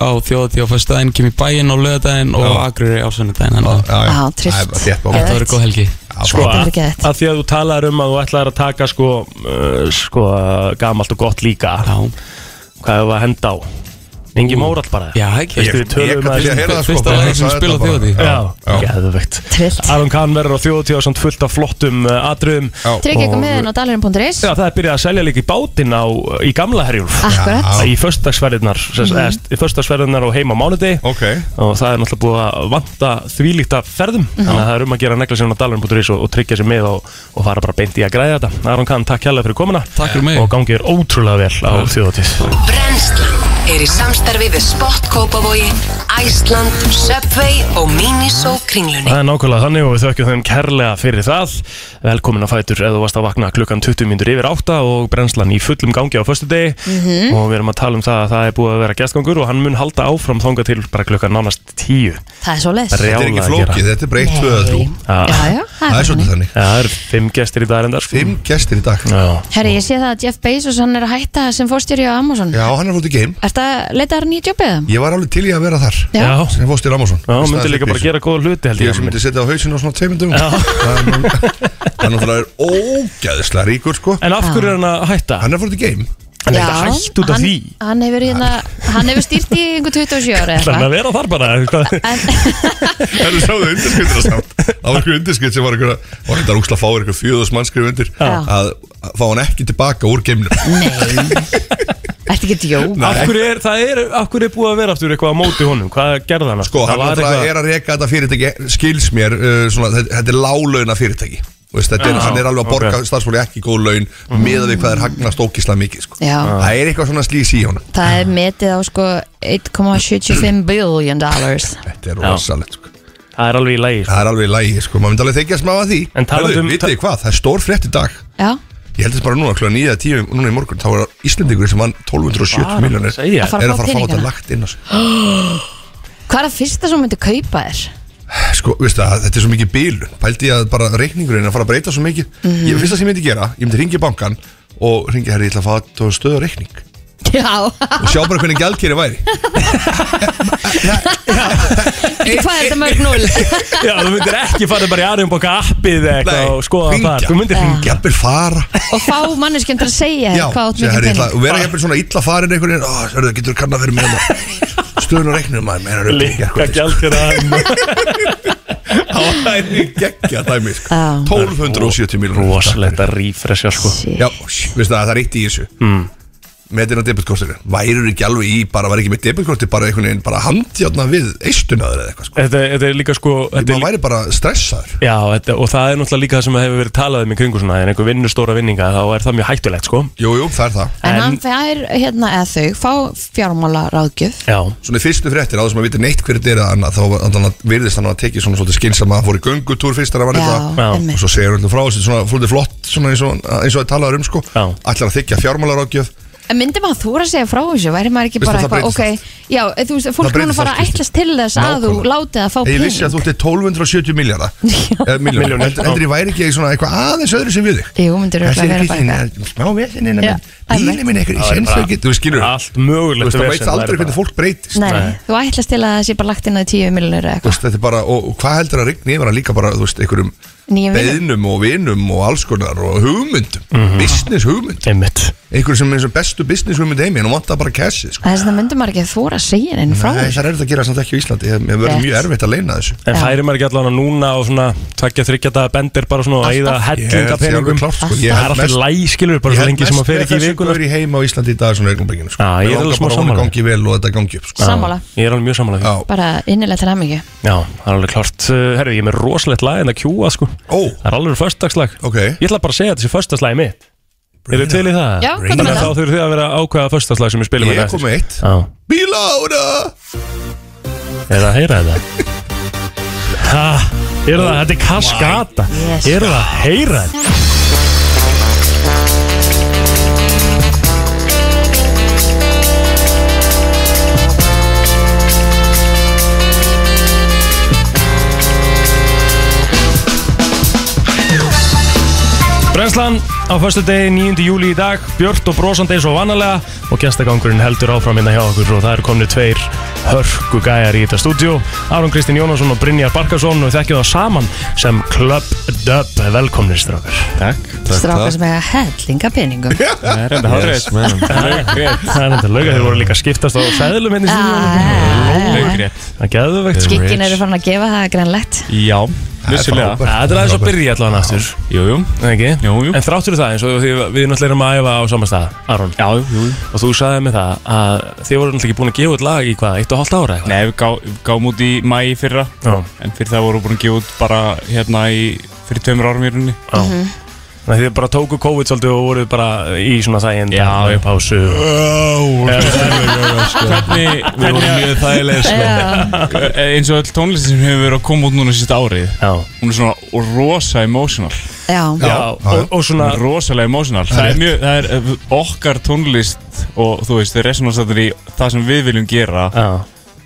[SPEAKER 7] á þjóðatíð á fyrstdæðin kem í bæinn á löðdæðin og
[SPEAKER 6] Já.
[SPEAKER 7] agriði á sunnudæðin
[SPEAKER 6] Já,
[SPEAKER 7] Þannig að
[SPEAKER 6] já, já.
[SPEAKER 2] Já, tryllt.
[SPEAKER 6] Það er bara þétt bók.
[SPEAKER 2] Já.
[SPEAKER 7] þetta verður góð helgi
[SPEAKER 1] Sko,
[SPEAKER 2] Þetta verður
[SPEAKER 1] að,
[SPEAKER 2] geðvægt.
[SPEAKER 1] að því að þú talar um að þú ætlar að taka sko, uh, sko gamalt og gott líka
[SPEAKER 7] Já,
[SPEAKER 1] hvað hefur að henda á Ingi Mórall bara
[SPEAKER 7] já ekki
[SPEAKER 1] Veistu, við um
[SPEAKER 6] Ég
[SPEAKER 1] tölum
[SPEAKER 6] kann til að
[SPEAKER 1] að
[SPEAKER 6] heyra það sko
[SPEAKER 7] Fyrsta
[SPEAKER 6] bara
[SPEAKER 7] lagi sem spila
[SPEAKER 6] sagði
[SPEAKER 7] á
[SPEAKER 6] þetta bara.
[SPEAKER 7] þjóðhátíð.
[SPEAKER 1] Já,
[SPEAKER 6] já.
[SPEAKER 1] geðvögt
[SPEAKER 2] trillt
[SPEAKER 1] Aron Kahn verður á þjóðutíð á samt fullt af flottum uh, atriðum
[SPEAKER 6] Já.
[SPEAKER 2] Tryggja ykkur með henn á dalurinn.is
[SPEAKER 1] Já, það er byrjað að selja líka í bátinn á, í gamla herjúlf
[SPEAKER 2] Akkurat,
[SPEAKER 1] í föstagsverðinar í föstagsverðinar og heim á mánudegi
[SPEAKER 6] Ok,
[SPEAKER 1] og það er náttúrulega búið að vanta þvílíkt af ferðum þannig að það er um að gera negla sinna á dalurinn.is og, og tryggja sér með og, og fara bara beint í að græða þetta Aron Kahn, takk hérlega fyrir komuna
[SPEAKER 7] Takk fyrir mig.
[SPEAKER 1] og gangi þér ótrúlega vel á þjóðatíð
[SPEAKER 8] Brennslan er í samstarfi við Sport Kópavogi, Æsland, Subway og Miniso kringlunni.
[SPEAKER 1] Það er nákvæmlega þannig og við þökkum þeim kærlega fyrir það Velkomin að fætur eða þú varst að vakna klukkan 20 minnur yfir 8 og brennslan í fullum gangi á föstu degi
[SPEAKER 6] Mhm.
[SPEAKER 1] og við erum að tala um það að það er búið að vera gestgangur og hann mun halda áfram þanga til bara klukkan nánast 10
[SPEAKER 2] það er svo les
[SPEAKER 1] Það er
[SPEAKER 6] þetta er
[SPEAKER 1] Brjálæði
[SPEAKER 6] ekki
[SPEAKER 1] að
[SPEAKER 6] flókið, þetta er breytt tvöða þrjú
[SPEAKER 1] Já.
[SPEAKER 2] Já, já,
[SPEAKER 6] Það er
[SPEAKER 2] þannig.
[SPEAKER 6] svolítið
[SPEAKER 1] ja,
[SPEAKER 6] þannig
[SPEAKER 1] Ah. Það eru fimm gestir í dag endar sko.
[SPEAKER 6] Fimm gestir í dag
[SPEAKER 1] Já,
[SPEAKER 2] Herri, ég sé það að Jeff Bezos hann er að hætta sem fórstjóri á Amazon
[SPEAKER 6] Já, hann er fótt í game
[SPEAKER 2] Ertu að leita hann í jobbið?
[SPEAKER 6] Ég var alveg til í að vera þar
[SPEAKER 2] Já.
[SPEAKER 1] já,
[SPEAKER 6] sem fóstir Amazon
[SPEAKER 1] já
[SPEAKER 6] Í staðinn
[SPEAKER 1] myndi
[SPEAKER 6] fyrir
[SPEAKER 1] líka bara
[SPEAKER 6] Bísu.
[SPEAKER 1] gera góða hluti held
[SPEAKER 6] Ég
[SPEAKER 1] ég
[SPEAKER 6] sem myndi setja á hausinu á svona tveimundum Það er nú- það er náttúrulega ógæðislega ríkur sko
[SPEAKER 1] En af hverju er hann að hætta?
[SPEAKER 6] Hann er fórt í game
[SPEAKER 1] Hann er ekki hægt út af
[SPEAKER 2] hann-
[SPEAKER 1] því
[SPEAKER 2] Hann hefur, hérna, hann hefur stýrt í einhver 27 ára
[SPEAKER 1] Það er að vera þar bara þú veist hvað?
[SPEAKER 6] Það er sáðu undirskriftina samt Það var einhver undirskrift sem var einhver Var einhver úksla að fá einhver fjöðus mannnskrif undir
[SPEAKER 2] Já.
[SPEAKER 6] að, að fá hann ekki tilbaka úr geimnum
[SPEAKER 2] Ertu ekki djók?
[SPEAKER 6] Nei.
[SPEAKER 1] Af hverju er, það er, af hverju er búið að vera aftur eitthvað á móti honum? Hvað gerði hann?
[SPEAKER 6] Sko,
[SPEAKER 1] það
[SPEAKER 6] hann
[SPEAKER 1] var
[SPEAKER 6] náttúrulega er að reka þetta fyrirtæki skils mér, uh, svona, þetta, þetta er lálauna fyrirtæki Þú Veist, þetta er,
[SPEAKER 1] Já,
[SPEAKER 6] hann er alveg að borga
[SPEAKER 1] ok.
[SPEAKER 6] okay. starfsfólki ekki góð laun mm. við hvað er hagnast ókísla mikið sko.
[SPEAKER 2] Já.
[SPEAKER 6] það er eitthvað svona slís í honum
[SPEAKER 2] Það er metið á sko 1,75 billion dollars
[SPEAKER 6] þetta er rosalegt sko.
[SPEAKER 1] Það er alveg í lægi
[SPEAKER 6] það er alveg í lægi, sko. maður myndi alveg þykja smá að því
[SPEAKER 1] En talandi um-
[SPEAKER 6] vitið þið hvað, það er stór frétt í dag
[SPEAKER 2] Já,
[SPEAKER 6] ég held þess bara núna, klúna 9 að 10 núna í morgun, þá er Íslandingur sem vann 1270 miljonir er
[SPEAKER 1] segja
[SPEAKER 2] Að fara
[SPEAKER 6] að fara að fá
[SPEAKER 2] peningana.
[SPEAKER 6] þetta lagt inn á sig.
[SPEAKER 2] hvað er það fyrsta sem þú myndir kaupa þér?
[SPEAKER 6] sko, veistu það, þetta er svo mikið bílun pældi ég að bara reikningurinn er að fara að breyta svo mikið ég finnst það sem ég myndi gera, ég myndi ringja í bankan og ringja herri, ég ætla að fá þetta stöða reikning
[SPEAKER 2] Já,
[SPEAKER 6] og sjá bara hvernig gjaldkeri væri
[SPEAKER 2] hvað
[SPEAKER 6] Eh,
[SPEAKER 2] er þetta mörg núl?
[SPEAKER 1] Já, þú myndir ekki fara bara í Arjumboka appið eða eitthvað
[SPEAKER 6] Nei,
[SPEAKER 1] og skoða
[SPEAKER 6] hringja.
[SPEAKER 1] það Þú myndir hringja
[SPEAKER 6] jafnvel fara
[SPEAKER 2] Og fá manneskjönd til að segja
[SPEAKER 6] eh. Já,
[SPEAKER 2] þér hvað átt
[SPEAKER 6] segja,
[SPEAKER 2] mikið
[SPEAKER 6] herri, ég ætla,
[SPEAKER 2] pening
[SPEAKER 6] og vera jafnvel svona illa farin einhvern veginn hörðu, getur þú kannað fyrir mig stöðun og reikningum maður meinar upp í
[SPEAKER 1] Líka
[SPEAKER 6] gærkvöldi, sko.
[SPEAKER 1] gjald til það
[SPEAKER 6] Það er geggja dæmi sko.
[SPEAKER 2] Já.
[SPEAKER 6] 1270 miljonir
[SPEAKER 1] Rosalegt að refresha sko Hmm.
[SPEAKER 6] Já, sh- veistu það, það er eitt í þessu mm. Metin á debitkortinu Værur ekki alveg í, bara var ekki með debitkorti Bara einhvern veginn, bara handjárna við Eistunaður eða eitthvað sko
[SPEAKER 1] Þetta, þetta er líka sko þetta er
[SPEAKER 6] Maður
[SPEAKER 1] líka,
[SPEAKER 6] væri bara stressaður
[SPEAKER 1] Já, þetta, og það er náttúrulega líka það sem hefur verið talað um í kringu svona en einhver vinnur stóra vinninga þá er það mjög hættulegt sko
[SPEAKER 6] Jú, jú, það er það
[SPEAKER 2] En
[SPEAKER 1] En-
[SPEAKER 2] hann fær hérna eða þau fá fjármála ráðgjöf
[SPEAKER 1] Já,
[SPEAKER 6] Svona í fyrstu fréttir, áður sem að vita neitt hverju þetta er eða annað Þá var- þannig að virðist hann að tekið svona svolítið skilsama Hann fór í göngutúr fyrst þegar hann var eitthvað
[SPEAKER 2] Já,
[SPEAKER 1] Já.
[SPEAKER 6] og
[SPEAKER 2] einmitt
[SPEAKER 6] svo segir hann frá þessu svona fólítið flott svona eins og, eins og það talaður um sko
[SPEAKER 1] Já.
[SPEAKER 6] ætlar að þykja fjármálarákjöf
[SPEAKER 2] En myndi maður þú að segja frá þessu? Væri maður ekki
[SPEAKER 6] Veistu,
[SPEAKER 2] bara
[SPEAKER 6] það
[SPEAKER 2] eitthvað,
[SPEAKER 6] breytist
[SPEAKER 2] ok Já, eh, þú veist, fólk
[SPEAKER 6] breytist
[SPEAKER 2] núna fara
[SPEAKER 6] allt,
[SPEAKER 2] að ætlast til þess að þú
[SPEAKER 6] Nákvæmlega.
[SPEAKER 2] látið að fá
[SPEAKER 6] ég vissi að
[SPEAKER 2] pening
[SPEAKER 6] þú ætti 1270 miljardar eh, miljónir,
[SPEAKER 1] Milljónir,
[SPEAKER 6] heldur heldur ég væri ekki í svona eitthvað aðeins öðru sem við þig
[SPEAKER 2] Jú, myndir
[SPEAKER 6] Það
[SPEAKER 2] örugglega
[SPEAKER 6] er
[SPEAKER 2] vera
[SPEAKER 6] ekki
[SPEAKER 2] bara eitthvað
[SPEAKER 6] þín, smá vesinn innan
[SPEAKER 2] Já,
[SPEAKER 6] minn, bílinn minn eitthvað, ég senst ekki, þú veist, skilur
[SPEAKER 1] allt
[SPEAKER 6] Þú
[SPEAKER 1] mögulegt
[SPEAKER 6] veist, það
[SPEAKER 1] vesen,
[SPEAKER 6] veist aldrei
[SPEAKER 1] er
[SPEAKER 6] hvernig
[SPEAKER 1] bara-
[SPEAKER 6] fólk breytist
[SPEAKER 2] Nei,
[SPEAKER 1] Nei.
[SPEAKER 2] þú ætlast til að það sé bara lagt inn að 10 miljonir eða eitthvað
[SPEAKER 6] Þú veist, þetta er bara, og, og hvað heldur að rigni yfir að líka bara, þú veist, einhverjum
[SPEAKER 2] Nýjum vinum.
[SPEAKER 6] beðnum og vinum og alls konar og hugmyndum, business hugmynd
[SPEAKER 1] Mhm. Einmitt
[SPEAKER 6] einhverjum sem er eins og bestu business hugmynd heimi en hún vantar bara cashið, sko
[SPEAKER 2] Það er svona myndum maður ekki að þóra að segja henni frá
[SPEAKER 6] Nei, það er þetta að gera samt ekki á Íslandi, ég mér verður
[SPEAKER 2] Rétt.
[SPEAKER 6] mjög erfitt að leina þessu
[SPEAKER 1] En
[SPEAKER 2] Já.
[SPEAKER 1] færi maður ekki allavega núna og svona tveggja þryggja daga bendir bara svona og
[SPEAKER 2] Alltaf.
[SPEAKER 1] æða hellinga
[SPEAKER 6] Ég held sé alveg
[SPEAKER 1] peningum
[SPEAKER 6] klárt, sko. Ég
[SPEAKER 1] Það er
[SPEAKER 6] held
[SPEAKER 1] alltaf
[SPEAKER 6] mest-
[SPEAKER 1] læg skilur bara
[SPEAKER 6] Ég
[SPEAKER 1] svo
[SPEAKER 6] held
[SPEAKER 1] lengi sem að fer ekki í
[SPEAKER 6] mest með
[SPEAKER 1] vikuna
[SPEAKER 6] þessu gaur í heima á Íslandi í dag svona augnablikinu sko.
[SPEAKER 1] Já, ég er
[SPEAKER 6] Mig
[SPEAKER 1] alveg
[SPEAKER 6] langar
[SPEAKER 1] smá
[SPEAKER 6] bara að
[SPEAKER 1] sammála.
[SPEAKER 6] honum gangi vel og þetta gangi upp sko.
[SPEAKER 2] Sammála,
[SPEAKER 1] Ég er alveg mjög samanlega
[SPEAKER 6] Já,
[SPEAKER 2] bara innilega til hamingju
[SPEAKER 1] Já, það er alveg klart Uh, Herru, ég er með rosalegt lag en að kjúa sko
[SPEAKER 6] ó,
[SPEAKER 1] Það er alveg föstdagslag
[SPEAKER 6] ok
[SPEAKER 1] Ég ætla bara að segja að þessi föstdagslægi mitt Eru til í það?
[SPEAKER 2] Já, hvað er
[SPEAKER 1] Þannig
[SPEAKER 2] með það?
[SPEAKER 1] að þá þurfið þið að vera að ákveða föstdagslæg sem ég spilum hérna.
[SPEAKER 6] Ég kom með eitt
[SPEAKER 1] Já,
[SPEAKER 6] Bílára
[SPEAKER 1] er það að heyra þetta? Ha, er það, þetta er kaskata
[SPEAKER 2] Yes.
[SPEAKER 1] Er það að heyra þetta? Brenslan á förstu degi 9. júli í dag Björt og brosandi eins og vanalega og gestagangurinn heldur áfram innan hjá okkur og það eru komni tveir hörku gæjar í þetta stúdíu Aron Kristinn Jónasson og Brynjar Barkarsson og þekkjum það saman sem Club Dub velkomnir strákar
[SPEAKER 9] Takk
[SPEAKER 2] Strákar sem hefða hellinga peningum
[SPEAKER 9] Það er enda hárið Laugrétt
[SPEAKER 1] Það er þetta lauga, þeir voru líka að skiptast á sæðlum henni
[SPEAKER 2] Ah,
[SPEAKER 1] sinni
[SPEAKER 9] Laugrétt
[SPEAKER 1] Það geðu veikt sko
[SPEAKER 2] Gikkin eru farin að gefa það grannlegt
[SPEAKER 9] Já,
[SPEAKER 1] Ja,
[SPEAKER 9] vissulega
[SPEAKER 1] Þetta er aðeins að byrja allavega aftur
[SPEAKER 9] Jú, jú
[SPEAKER 1] er ekki?
[SPEAKER 9] Jú, jú.
[SPEAKER 1] En þráttur það eins og því við við náttúrulega erum að æfa á sama stað Aron
[SPEAKER 9] Já, jú, jú
[SPEAKER 1] og þú sagði mig það að þið voru náttúrulega ekki búin að gefa út lag í hvað, eitt og hálft ára eitthvað
[SPEAKER 9] Nei, við gá- við gáum út í mæ í fyrra
[SPEAKER 1] Já.
[SPEAKER 9] En fyrir það vorum við búin að gefa út bara hérna í fyrir tveimur árum í rauninni
[SPEAKER 1] Þannig að þið bara tóku COVID svolítið og voruð bara í svona þægind
[SPEAKER 9] Já, já.
[SPEAKER 1] pásu Eh,
[SPEAKER 9] Hvernig, sko. Eh, við vorum mjög sko. þægilega
[SPEAKER 2] Já,
[SPEAKER 9] Eins og öll tónlistin sem hefur verið að koma út núna sísta árið
[SPEAKER 1] Já,
[SPEAKER 9] Hún er svona rosa emotional
[SPEAKER 2] já,
[SPEAKER 1] já, og, og
[SPEAKER 9] Hún
[SPEAKER 1] svona
[SPEAKER 9] er rosalega emotional það er, mjög, það er eh, okkar tónlist og þú veist, resonansatur í það sem við viljum gera
[SPEAKER 1] já.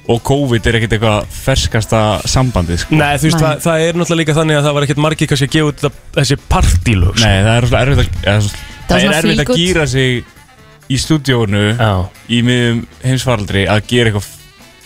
[SPEAKER 9] og COVID er ekkert eitthvað ferskasta sambandi sko.
[SPEAKER 1] Nei, þú veist,
[SPEAKER 2] Nei.
[SPEAKER 1] það, það er náttúrulega líka þannig að það var ekkert margir kannski að gefa út það- þessi partílög sko.
[SPEAKER 9] Nei, það er rosalega erfitt að eða, svo-
[SPEAKER 2] var
[SPEAKER 9] það er
[SPEAKER 2] svona
[SPEAKER 9] erfitt
[SPEAKER 2] feel
[SPEAKER 9] að
[SPEAKER 2] good.
[SPEAKER 9] gýra sig í stúdíónu
[SPEAKER 1] Já,
[SPEAKER 9] í miðum heimsfaraldri að gera eitthvað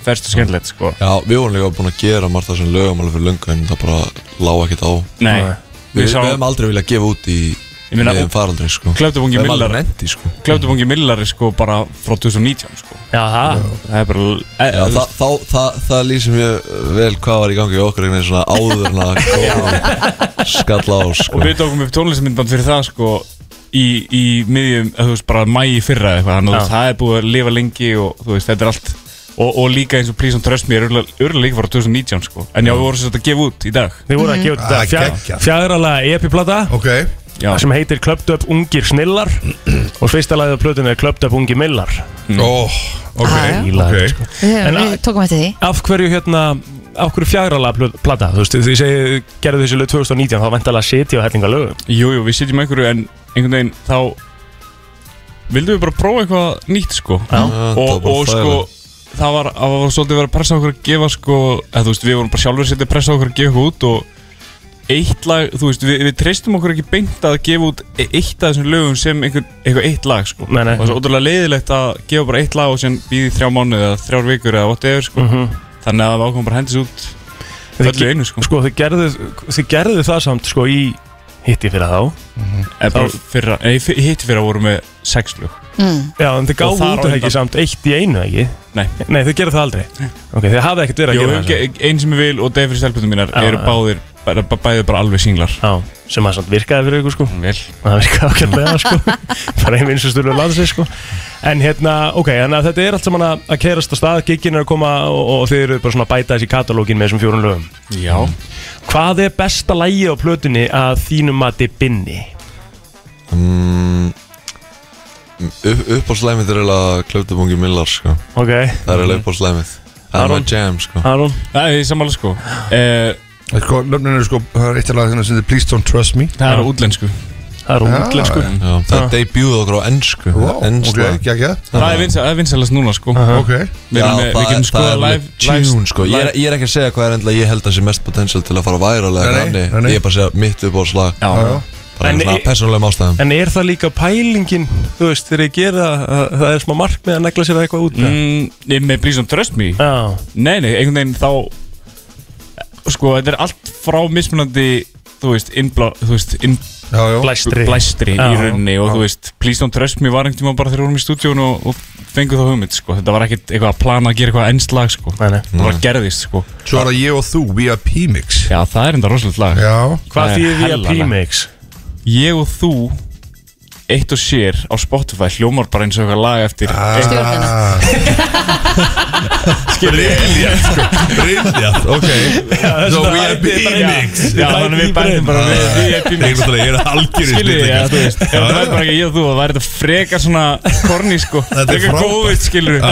[SPEAKER 9] ferskt og skemmtilegt sko.
[SPEAKER 10] Já, við vorum líka búin að gera margt af þessum lögum alveg fyrir löngu en það bara lág ekkert á
[SPEAKER 9] Nei,
[SPEAKER 1] Nei.
[SPEAKER 10] Við,
[SPEAKER 9] við
[SPEAKER 10] við
[SPEAKER 9] sáum
[SPEAKER 10] hefum aldrei viljað gefa út í
[SPEAKER 9] Ég meina,
[SPEAKER 10] Við erum faraldri, sko.
[SPEAKER 9] Klæftabungi
[SPEAKER 10] Við erum
[SPEAKER 9] Millar
[SPEAKER 10] alveg nenti, sko.
[SPEAKER 9] Klæftabungi Millar er sko bara frá 2019 sko
[SPEAKER 1] Já, það
[SPEAKER 9] Það er bara e,
[SPEAKER 10] Já, það, þá, það, það lýsir mjög vel hvað var í gangi í okkur einhvern veginn svona áður en að koma skalla á sko.
[SPEAKER 9] Og við tókum upp tónlistamindband fyrir það sko Í, í miðjum, eða þú veist, bara mæ í fyrra eða eitthvað Þannig að
[SPEAKER 1] Já.
[SPEAKER 9] það er búið að lifa lengi og þú veist, þetta er allt Og, og líka eins og Please Don't Trust Me er örlega líka frá 2019 sko En já, við vorum svolítið að gefa út í dag
[SPEAKER 1] Við
[SPEAKER 6] Mhm.
[SPEAKER 10] Mhm.
[SPEAKER 1] vorum að gefa
[SPEAKER 6] Ah,
[SPEAKER 10] Ah,
[SPEAKER 1] út þetta fjag, fjagralega epiplata
[SPEAKER 6] okay.
[SPEAKER 1] sem heitir Klöpt upp ungir snillar og fyrsta lagið á plötunni er Klöpt upp ungi millar
[SPEAKER 6] Mm. Ó, ok,
[SPEAKER 1] okay. Sko.
[SPEAKER 2] Við,
[SPEAKER 1] En
[SPEAKER 2] við tókum eftir því
[SPEAKER 1] af hverju hérna af hverju fjagralega plata þú veist, því segi, gerðu þessi lög 2019 þá væntalega sitja og hellinga lögum
[SPEAKER 9] Jú, jú, við sitjum með einhverju en einhvern veginn þá vildum við bara prófa eitthvað nýtt sko
[SPEAKER 1] Já.
[SPEAKER 10] það var
[SPEAKER 9] og,
[SPEAKER 10] bara
[SPEAKER 9] og sko
[SPEAKER 10] þægilegt.
[SPEAKER 9] það var, það var svolítið verið að pressa okkur að gefa sko eða, þú veist, við vorum bara sjálfur setið að pressa okkur að gefa eitthvað út og eitt lag, þú veist, við, við treystum okkur ekki beint að gefa út e- eitt af þessum lögum sem einhver, eitthvað eitt lag sko
[SPEAKER 1] Nei, nei.
[SPEAKER 9] og það er ótrúlega leiðilegt að gefa bara eitt lag og síðan býði þrjá mánuði eða þrjár vikur eða whatever sko
[SPEAKER 1] Mhm.
[SPEAKER 9] þannig að við ákvæmum bara að hendis út öllu einu sko
[SPEAKER 1] sko, þið, gerðu, þið gerðu það samt sko í hitti fyrir Mhm. þá
[SPEAKER 9] En bara fyrra, nei, fyr- hitt fyrra vorum við sex lög
[SPEAKER 1] Mm. já, en þið
[SPEAKER 9] Og þar
[SPEAKER 1] gáðu
[SPEAKER 9] á
[SPEAKER 1] út það
[SPEAKER 9] undan-
[SPEAKER 1] ekki samt eitt í einu ekki
[SPEAKER 9] Nei,
[SPEAKER 1] nei, þið gerðu það aldrei ok, þið hafið ekkert verið
[SPEAKER 9] Jú,
[SPEAKER 1] að gera
[SPEAKER 9] ge-
[SPEAKER 1] það
[SPEAKER 9] einn sem ég vil og Dave fyrir stelpunum mínar
[SPEAKER 1] Já,
[SPEAKER 9] eru
[SPEAKER 1] já.
[SPEAKER 9] báðir, bara, bara- bæðir bara alveg singlar
[SPEAKER 1] samt. já, sem að samt virkaði fyrir ykkur sko
[SPEAKER 9] Mm, Vel
[SPEAKER 1] það virkaði ákveðlega sko bara einu vinsastur og landsins sko en hérna, ok, þannig að þetta er allt saman að, að kerast á stað, giggin er að koma og, og þið eru bara svona að bæta þessi katalógin með þessum fjórun lögum
[SPEAKER 9] Já
[SPEAKER 1] hvað er besta lægi á plötunni að þínum mati binni?
[SPEAKER 10] Mm, upp, upp á slæmið er eiginlega klöftabungi millar sko.
[SPEAKER 1] ok,
[SPEAKER 10] Það er eiginlega upp á slæmið. Það er
[SPEAKER 1] Aron?
[SPEAKER 10] maður jam sko.
[SPEAKER 1] Aron
[SPEAKER 9] Það er samanlega sko eh,
[SPEAKER 6] Það er sko, nöfnin eru sko, það er eitt alveg þennan sem þið Please Don't Trust Me
[SPEAKER 9] Það er á útlensku
[SPEAKER 1] það er útlensku
[SPEAKER 6] Já,
[SPEAKER 10] Já, það debutið okkur á ennsku.
[SPEAKER 6] Wow, ok,
[SPEAKER 10] Ensla.
[SPEAKER 6] ekki, ekki
[SPEAKER 9] Það er vinsal- það er vinsalast núna sko
[SPEAKER 6] Ok,
[SPEAKER 9] Við erum með, við getum skoða live
[SPEAKER 10] tune sko ég er,
[SPEAKER 9] live-
[SPEAKER 10] ég er ekki að segja hvað er endla ég held að sé mest potential til að fara væralega
[SPEAKER 6] Nei, nei,
[SPEAKER 10] granni
[SPEAKER 6] nei, nei.
[SPEAKER 10] Ég er bara að segja mitt upp á slag
[SPEAKER 9] Já, já.
[SPEAKER 10] Bara
[SPEAKER 1] En
[SPEAKER 10] en, svona
[SPEAKER 1] í-
[SPEAKER 10] persónulegum ástæðum
[SPEAKER 1] en er það líka pælingin þú veist, þegar ég gera það, það er smá markmið að negla sér eitthvað út mm.
[SPEAKER 9] Mm, ég er með Please Don't Trust Me
[SPEAKER 1] já,
[SPEAKER 9] Nei, nei, einhvern veginn þá Sko, þetta er allt frá mismunandi Þú veist, innblá, þú veist, inn,
[SPEAKER 6] já, já
[SPEAKER 1] blæstri
[SPEAKER 9] blæstri
[SPEAKER 1] Já.
[SPEAKER 9] í rauninni og þú veist, Please Don't Trust Me var einhvern tíma bara þegar við vorum í stúdíun og, og fengu þá hugmynd sko. þetta var ekkert eitthvað að plana að gera eitthvað ennst lag sko.
[SPEAKER 1] Nei, nei.
[SPEAKER 9] það var gerðist sko.
[SPEAKER 6] Mm. Svo er það ég og þú, VIP Mix
[SPEAKER 9] já það er enda rosalegt lag
[SPEAKER 6] Já,
[SPEAKER 1] hvað
[SPEAKER 9] Það er
[SPEAKER 1] þýðir
[SPEAKER 9] hella
[SPEAKER 1] VIP
[SPEAKER 9] lag.
[SPEAKER 1] mix?
[SPEAKER 9] ég og þú eitt og sér á Spotify hljómar bara eins og eitthvað lag eftir ah.
[SPEAKER 2] Stjórnina
[SPEAKER 6] Brilliant, sko Brilliant, ok So VIP Mix
[SPEAKER 9] já, þannig við bæðum bara við VIP
[SPEAKER 6] Ég er náttúrulega, ég er algjörði
[SPEAKER 9] skiljið því, já,
[SPEAKER 6] sko.
[SPEAKER 9] þú veist ef það væri bara ekki ég og þú, það væri þetta frekar svona korni, sko,
[SPEAKER 6] Þetta er
[SPEAKER 9] frekar
[SPEAKER 6] frábært.
[SPEAKER 9] góðið, skilur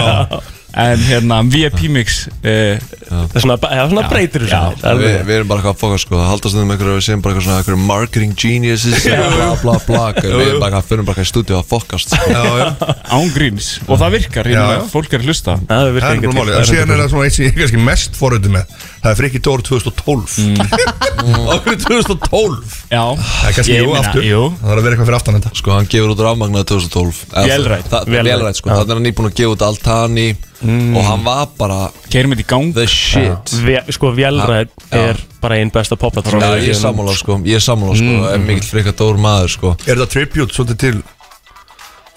[SPEAKER 9] en hérna, VIP mix eh,
[SPEAKER 1] það er svona, já, svona breytir þessu
[SPEAKER 9] Já.
[SPEAKER 1] Það er
[SPEAKER 10] Við
[SPEAKER 1] alveg-
[SPEAKER 10] vi erum bara eitthvað að fóka sko Það haldast um einhverju að við segjum bara eitthvað svona einhverju marketing geniuses Bla bla bla Við erum bara að fyrir bara eitthvað í stúdíu að fókast sko.
[SPEAKER 9] ángríns og það virkar, ég
[SPEAKER 6] Já,
[SPEAKER 9] meina,
[SPEAKER 6] já.
[SPEAKER 9] fólk er að hlusta
[SPEAKER 1] það er
[SPEAKER 6] Það er
[SPEAKER 1] virkað
[SPEAKER 6] bara
[SPEAKER 1] ekki
[SPEAKER 6] málið, en síðan er það svona eitt sem ég er kannski mest foröndið með Það er Frikki Dór 2012
[SPEAKER 9] Mm.
[SPEAKER 6] Okkur 2012
[SPEAKER 9] Já
[SPEAKER 6] Það er kannski
[SPEAKER 9] Ég
[SPEAKER 6] jú
[SPEAKER 9] meina,
[SPEAKER 6] aftur
[SPEAKER 9] jú.
[SPEAKER 6] Það þarf að vera eitthvað fyrir aftan þetta
[SPEAKER 10] Sko hann gefur út rafmagnaði 2012 Eða,
[SPEAKER 9] Vélrænt,
[SPEAKER 10] það-
[SPEAKER 1] vélrænt.
[SPEAKER 10] Vélrænt sko Þannig er hann nýbúin að gefa út Altani Og hann var bara
[SPEAKER 9] Keirum þetta í gang
[SPEAKER 10] the shit
[SPEAKER 1] Ve- sko Vélræð
[SPEAKER 10] Já.
[SPEAKER 1] er bara einn besta poplatrónu
[SPEAKER 10] Já, ég er sammála sko, ég er sammála sko, mm. er mikill frekar dór maður sko
[SPEAKER 6] Er þetta tribute svolítið til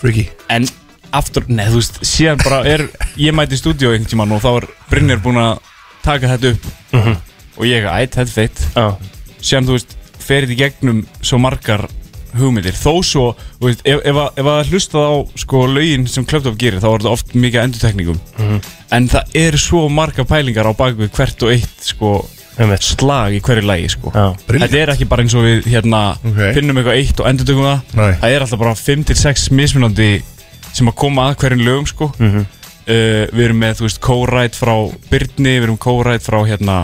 [SPEAKER 6] Frikki?
[SPEAKER 9] En aftur, neð, þú veist, síðan bara er Ég mæti í stúdíu einhvern tímann og þá var Brynjar búinn að taka þetta upp Og ég, æ, þetta er feitt Síðan, þú veist, ferið í gegnum svo margar hugmyndir Þó svo, þú veist, ef, ef, að- ef að hlusta á sko lögin sem Klöptof gerir Þá var þetta oft mikið endurtekningum En það eru svo margar pælingar á bakvið hvert og eitt sko slag í hverju lagi sko
[SPEAKER 1] Já.
[SPEAKER 6] Brilliant.
[SPEAKER 9] Þetta er ekki bara eins og við hérna
[SPEAKER 6] Ok.
[SPEAKER 9] finnum eitthvað eitt og endur tökum það
[SPEAKER 6] Nei.
[SPEAKER 9] Það er alltaf bara 5-6 mismunandi sem að koma að hverjum lögum sko
[SPEAKER 6] Mhm.
[SPEAKER 9] uh, Við erum með, þú veist, co-write frá Byrni, við erum co-write frá hérna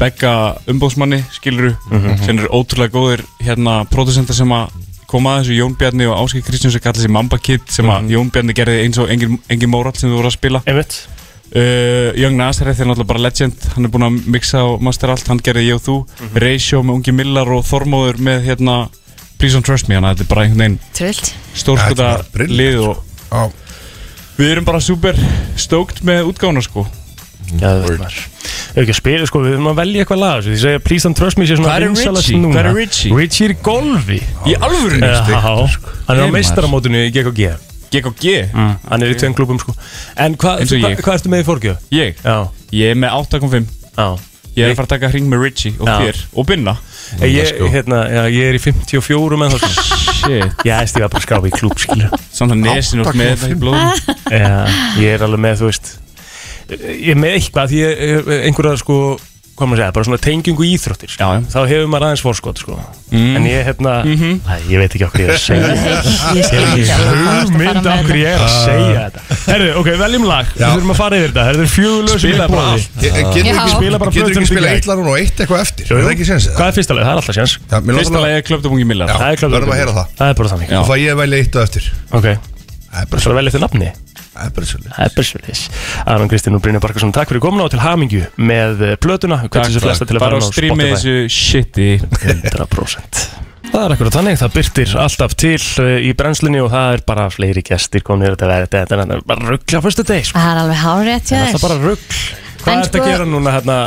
[SPEAKER 9] Begga umbóðsmanni, skiluru sem eru ótrúlega góðir hérna pródusendar sem að koma að þessu Jón Bjarni og Áskei Kristján sem kallar þessi Mamba Kid sem að Jón Bjarni gerði eins og engin, engin mórall sem þú voru að spila
[SPEAKER 1] einmitt
[SPEAKER 9] Uh, Young Nazareth er náttúrulega bara legend Hann er búinn að mixa og master allt Hann gerði ég og þú Ratio með Ungi Millar og Þormóður með hérna Please don't trust me Þannig að þetta er bara einhvern veginn
[SPEAKER 2] Trillt
[SPEAKER 9] stórkuta
[SPEAKER 6] Þetta er bara brilliant,
[SPEAKER 9] lið og
[SPEAKER 6] Já
[SPEAKER 9] Við erum bara super stókt með útgána sko
[SPEAKER 1] Já, það er maður. Ef ekki að spila, sko, við erum að velja eitthvað lag þessu. Því segja Please Don't Trust Me sé svona
[SPEAKER 9] Hvar er
[SPEAKER 1] vinsælast
[SPEAKER 9] Richie?
[SPEAKER 1] núna.
[SPEAKER 9] Hvar er Richie?
[SPEAKER 1] Richie er í golfi
[SPEAKER 9] Í alvörunni?
[SPEAKER 1] Já, hann er
[SPEAKER 9] Nei,
[SPEAKER 1] á
[SPEAKER 9] maður.
[SPEAKER 1] meistaramótinu í GKG
[SPEAKER 9] GKG?
[SPEAKER 1] Mm, hann er í tveim klubum sko En hvað
[SPEAKER 9] Eins og
[SPEAKER 1] hva,
[SPEAKER 9] ég.
[SPEAKER 1] hva ertu með í forgjöf?
[SPEAKER 9] Ég?
[SPEAKER 1] Já
[SPEAKER 9] Ég er með 8.5
[SPEAKER 1] Já
[SPEAKER 9] Ég er að fara að taka hring með Richie og
[SPEAKER 1] Já.
[SPEAKER 9] þér og Binna
[SPEAKER 1] Eh, Ég, hérna, já, ég er í 54 með það
[SPEAKER 9] Shit
[SPEAKER 1] Ég æst ég var bara að skápa í klúb skilur
[SPEAKER 9] Samt að nesin og með þetta í blóðum
[SPEAKER 1] Já, ég er alveg með, þú veist Ég er með eitthvað, því ég er einhverja sko hvað maður að segja, bara svona tengingu í íþróttir sko. þá hefur maður aðeins fórskot sko.
[SPEAKER 9] Mm.
[SPEAKER 1] en ég hérna,
[SPEAKER 9] Mhm.
[SPEAKER 1] æ, ég veit ekki okkur ég er að segja
[SPEAKER 2] Ég- ég
[SPEAKER 1] ég
[SPEAKER 2] skil
[SPEAKER 1] hef
[SPEAKER 2] ekki
[SPEAKER 1] ekki
[SPEAKER 2] alveg hvað þú ert að fara
[SPEAKER 1] hugmynd
[SPEAKER 2] með
[SPEAKER 1] af hverju ég er
[SPEAKER 9] Ah.
[SPEAKER 1] að
[SPEAKER 2] þetta.
[SPEAKER 1] segja þetta herru, ok, veljum lag, við þurfum að fara yfir þetta það eru fjögulega sem
[SPEAKER 6] Spila
[SPEAKER 1] við
[SPEAKER 6] bara allt. Ég- ég- getum við ekki-
[SPEAKER 1] spila bara
[SPEAKER 6] getum við
[SPEAKER 1] plötuna upp
[SPEAKER 6] ekki
[SPEAKER 1] í
[SPEAKER 6] spila
[SPEAKER 1] gegn?
[SPEAKER 6] eitt lag núna og eitt eitthvað eftir?
[SPEAKER 1] Jú,
[SPEAKER 6] Er
[SPEAKER 1] jú.
[SPEAKER 6] það ekki séns eða?
[SPEAKER 1] hvað er fyrsta lag, það er alltaf séns
[SPEAKER 6] Já, mér langar
[SPEAKER 9] Fyrsta
[SPEAKER 6] að-
[SPEAKER 9] lagi er Klöptabungi Millar
[SPEAKER 6] Já,
[SPEAKER 1] það er klart
[SPEAKER 6] verðum að heyra það.
[SPEAKER 1] það er bara þannig
[SPEAKER 9] Já.
[SPEAKER 6] Þá fæ ég að velja eitt og eftir
[SPEAKER 1] ok,
[SPEAKER 6] Það er bara
[SPEAKER 1] það er vel eftir nafni
[SPEAKER 6] Það er bara svolítið
[SPEAKER 1] Það er bara svolítið. Aron Kristinn og Brynja Barkarsson, takk fyrir komuna og til hamingju með eh, plötuna. Hvernig þessu flesta til að
[SPEAKER 9] Bara
[SPEAKER 1] fara
[SPEAKER 9] á
[SPEAKER 1] inn á
[SPEAKER 9] streami
[SPEAKER 1] Spotify.
[SPEAKER 9] þessu shiti
[SPEAKER 1] 100% Það er akkurat þannig, það byrtir alltaf til eh, í brennslinni og það er bara fleiri gestir komnir þetta verði þetta, þetta er bara ruggla fyrstu deg, sko.
[SPEAKER 2] Það er alveg hárrétt hjá
[SPEAKER 1] Það er
[SPEAKER 2] þér
[SPEAKER 1] alltaf bara rugg.
[SPEAKER 2] En
[SPEAKER 1] Hvað er
[SPEAKER 2] sko-
[SPEAKER 1] að gera núna hérna?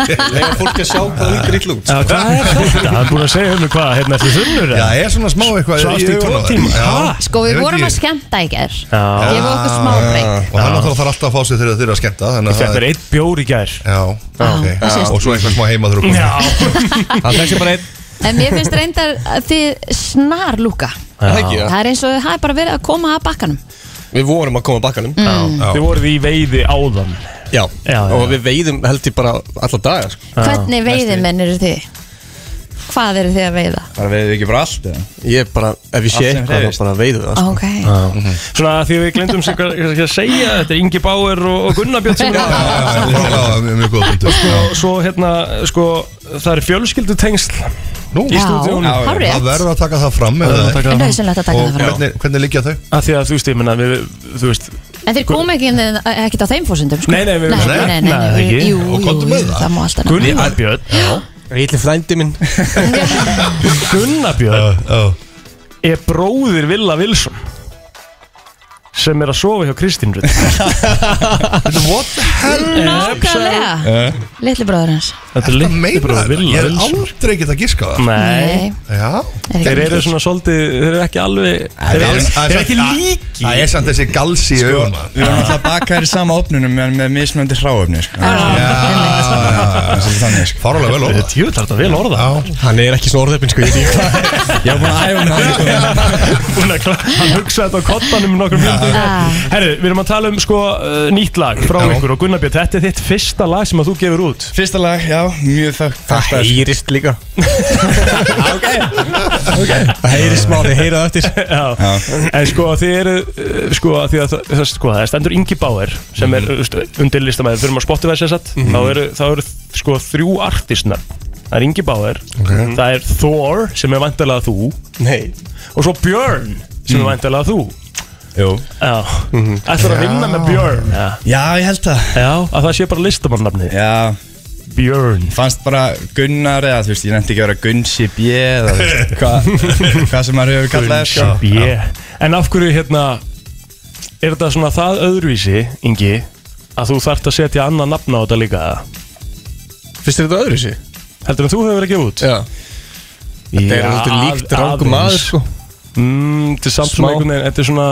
[SPEAKER 6] Þegar fólk að sjá hvað það lítur illa út
[SPEAKER 1] Já, hvað er þetta? Það er búin að segja um mig hvað, hérna þessi þunnur?
[SPEAKER 6] Já, er svona smá eitthvað
[SPEAKER 1] Svafst í tvo tíma? Ha?
[SPEAKER 2] Sko við vorum að skemmta í gær
[SPEAKER 1] Já,
[SPEAKER 2] Ég var okkur smá breyk
[SPEAKER 6] Ah. Og hann náttúrulega þarf alltaf að fá sér þegar þeir eru að skemmta Þannig
[SPEAKER 1] ég
[SPEAKER 6] að
[SPEAKER 1] fekk
[SPEAKER 6] það
[SPEAKER 1] mér
[SPEAKER 6] er
[SPEAKER 1] einn bjór í gær.
[SPEAKER 6] Já, ok
[SPEAKER 2] það sést.
[SPEAKER 6] Og svo eitthvað smá heima þurfa
[SPEAKER 1] Já,
[SPEAKER 5] Það fekk sér bara einn
[SPEAKER 2] En mér finnst reyndar að þið snar lúka
[SPEAKER 5] Það ekki, já.
[SPEAKER 2] Það er eins og það er bara verið að koma að bakkanum
[SPEAKER 11] Við vorum að koma að bakkanum Já,
[SPEAKER 1] þið voruð í veiði áðan.
[SPEAKER 11] já.
[SPEAKER 1] Já, já.
[SPEAKER 11] Og við veiðum held ég bara alla daga sko.
[SPEAKER 2] Hvernig veiðimenn eru þið? Hvað eru þið að veiða?
[SPEAKER 9] Bara veiðið ekki bara allt eða?
[SPEAKER 11] Ég bara, ef ég sé
[SPEAKER 9] Allt sem
[SPEAKER 11] eitthvað
[SPEAKER 9] hreyfist.
[SPEAKER 11] þá bara veiðum við það sko.
[SPEAKER 2] Ah, Ok
[SPEAKER 1] Svona því að við glemdum sem hvað hvað ég að segja, þetta er Ingi Báer og, og Gunnar Björn sem er
[SPEAKER 6] Já, mjög- mjög góð punktur
[SPEAKER 1] Sko, svo hérna, sko, það er fjölskyldutengsl
[SPEAKER 6] Nú,
[SPEAKER 1] í stúdíun.
[SPEAKER 2] Já, hárrétt.
[SPEAKER 6] það verður að taka það fram
[SPEAKER 1] Það er
[SPEAKER 6] eða-
[SPEAKER 1] að taka það fram.
[SPEAKER 2] Nauðsynlegt að taka
[SPEAKER 6] Og
[SPEAKER 2] það fram
[SPEAKER 6] hvernig, hvernig liggja þau?
[SPEAKER 1] að því að þú veist, ég menna, við, þú veist
[SPEAKER 2] En þeir komu ekki inn eh, ekkert á þeim fórsendum sko.
[SPEAKER 1] Nei, nei, við-
[SPEAKER 2] nei,
[SPEAKER 1] nei,
[SPEAKER 2] nei, nei,
[SPEAKER 1] nei,
[SPEAKER 2] nei,
[SPEAKER 1] ekki.
[SPEAKER 2] Jú, jú, jú, það má alltaf nefna.
[SPEAKER 1] Gunnar Björn
[SPEAKER 11] Ítli frændi minn
[SPEAKER 1] Gunnar Björn er bróðir Villa Wilson sem er að sofa hjá Kristín Rutt
[SPEAKER 2] Nákvæmlega Litli bróður hans
[SPEAKER 1] Þetta er
[SPEAKER 6] Það
[SPEAKER 1] litli
[SPEAKER 6] meina
[SPEAKER 1] bróðir
[SPEAKER 6] þetta? Ég
[SPEAKER 1] Villa
[SPEAKER 6] er
[SPEAKER 1] Wilson
[SPEAKER 6] aldrei getað giskað það
[SPEAKER 1] Nei,
[SPEAKER 6] Já
[SPEAKER 2] er
[SPEAKER 1] þeir
[SPEAKER 2] ekki
[SPEAKER 1] eru svona svolítið, þeir eru ekki alveg Þeir eru þeir eru ekki Sko, líki
[SPEAKER 6] Það er samt þessi galsi í augunum
[SPEAKER 12] Við erum alltaf bakaðir í sama opnunum en með mismöndi hráöfni sko. Þannig sko
[SPEAKER 6] Fárlega vel orða
[SPEAKER 1] Jú, það er þetta vel orða
[SPEAKER 11] Hann er ekki svona orðeppin sko ég veit ekki hvað.
[SPEAKER 12] Ég var búin að æfa mig það
[SPEAKER 1] Hún er klart, hann hugsaði þetta á kottanum nokkur mjöndur
[SPEAKER 2] Ah.
[SPEAKER 1] Herru, við erum að tala um sko uh, nýtt lag frá ykkur og Gunnar Björn, þetta er þitt fyrsta lag sem að þú gefur út
[SPEAKER 12] Fyrsta lag, já, mjög þögt
[SPEAKER 11] Það heyrist líka Það heyrist smá þið heyra það eftir
[SPEAKER 1] Já. En sko þið eru uh, sko, því að, það- það, sko, það stendur Ingi Bauer sem
[SPEAKER 12] Mhm.
[SPEAKER 1] er mm -hmm. undir listamæður fyrir maður Spotify sér satt þá eru, þá eru sko þrjú artistna það er Ingi Bauer það er Thor sem er vantilega þú
[SPEAKER 11] Nei
[SPEAKER 1] og svo Björn sem
[SPEAKER 12] Mhm.
[SPEAKER 1] er vantilega þú
[SPEAKER 12] Jú
[SPEAKER 1] Já
[SPEAKER 11] Mhm.
[SPEAKER 1] Ætlar að vinna með Björn Já,
[SPEAKER 12] Já, ég held það
[SPEAKER 1] Já að það sé bara listamannafni
[SPEAKER 12] Já,
[SPEAKER 1] Björn
[SPEAKER 12] fannst bara Gunnar eða þú veist, ég nefndi ekki að vera Gunnsi B E eða þú veist, hvað hva sem maður hefur kallað það sko
[SPEAKER 1] yeah. E. En af hverju hérna er þetta svona það öðruvísi Ingi að þú þarft að setja annað nafn á þetta líka
[SPEAKER 11] Fyrst er þetta öðru sér?
[SPEAKER 1] heldur en þú hefur verið að gefa út
[SPEAKER 11] Já Þetta er alltaf líkt rangum maður sko
[SPEAKER 1] mm, Þetta er samt
[SPEAKER 11] Smá.
[SPEAKER 1] svona einhvern veginn Þetta er svona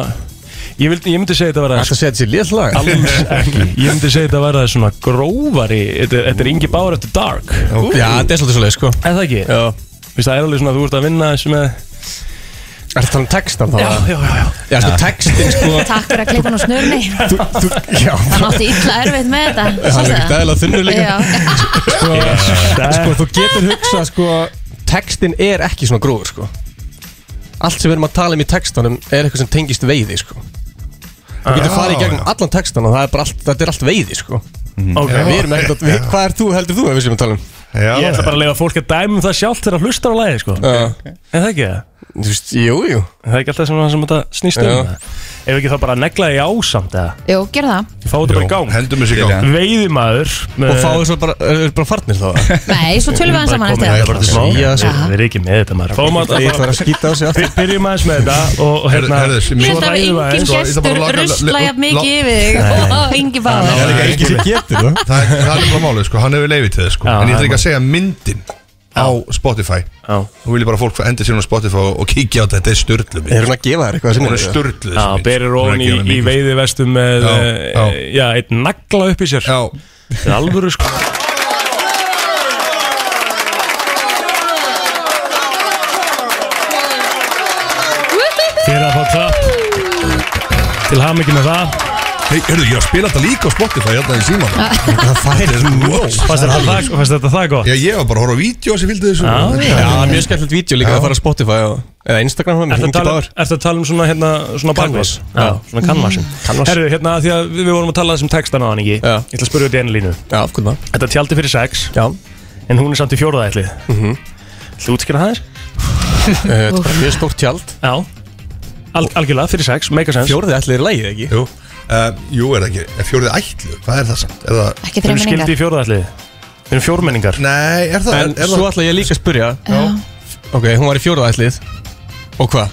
[SPEAKER 1] ég, vildi, ég myndi segja þetta að vera
[SPEAKER 11] Ætla að setja sér léttlag
[SPEAKER 1] alls ekki Ég myndi segja þetta að vera svona grófari Þetta, þetta er Ingi Báður eftir Dark Er
[SPEAKER 11] Já, þetta er svolítið svolítið sko
[SPEAKER 1] það ekki?
[SPEAKER 11] Já
[SPEAKER 1] Vist, það er alveg svona að þú ert að vinna þessu með
[SPEAKER 11] Er þetta hann textan þá?
[SPEAKER 1] já, já, já.
[SPEAKER 11] Já, sko textin sko
[SPEAKER 2] Takk fyrir að klippa nú snurni
[SPEAKER 11] þú, þú, Já,
[SPEAKER 2] Hann átti illa erfitt með þetta
[SPEAKER 11] hann er ekkert eðla þunnur líka
[SPEAKER 2] Já,
[SPEAKER 11] sko, sko, þú getur hugsað sko, textin er ekki svona gróður sko. allt sem við erum að tala um í textanum er eitthvað sem tengist veiði sko. þú getur farið í
[SPEAKER 1] Ah.
[SPEAKER 11] gegnum allan textan og það er bara allt, þetta er allt veiði sko.
[SPEAKER 1] Ok,
[SPEAKER 11] við erum ekkert, við, hvað er þú, heldur þú að við sem að tala um
[SPEAKER 1] Ég ætla bara að lega fólk að dæma um það sjálft þegar að hlusta á lagið sko.
[SPEAKER 11] uh,
[SPEAKER 1] Er það ekki það? þú veist, jú, jú Það er ekki alltaf sem, sem þetta snýst um
[SPEAKER 2] Jú.
[SPEAKER 1] Ef ekki þá bara að negla því ásamt eða
[SPEAKER 2] Jú, gerð það
[SPEAKER 1] Ég fáið þetta bara í gang
[SPEAKER 6] Heldum þessi
[SPEAKER 1] í gang Veiðimaður
[SPEAKER 11] Og fáið
[SPEAKER 1] svo bara, eru bara farnir þá
[SPEAKER 2] Nei, svo tölum við hans saman
[SPEAKER 1] Það er
[SPEAKER 2] eftir
[SPEAKER 1] bara til
[SPEAKER 11] Já,
[SPEAKER 1] smá
[SPEAKER 11] sko.
[SPEAKER 1] Við erum ekki með þetta maður Fáum að
[SPEAKER 11] Ég ætla að vera að skýta á sig aftur.
[SPEAKER 1] Við byrjum aðeins með þetta og- Og hérna
[SPEAKER 6] Herðu, herðu,
[SPEAKER 2] Ég held að
[SPEAKER 1] ræðum við
[SPEAKER 2] engin
[SPEAKER 1] aðeins.
[SPEAKER 2] gestur rusla jafn mikið yfir
[SPEAKER 6] Nei.
[SPEAKER 2] þig og engin
[SPEAKER 6] Það er
[SPEAKER 2] fáður
[SPEAKER 6] ekki enginn sem getur það Það er það er bara málið sko, hann hefur leifið til þess sko En ég ætla ekki að segja myndin á Spotify Þú vil ég bara að fólk endi sér á Spotify og og kíkja á þetta, þetta er störtlu
[SPEAKER 11] Er hún að gefa þér eitthvað sem
[SPEAKER 6] Hún er
[SPEAKER 11] er-
[SPEAKER 6] störtlu
[SPEAKER 1] Já, berir ón í, í veiðivestum með
[SPEAKER 6] Já,
[SPEAKER 1] eh,
[SPEAKER 6] já.
[SPEAKER 1] já, einn nagla upp í sér
[SPEAKER 6] Já
[SPEAKER 1] Þetta er alvöru sko Þið er að fá klapp Til hamingi með það
[SPEAKER 6] Hei, hörðu, ég er að spila þetta líka á Spotify hérna í síman
[SPEAKER 1] Það er nóg Fannst þetta það- fannst þetta það gott?
[SPEAKER 6] Já, ég var bara að horfa á vídeo sem fylgdi þessu
[SPEAKER 11] Já, mjög skemmtilegt vídeo líka að fara á Spotify og, eða Instagram og
[SPEAKER 1] Ertu
[SPEAKER 11] hringi
[SPEAKER 1] að tala um-
[SPEAKER 11] báður
[SPEAKER 1] ertu að tala um svona hérna svona bakvið?
[SPEAKER 11] Canvas.
[SPEAKER 1] Já,
[SPEAKER 11] Já.
[SPEAKER 1] svona kanvasin
[SPEAKER 11] Canvas.
[SPEAKER 1] Herru, hérna því að við, við vorum að tala um þessum textan á hann ekki Já. Ég ætla að spyrja út í einu línu
[SPEAKER 11] Já, af hvernig
[SPEAKER 1] það Þetta tjaldi fyrir sex
[SPEAKER 11] Já Mhm.
[SPEAKER 1] En hún er samt í fjóruðætlið mm -hmm. Þú útskýra það þér?
[SPEAKER 11] Eh, Þetta er bara mjög stórt tjald
[SPEAKER 1] Já Al Algjörlega, fyrir sex, make a sense
[SPEAKER 11] Fjórði ætlið er lægið ekki?
[SPEAKER 6] Jú, uh, jú er það ekki, er fjórið ætlu, hvað er það samt? Er það...
[SPEAKER 2] Ekki
[SPEAKER 1] Þeir eru skildi í fjóruðætlið Þeir eru fjórmenningar
[SPEAKER 6] Nei, er það,
[SPEAKER 11] En
[SPEAKER 6] er
[SPEAKER 11] svo
[SPEAKER 6] það...
[SPEAKER 11] ætla ég líka að spyrja
[SPEAKER 2] Já.
[SPEAKER 11] Ok, hún var í fjórða ætlið Og hvað?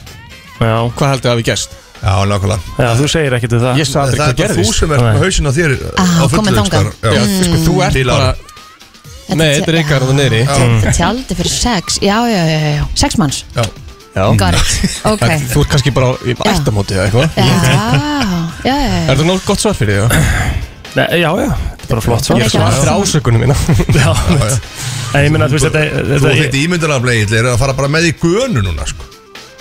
[SPEAKER 1] Já
[SPEAKER 11] Hvað heldur að við gerst?
[SPEAKER 6] Já, nákvæmlega
[SPEAKER 1] Já, þú segir ekkert um það
[SPEAKER 11] Ég sagði aldrei hvað
[SPEAKER 6] Það er bara
[SPEAKER 11] gerðist
[SPEAKER 6] þú sem ert með hausinn á þér uh,
[SPEAKER 2] Ah,
[SPEAKER 6] á
[SPEAKER 2] komin
[SPEAKER 6] fullu
[SPEAKER 2] þangað.
[SPEAKER 6] einhvers staðar. Já.
[SPEAKER 1] Mm.
[SPEAKER 11] Já, sko, þú ert
[SPEAKER 6] Til
[SPEAKER 11] bara-
[SPEAKER 6] ára.
[SPEAKER 11] Nei, þetta er ykkar það niðri
[SPEAKER 2] Þetta tjaldi fyrir sex Já, já, já, já, já, sex manns
[SPEAKER 6] Já Mm.
[SPEAKER 2] Got it, ok
[SPEAKER 11] En Þú ert kannski bara á- í ættamóti eða eitthvað
[SPEAKER 2] Já, já, já, já
[SPEAKER 11] Er það nóg gott svar fyrir því?
[SPEAKER 1] Nei, já, já, þetta er bara flott svar
[SPEAKER 11] Ég er svar fyrir ásökunum mína
[SPEAKER 1] Já, En ég minna, þú veist, þetta
[SPEAKER 6] Þú
[SPEAKER 1] þetta-
[SPEAKER 6] þetta ímyndunarbleið er að fara bara með í gönu núna sko.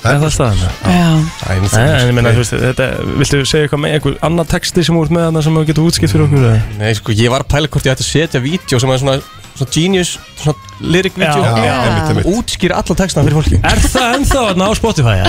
[SPEAKER 1] Er það staðan?
[SPEAKER 2] Já
[SPEAKER 1] Nei, en ég meina, þú veist, þetta, viltu segja eitthvað með einhver annar texti sem úr með hana sem þú getur útskipt fyrir okkur? eða?
[SPEAKER 11] Nei, sko, ég var að pæla hvort ég ætti að setja vídeo sem er svona, svona genius, svona lyric video
[SPEAKER 1] Já, já. einmitt, einmitt.
[SPEAKER 11] Útskýra alla textana fyrir fólki
[SPEAKER 1] Er það ennþá þarna á Spotify? Ja?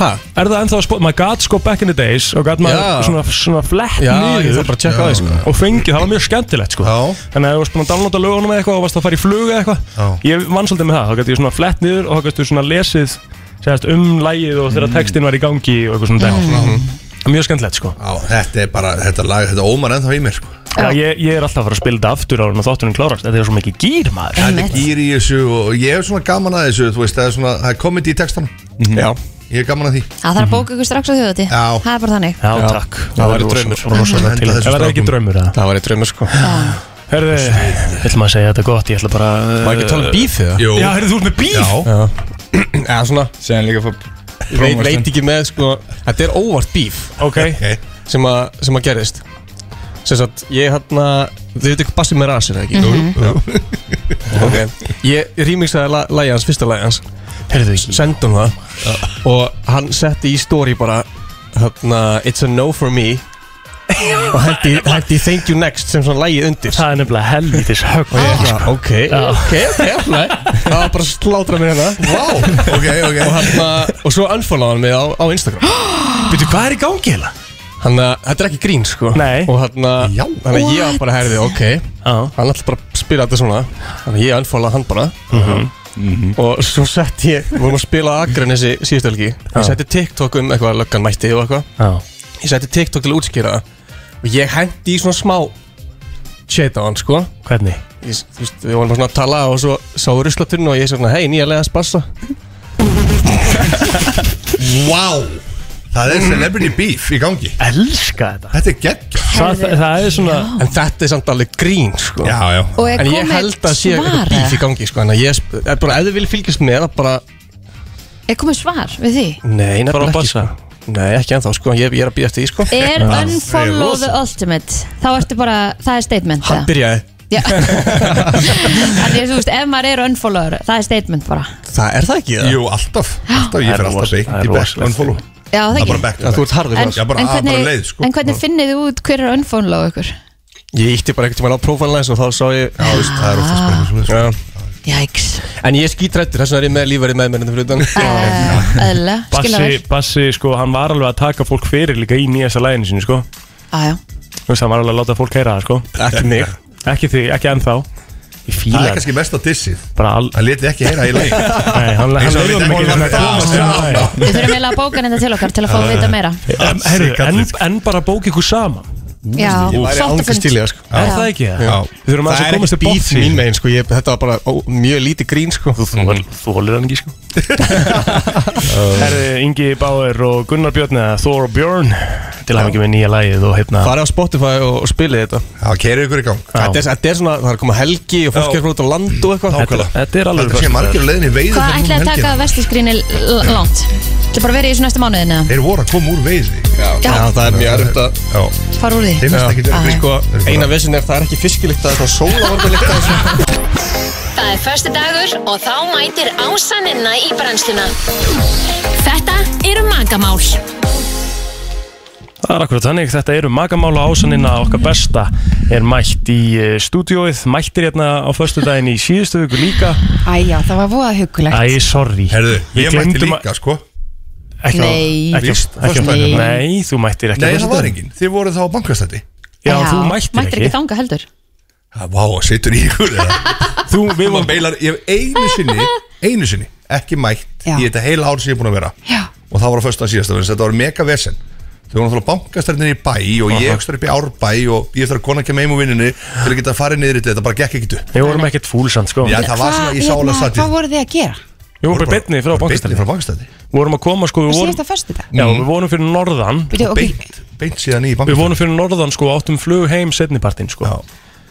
[SPEAKER 11] Hæ?
[SPEAKER 1] Er það ennþá á Spotify? Maður gæt sko back in the days og gæt
[SPEAKER 11] Já.
[SPEAKER 1] maður svona, svona flett
[SPEAKER 11] Já,
[SPEAKER 1] niður
[SPEAKER 11] ég þarf bara að tjekka á því, sko.
[SPEAKER 1] Og fengið, það var mjög skemmtilegt sko
[SPEAKER 6] Já.
[SPEAKER 1] Þannig að ef þú varst búin að downloada lögunum eða eitthvað og varst að fara í flug eða eitthvað Ég vann svolítið með það, þá gæti ég svona flett niður og þá gæti þú svona lesið segast, um lægið og
[SPEAKER 11] Mm.
[SPEAKER 1] þegar textin var í gangi og eitthvað svona dæmi. sko.
[SPEAKER 11] Mm-hmm.
[SPEAKER 1] Mjög skemmtilegt sko
[SPEAKER 6] Já, þetta er bara, þetta lag, þetta ómar ennþá í mér sko.
[SPEAKER 1] Já, ég, ég er alltaf að fara að spila þetta aftur ára en þáttunum klárast, þetta er svo mikið gýr maður
[SPEAKER 6] Þetta er gýr í þessu og ég hef svona gaman að þessu Þú veist, það er svona, það er komedi í textanum
[SPEAKER 11] Já
[SPEAKER 6] Ég er gaman að því
[SPEAKER 2] Það þarf að bóka ykkur strax á þjóðati
[SPEAKER 6] Já.
[SPEAKER 2] Það er bara þannig
[SPEAKER 1] Já, takk
[SPEAKER 11] Það væri draumur
[SPEAKER 1] Rosalega til Það verður ekki draumur eða?
[SPEAKER 11] sko. Það væri draumur, sko
[SPEAKER 1] Herðu, ég ætla maður að segja þetta gott, ég ætla bara eh,
[SPEAKER 11] Má ekki tala um bíf eða?
[SPEAKER 6] Jú.
[SPEAKER 1] Já, herðu, þú ert með bíf?
[SPEAKER 11] Já Eða svona
[SPEAKER 9] Segðan líka fór
[SPEAKER 11] Ég veit, veit ekki með, sko Þetta er óvart bíf
[SPEAKER 1] Ok
[SPEAKER 11] sem, a, sem að gerðist sem sagt, ég hérna þið veitu hvað Bassi með rasir, ekki?
[SPEAKER 6] Jú, jú.
[SPEAKER 11] Mhm. ok, ég rýmixaði la, lagi hans, fyrsta lagi hans
[SPEAKER 1] Heyrðu,
[SPEAKER 11] sendi hún það og hann setti í story bara hérna, it's a no for me og hendi, hendi thank you next sem svona lagið undir
[SPEAKER 1] Það er nefnilega helvitis högg
[SPEAKER 11] og ég eitthvað, ok, ok, ok, alright. það var bara að slátra mér hérna
[SPEAKER 6] Vá, ok, ok
[SPEAKER 11] og, hann, og svo unfollow hann mig á, á Instagram
[SPEAKER 1] Veitu, hvað er í gangi heila?
[SPEAKER 11] Þannig að þetta er ekki grín sko
[SPEAKER 1] Nei.
[SPEAKER 11] Og þarna,
[SPEAKER 6] Já.
[SPEAKER 11] þannig að ég var bara herðið, ok
[SPEAKER 1] Já.
[SPEAKER 11] Hann ætla bara að spila þetta svona Þannig að ég anfólaði hann bara
[SPEAKER 1] Mhm.
[SPEAKER 9] Mhm.
[SPEAKER 11] Og svo sett ég, við vorum að spila á Akranesi síðustu helgi Ég setti TikTok um eitthvað, löggan mætti og eitthvað
[SPEAKER 1] Já
[SPEAKER 11] Ég setti TikTok til að útskýra það Og ég hendi í svona smá shit á hann sko
[SPEAKER 1] Hvernig?
[SPEAKER 11] ég, Þú veist, við vorum bara svona að tala og svo sá ruslaturinn og ég sagði svona, hei, nýja leiða spassa
[SPEAKER 6] Vá Það er celebrity beef í gangi
[SPEAKER 1] Elska þetta
[SPEAKER 6] Þetta er gegn
[SPEAKER 1] Það, það er svona
[SPEAKER 11] En þetta er samt alveg grín sko
[SPEAKER 6] Já, já
[SPEAKER 2] Og er
[SPEAKER 11] En ég
[SPEAKER 2] komið
[SPEAKER 11] held að sé
[SPEAKER 2] svar,
[SPEAKER 11] eitthvað bíf í
[SPEAKER 2] eða?
[SPEAKER 11] gangi sko, en að ég, sp- eh, bara, ef þið viljið fylgjast með að bara,
[SPEAKER 2] Er komið svar við því?
[SPEAKER 11] nei, nefnilega
[SPEAKER 1] Bara að
[SPEAKER 11] ekki sko. Nei, ekki ennþá sko, ég, ég er að býja eftir því sko
[SPEAKER 2] Er unfollow the ultimate? Þá ertu bara, það er statement
[SPEAKER 11] Hann
[SPEAKER 2] eða?
[SPEAKER 11] byrjaði,
[SPEAKER 2] Já Þannig að þú veist, ef maður er unfollower Það er statement bara
[SPEAKER 11] það er það ekki það?
[SPEAKER 6] Jú, alltaf, alltaf, ég
[SPEAKER 1] Það er
[SPEAKER 6] fer alltaf
[SPEAKER 1] rosa-
[SPEAKER 6] beint
[SPEAKER 1] það er
[SPEAKER 6] í back
[SPEAKER 1] rosalegt.
[SPEAKER 6] unfollow
[SPEAKER 2] Já, það
[SPEAKER 6] Það er bara
[SPEAKER 2] ekki
[SPEAKER 6] back to
[SPEAKER 11] Þú
[SPEAKER 6] back
[SPEAKER 11] ert harður
[SPEAKER 2] En,
[SPEAKER 11] en,
[SPEAKER 6] Já, bara-
[SPEAKER 2] en,
[SPEAKER 6] að-
[SPEAKER 2] hvernig,
[SPEAKER 6] bara leið, sko.
[SPEAKER 2] en hvernig finnið þið út hver er unfollow ykkur?
[SPEAKER 11] Ég ítti bara eitthvað tíma á prófælanlæs og þá sá ég
[SPEAKER 6] Já, þú veist, það er oftast bara eitthvað svona
[SPEAKER 11] Já.
[SPEAKER 2] Jæks
[SPEAKER 11] En ég er skítrættur, þess vegna er ég með lífverið með mér hérna fyrir utan
[SPEAKER 2] Æðla, skilja
[SPEAKER 1] Bassi,
[SPEAKER 2] vel
[SPEAKER 1] Bassi, sko, hann var alveg að taka fólk fyrir líka í nýjasta læginu sinu, sko
[SPEAKER 2] Á, já.
[SPEAKER 1] Þú veist, hann var alveg að láta fólk heyra það, sko
[SPEAKER 11] Ekki mig
[SPEAKER 1] Ekki því, ekki ennþá Ég fíla
[SPEAKER 6] Það er
[SPEAKER 1] hann.
[SPEAKER 6] kannski mest að dissið
[SPEAKER 1] Bara al...
[SPEAKER 6] Hann leti ekki heyra í leik
[SPEAKER 1] Nei, hann- hann-
[SPEAKER 6] Eins og hann
[SPEAKER 1] hann-
[SPEAKER 6] veit ekki
[SPEAKER 1] hann-
[SPEAKER 6] hvað
[SPEAKER 1] hann-
[SPEAKER 2] Við þurfum eiginlega að bóka þetta til okkar til að fá að vita meira
[SPEAKER 1] En, heyrðu, en, en bara bók ykkur saman
[SPEAKER 2] Já,
[SPEAKER 11] Ég væri
[SPEAKER 2] sáttafund.
[SPEAKER 11] ángur stílega sko.
[SPEAKER 1] Er það ekki það?
[SPEAKER 11] Já.
[SPEAKER 1] Við þurfum aðeins
[SPEAKER 11] Það er
[SPEAKER 1] að komast til
[SPEAKER 11] ekki
[SPEAKER 1] botns í
[SPEAKER 11] bít
[SPEAKER 1] þessu.
[SPEAKER 11] mín megin sko. ég, Þetta var bara ó, mjög lítið grín sko.
[SPEAKER 1] Þú hólir hann ekki sko Herðu Ingi Báer og Gunnar Björn eða Thor og Björn til að ekki með nýja lagið og hérna
[SPEAKER 11] Farið á Spotify og, og spilið þetta
[SPEAKER 6] Já, keirið ykkur í gang
[SPEAKER 11] Þetta er, þetta er svona, það er að koma helgi og fólk
[SPEAKER 6] Já.
[SPEAKER 11] er frá út á land og eitthvað
[SPEAKER 6] Nákvæmlega. Þetta- þetta er alveg Þetta sé föstudagur. margir á leiðinni í veiði um
[SPEAKER 2] Hvað ætlaði að taka vestisgríni langt? Þetta bara verið í þessu næsta mánuðin eða?
[SPEAKER 6] Þeir voru að koma úr veiði
[SPEAKER 2] Já. Já,
[SPEAKER 11] það er mjög erfitt að
[SPEAKER 2] Fara úr því?
[SPEAKER 11] Þeim finnst ekki
[SPEAKER 2] Já.
[SPEAKER 11] verið sko, Eina vissin er það er ekki fiskilíkt Það er svona sólaorgulíkt
[SPEAKER 8] Það er förstu dagur og þá mætir ásaninna í brennsluna. Þetta eru magamál.
[SPEAKER 1] Það er akkurat þannig, þetta eru magamála ásanina okkar besta er mætt í eh, stúdíóið, mættir hérna á förstu daginn í síðustu viku líka
[SPEAKER 13] Æja, það var voða hugulegt
[SPEAKER 1] Æ, sorry
[SPEAKER 6] Herðu,
[SPEAKER 1] Við
[SPEAKER 6] ég mætti
[SPEAKER 1] gleymdum að-
[SPEAKER 6] líka sko
[SPEAKER 1] Ekki á-
[SPEAKER 6] Nei.
[SPEAKER 1] ekki á-
[SPEAKER 6] Víst,
[SPEAKER 1] ekki á-
[SPEAKER 6] föstudaginn.
[SPEAKER 1] Nei, þú mættir ekki á
[SPEAKER 6] Nei, það var
[SPEAKER 1] föstudaginn.
[SPEAKER 6] enginn Þið voru þá á bankastætti
[SPEAKER 1] Já, þú mættir,
[SPEAKER 2] ekki þanga heldur
[SPEAKER 6] Vá, situr í ykkur eða? Þú, við vorum beilar Ég hef einu sinni, einu sinni ekki mætt
[SPEAKER 13] Já.
[SPEAKER 6] í þetta heila ár sem ég er búin að vera
[SPEAKER 13] Já.
[SPEAKER 6] og það var á föstudan síðasta vegna þess að þetta var mega vesen þau voru náttúrulega bankastærnir í bæ og ég ekstra upp í árbæ og ég þarf að kona að kemja heim úr vinninni til að geta farið niður í þetta, þetta bara gekk ekkert upp
[SPEAKER 1] Við vorum ekkert fúlsand sko
[SPEAKER 6] Já, það var svona, ég sá alveg satt
[SPEAKER 13] hérna, Hvað voru þið að gera?
[SPEAKER 1] Við vorum bara betnið frá bankastæði
[SPEAKER 6] frá bankastæði
[SPEAKER 1] vorum að koma sko, við
[SPEAKER 13] Voru...
[SPEAKER 1] vorum
[SPEAKER 13] Síðasta förstu dag?
[SPEAKER 1] Já, við vorum fyrir norðan
[SPEAKER 13] Bíddu, ok.
[SPEAKER 6] Beint, beint síðan í
[SPEAKER 1] Við vorum fyrir norðan sko, áttum flug heim setnipartin sko.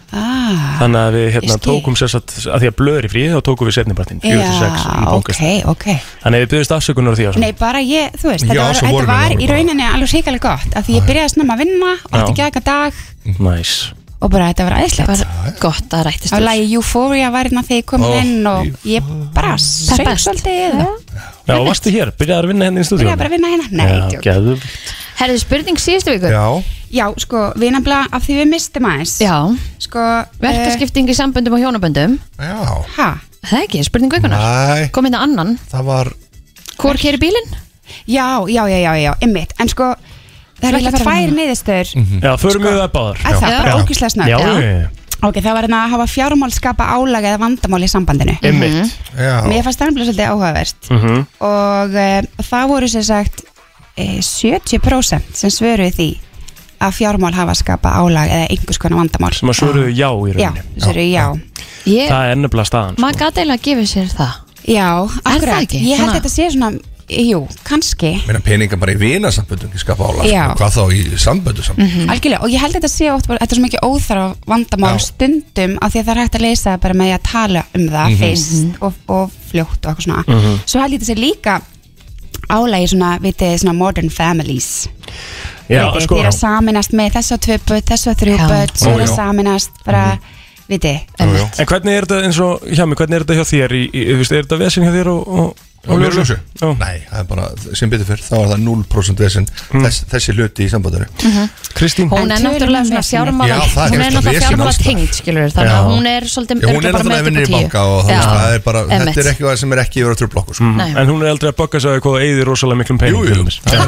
[SPEAKER 13] Ah,
[SPEAKER 1] Þannig að við hérna,
[SPEAKER 13] Ég skil.
[SPEAKER 1] tókum sér satt að því að blöður í fríð þá tókum við setnipartin 46 í
[SPEAKER 13] já, ok,
[SPEAKER 1] bankast
[SPEAKER 13] ok
[SPEAKER 1] Þannig að við byggðist afsökunar á því á
[SPEAKER 13] Nei, bara ég, þú veist,
[SPEAKER 1] Já,
[SPEAKER 13] þetta var,
[SPEAKER 1] svo
[SPEAKER 13] þetta
[SPEAKER 1] vorum við
[SPEAKER 13] var
[SPEAKER 1] vorum
[SPEAKER 13] í
[SPEAKER 1] bara-
[SPEAKER 13] rauninni alveg hrikalega gott af því ég byrjaði snemma að vinna og
[SPEAKER 1] Já.
[SPEAKER 13] átti ekki aðeins dag
[SPEAKER 1] Næs
[SPEAKER 13] og bara þetta var aðeinslegt
[SPEAKER 2] Gott að rættist
[SPEAKER 13] Af lagi Euphoria var hérna þegar ég kom
[SPEAKER 1] Ó,
[SPEAKER 13] inn og ég bara söng
[SPEAKER 2] best.
[SPEAKER 13] svolítið og
[SPEAKER 1] Já, og varstu hér, byrjaði að vinna henni í stúdíu
[SPEAKER 13] byrjaði bara að vinna hérna Nei,
[SPEAKER 1] Já,
[SPEAKER 13] djók.
[SPEAKER 1] geðum
[SPEAKER 2] Herðu spurning síðustu viku
[SPEAKER 13] Já, sko, við nefnilega af því við mistum aðeins
[SPEAKER 2] Já
[SPEAKER 13] Sko
[SPEAKER 2] Verkaskipting í samböndum og hjónaböndum
[SPEAKER 6] Já
[SPEAKER 13] Hæ?
[SPEAKER 2] Það ekki, spurning vikunar
[SPEAKER 6] Nei.
[SPEAKER 2] Komið það hérna annan
[SPEAKER 6] Það var
[SPEAKER 2] Hvor keri bílinn?
[SPEAKER 13] Já, já, já, já, já, einmitt En sko, það er
[SPEAKER 2] Flott
[SPEAKER 13] ekki
[SPEAKER 2] að fara
[SPEAKER 13] tvær
[SPEAKER 2] núna.
[SPEAKER 13] niðurstöður
[SPEAKER 1] Já, förum við það báður
[SPEAKER 13] Sko. Að það bara ógislega snöggt.
[SPEAKER 1] Já,
[SPEAKER 13] Já. Ok, það var hérna að hafa fjármál skapa álag eða vandamál í sambandinu
[SPEAKER 2] Mhm.
[SPEAKER 1] Einmitt. Já.
[SPEAKER 13] Mér fannst það nefnilega svolítið áhugavert
[SPEAKER 1] Mhm.
[SPEAKER 13] og e, það voru sem sagt e, 70% sem svöruðu því að fjármál hafa skapa álag eða einhvers konar vandamál
[SPEAKER 1] sem að svöruðu já í
[SPEAKER 13] Já,
[SPEAKER 1] rauninni
[SPEAKER 13] svöruðu já
[SPEAKER 2] Ég,
[SPEAKER 1] Það er nefnilega staðan
[SPEAKER 2] maður gæti eiginlega að gefa sér það
[SPEAKER 13] Já,
[SPEAKER 2] það
[SPEAKER 13] akkurat,
[SPEAKER 2] ekki?
[SPEAKER 13] ég held
[SPEAKER 2] Svona-
[SPEAKER 13] þetta sé svona Jú, kannski
[SPEAKER 6] meina peninga bara í vinasamböndum ekki skapa álag,
[SPEAKER 13] Já. Mhm.
[SPEAKER 6] sko. hvað þá í samböndu saman
[SPEAKER 2] Mhm.
[SPEAKER 13] Algjörlega, og ég held þetta sé oft bara, þetta er svo mikið óþarf vandamál
[SPEAKER 6] Já.
[SPEAKER 13] stundum af því að það er hægt að leysa það bara með því að tala um það
[SPEAKER 6] Mhm.
[SPEAKER 13] fyrst og, og fljótt og eitthvað svona
[SPEAKER 1] Mhm.
[SPEAKER 13] Svo held ég þetta sé líka álægi svona, vitið, svona modern families
[SPEAKER 1] Já,
[SPEAKER 13] Vitið,
[SPEAKER 1] sko.
[SPEAKER 13] Þeir eru að saminast með þessu og tvö börn, þessu og þrjú börn, svo
[SPEAKER 1] Ó,
[SPEAKER 13] eru að
[SPEAKER 1] já. Mhm.
[SPEAKER 13] saminast bara, vitið
[SPEAKER 1] En hvernig er þetta eins og hjá mig, hvernig er þetta hjá þér í, í, þú veist, er þetta vesinn hjá þér og, og,
[SPEAKER 6] Og ljósljósu? Nei, það er bara, sem betur fyrr, þá er það 0% vesen
[SPEAKER 13] Mhm.
[SPEAKER 6] þess, þessi hluti í sambandinu
[SPEAKER 2] Mhm.
[SPEAKER 1] Kristín
[SPEAKER 2] Hún er
[SPEAKER 13] En
[SPEAKER 2] náttúrulega
[SPEAKER 13] tölum
[SPEAKER 2] svona
[SPEAKER 13] við
[SPEAKER 2] fjármála
[SPEAKER 6] Já, það er
[SPEAKER 2] Hún er
[SPEAKER 6] eitthvað
[SPEAKER 2] náttúrulega
[SPEAKER 6] vesen
[SPEAKER 2] fjármála
[SPEAKER 6] alls staðar.
[SPEAKER 2] tengd skilur Þannig
[SPEAKER 6] Já.
[SPEAKER 2] að hún er svolítið
[SPEAKER 6] Já, hún er náttúrulega vinnir í banka og þú veist, það er bara, þetta er ekki það sem er ekki verið að tröfla okkur sko.
[SPEAKER 2] Nei.
[SPEAKER 1] Mhm. En hún er aldrei að bögga sig að hvað það eigðir rosalega miklum pening Jú, jú
[SPEAKER 13] Já,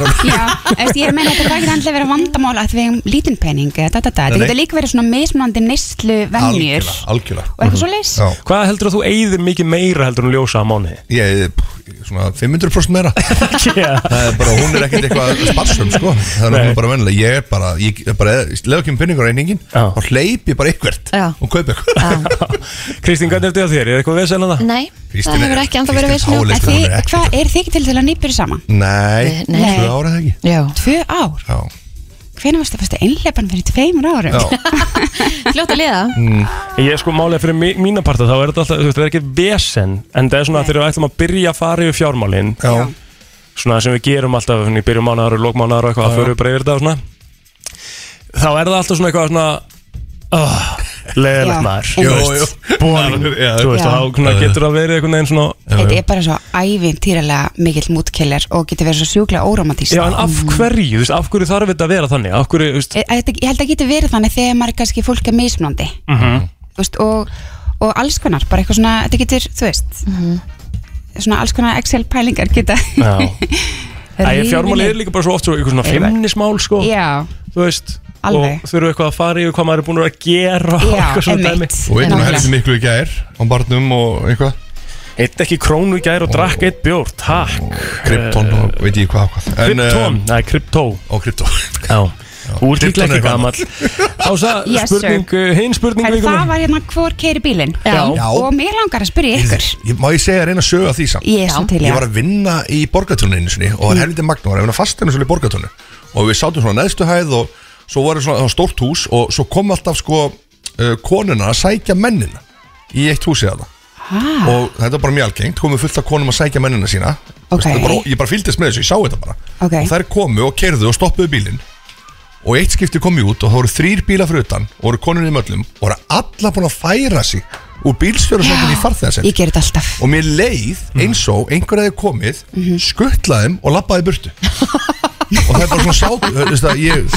[SPEAKER 13] eftir, ég er að meina þetta er ekki endilega verið vandamál að við hefum lítinn pening eða da, da, da.
[SPEAKER 1] Nei,
[SPEAKER 13] Þetta
[SPEAKER 1] nei.
[SPEAKER 13] getur líka verið svona mismunandi neyslu venjur
[SPEAKER 6] algjörlega Mhm.
[SPEAKER 13] og eitthvað svo leys
[SPEAKER 1] Hvað heldur að þú eigðir mikið meira heldur hún ljósa á mánuði?
[SPEAKER 6] Ég, svona 500% meira Það er bara, hún er ekkert eitthvað sparsum, sko Það er náttúrulega bara vennilega, ég er bara, ég er bara leðu ekki um peningur reyningin og hleyp ég bara ykkvert
[SPEAKER 2] Já.
[SPEAKER 6] og kaup eitthvað
[SPEAKER 1] Kristín, hvernig er þetta hjá þér? Er eitthvað vesinn að það?
[SPEAKER 2] Nei,
[SPEAKER 6] Kristín
[SPEAKER 2] það
[SPEAKER 6] er-
[SPEAKER 2] hefur ekki ennþá verið
[SPEAKER 6] Kristín
[SPEAKER 2] veist nú
[SPEAKER 6] Pála-
[SPEAKER 13] En
[SPEAKER 6] Leyslu
[SPEAKER 13] þið,
[SPEAKER 6] verður ekki.
[SPEAKER 13] hvað, er þið ekki til til að nýpur saman?
[SPEAKER 6] Nei,
[SPEAKER 13] Nei.
[SPEAKER 6] tvö ára það ekki
[SPEAKER 2] Já.
[SPEAKER 13] Tvö ár?
[SPEAKER 6] Já.
[SPEAKER 13] Hvenær varstu fyrstu einleipan fyrir tveimur árum?
[SPEAKER 2] Fljótt að liða
[SPEAKER 1] Mm. Ég sko málega fyrir mí- mína parta þá er þetta alltaf, þú veist, það er ekki vesen en það er svona þegar við ætlum að byrja að fara yfir fjármálin
[SPEAKER 6] Já.
[SPEAKER 1] svona sem við gerum alltaf í byrjum mánaðar og lókmánaðar og eitthvað
[SPEAKER 6] Já,
[SPEAKER 1] að
[SPEAKER 6] já.
[SPEAKER 1] fyrir við bara yfir þetta og svona þá er það alltaf svona eitthvað svona oh,
[SPEAKER 13] Já,
[SPEAKER 1] leðilegt maður
[SPEAKER 13] Jú,
[SPEAKER 1] Þú veist, boring, þú veist,
[SPEAKER 13] Já.
[SPEAKER 1] og þá svona
[SPEAKER 13] Já, já.
[SPEAKER 1] getur það verið einhvern veginn svona
[SPEAKER 13] Þetta er bara svo ævintýralega mikill mútkeller og getur verið svo sjúklega óromantískt. Mm.
[SPEAKER 1] Já, en af hverju, þú veist, af hverju þarf þetta að vera þannig af hverju, þú veist
[SPEAKER 13] Ég, Eh, ég held að geta verið þannig þegar maður er kannski fólk er mismunandi
[SPEAKER 1] mhm.
[SPEAKER 13] þú veist, og, og alls konar, bara eitthvað svona, þetta getur, þú veist,
[SPEAKER 1] Mhm.
[SPEAKER 13] svona alls konar Excel pælingar geta.
[SPEAKER 1] Já. Æ, fjármáli er líka bara svo oft svo, eitthvað svona
[SPEAKER 13] Eru-
[SPEAKER 1] feimnismál sko
[SPEAKER 13] Já,
[SPEAKER 1] þú veist
[SPEAKER 13] alveg.
[SPEAKER 1] og þurfu eitthvað að fara yfir hvað maður er búin að gera og
[SPEAKER 13] Já,
[SPEAKER 1] eitthvað svona
[SPEAKER 13] einmitt.
[SPEAKER 1] dæmi.
[SPEAKER 6] Og einn og heldur miklu í gær á barnum og eitthvað
[SPEAKER 1] Eitt ekki krónu í gær og drakk eitt bjór, takk Eh,
[SPEAKER 6] Krypton og veit ég hvað eh, hvað
[SPEAKER 1] Krypton,
[SPEAKER 6] nei,
[SPEAKER 1] kryptó
[SPEAKER 6] Og kryptó
[SPEAKER 1] Já, þú ert líklega ekki gamall Ása,
[SPEAKER 13] Yes, sir.
[SPEAKER 1] spurning, uh, hinn spurning
[SPEAKER 13] Herri,
[SPEAKER 1] vikunar.
[SPEAKER 13] það var hérna hvor keiri bílinn
[SPEAKER 6] Já. Já.
[SPEAKER 13] og mér langar að spyrja ykkur
[SPEAKER 6] Ég- Má ég segja reyna að söga því samt
[SPEAKER 13] Ég er svo til í
[SPEAKER 6] Ég
[SPEAKER 13] það. Mm.
[SPEAKER 6] var að vinna í borgartúnu einu sinni Og það er helviti magna, var að vinna fasteinu svolítið í borgartúnu Og við sátum svona á neðstu hæð Og svo var svona það var stórt hús Og svo kom alltaf sko uh, konuna að sækja mennina Í eitt húsi að
[SPEAKER 13] ah,
[SPEAKER 6] Og þetta var bara mjög algengt Komið fullt af konum að sækja mennina sína
[SPEAKER 13] Ok.
[SPEAKER 6] Veistu, bara, Ég bara fylgdist með þessu, ég sá þetta bara
[SPEAKER 13] Ok.
[SPEAKER 6] Og þær komu og kerðu og stoppuðu bílinn Og eitt skipti kom ég út og það voru þrýr bílar fyrir utan Og voru konunni í möllum Og voru alla búin að færa sig Úr bílstjórasættinni í farþegarsæti
[SPEAKER 13] Ég ger þetta alltaf Mm. Mhm.
[SPEAKER 6] og mér leið eins og einhver hefði komið mm -hmm. skuttlaðum og lappaði burtu og það er bara svona sátt þú veist að ég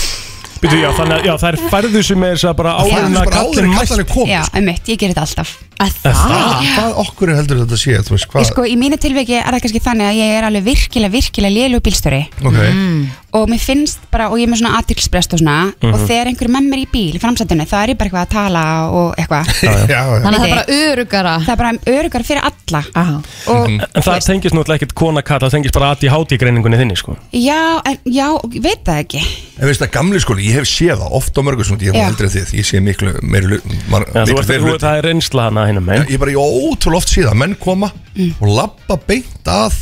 [SPEAKER 1] Býtu, já, þannig að já, þær færðu sem er þess að bara áður en að kallin mætti
[SPEAKER 13] Já, einmitt, ég ger þetta alltaf
[SPEAKER 6] Hvað- hvað okkur heldur þetta að sé þú veist
[SPEAKER 13] Ég
[SPEAKER 6] hvað
[SPEAKER 13] sko, í mínu tilveki er það kannski þannig að ég er alveg virkilega, virkilega lélu bílstöri
[SPEAKER 6] ok
[SPEAKER 2] Mm.
[SPEAKER 13] og mér finnst bara, og ég er með svona aðtilsbrest og svona,
[SPEAKER 6] Mhm.
[SPEAKER 13] og þegar einhver er með mér í bíl í framsættunni, þá er ég bara eitthvað að tala og eitthvað
[SPEAKER 6] Já, já.
[SPEAKER 2] Þannig að það er bara örugara
[SPEAKER 13] Það er bara örugara fyrir alla Aha.
[SPEAKER 6] Mhm.
[SPEAKER 13] og
[SPEAKER 1] En það tengist náttúrulega ekkert kona kall Það tengist bara aði hátíð greiningunni þinni, sko
[SPEAKER 13] já, en, já, ég veit það ekki
[SPEAKER 6] en veist að gamli skóli, ég hef séð það oft á mörgum svona, ég
[SPEAKER 13] Já.
[SPEAKER 6] hef aldrei þið, ég sé miklu meiri hlut
[SPEAKER 1] Já, þú ert- þú- það er reynsla hana hinn með
[SPEAKER 6] ég bara, ég ótrúlega oft síðan menn koma og lappa beint að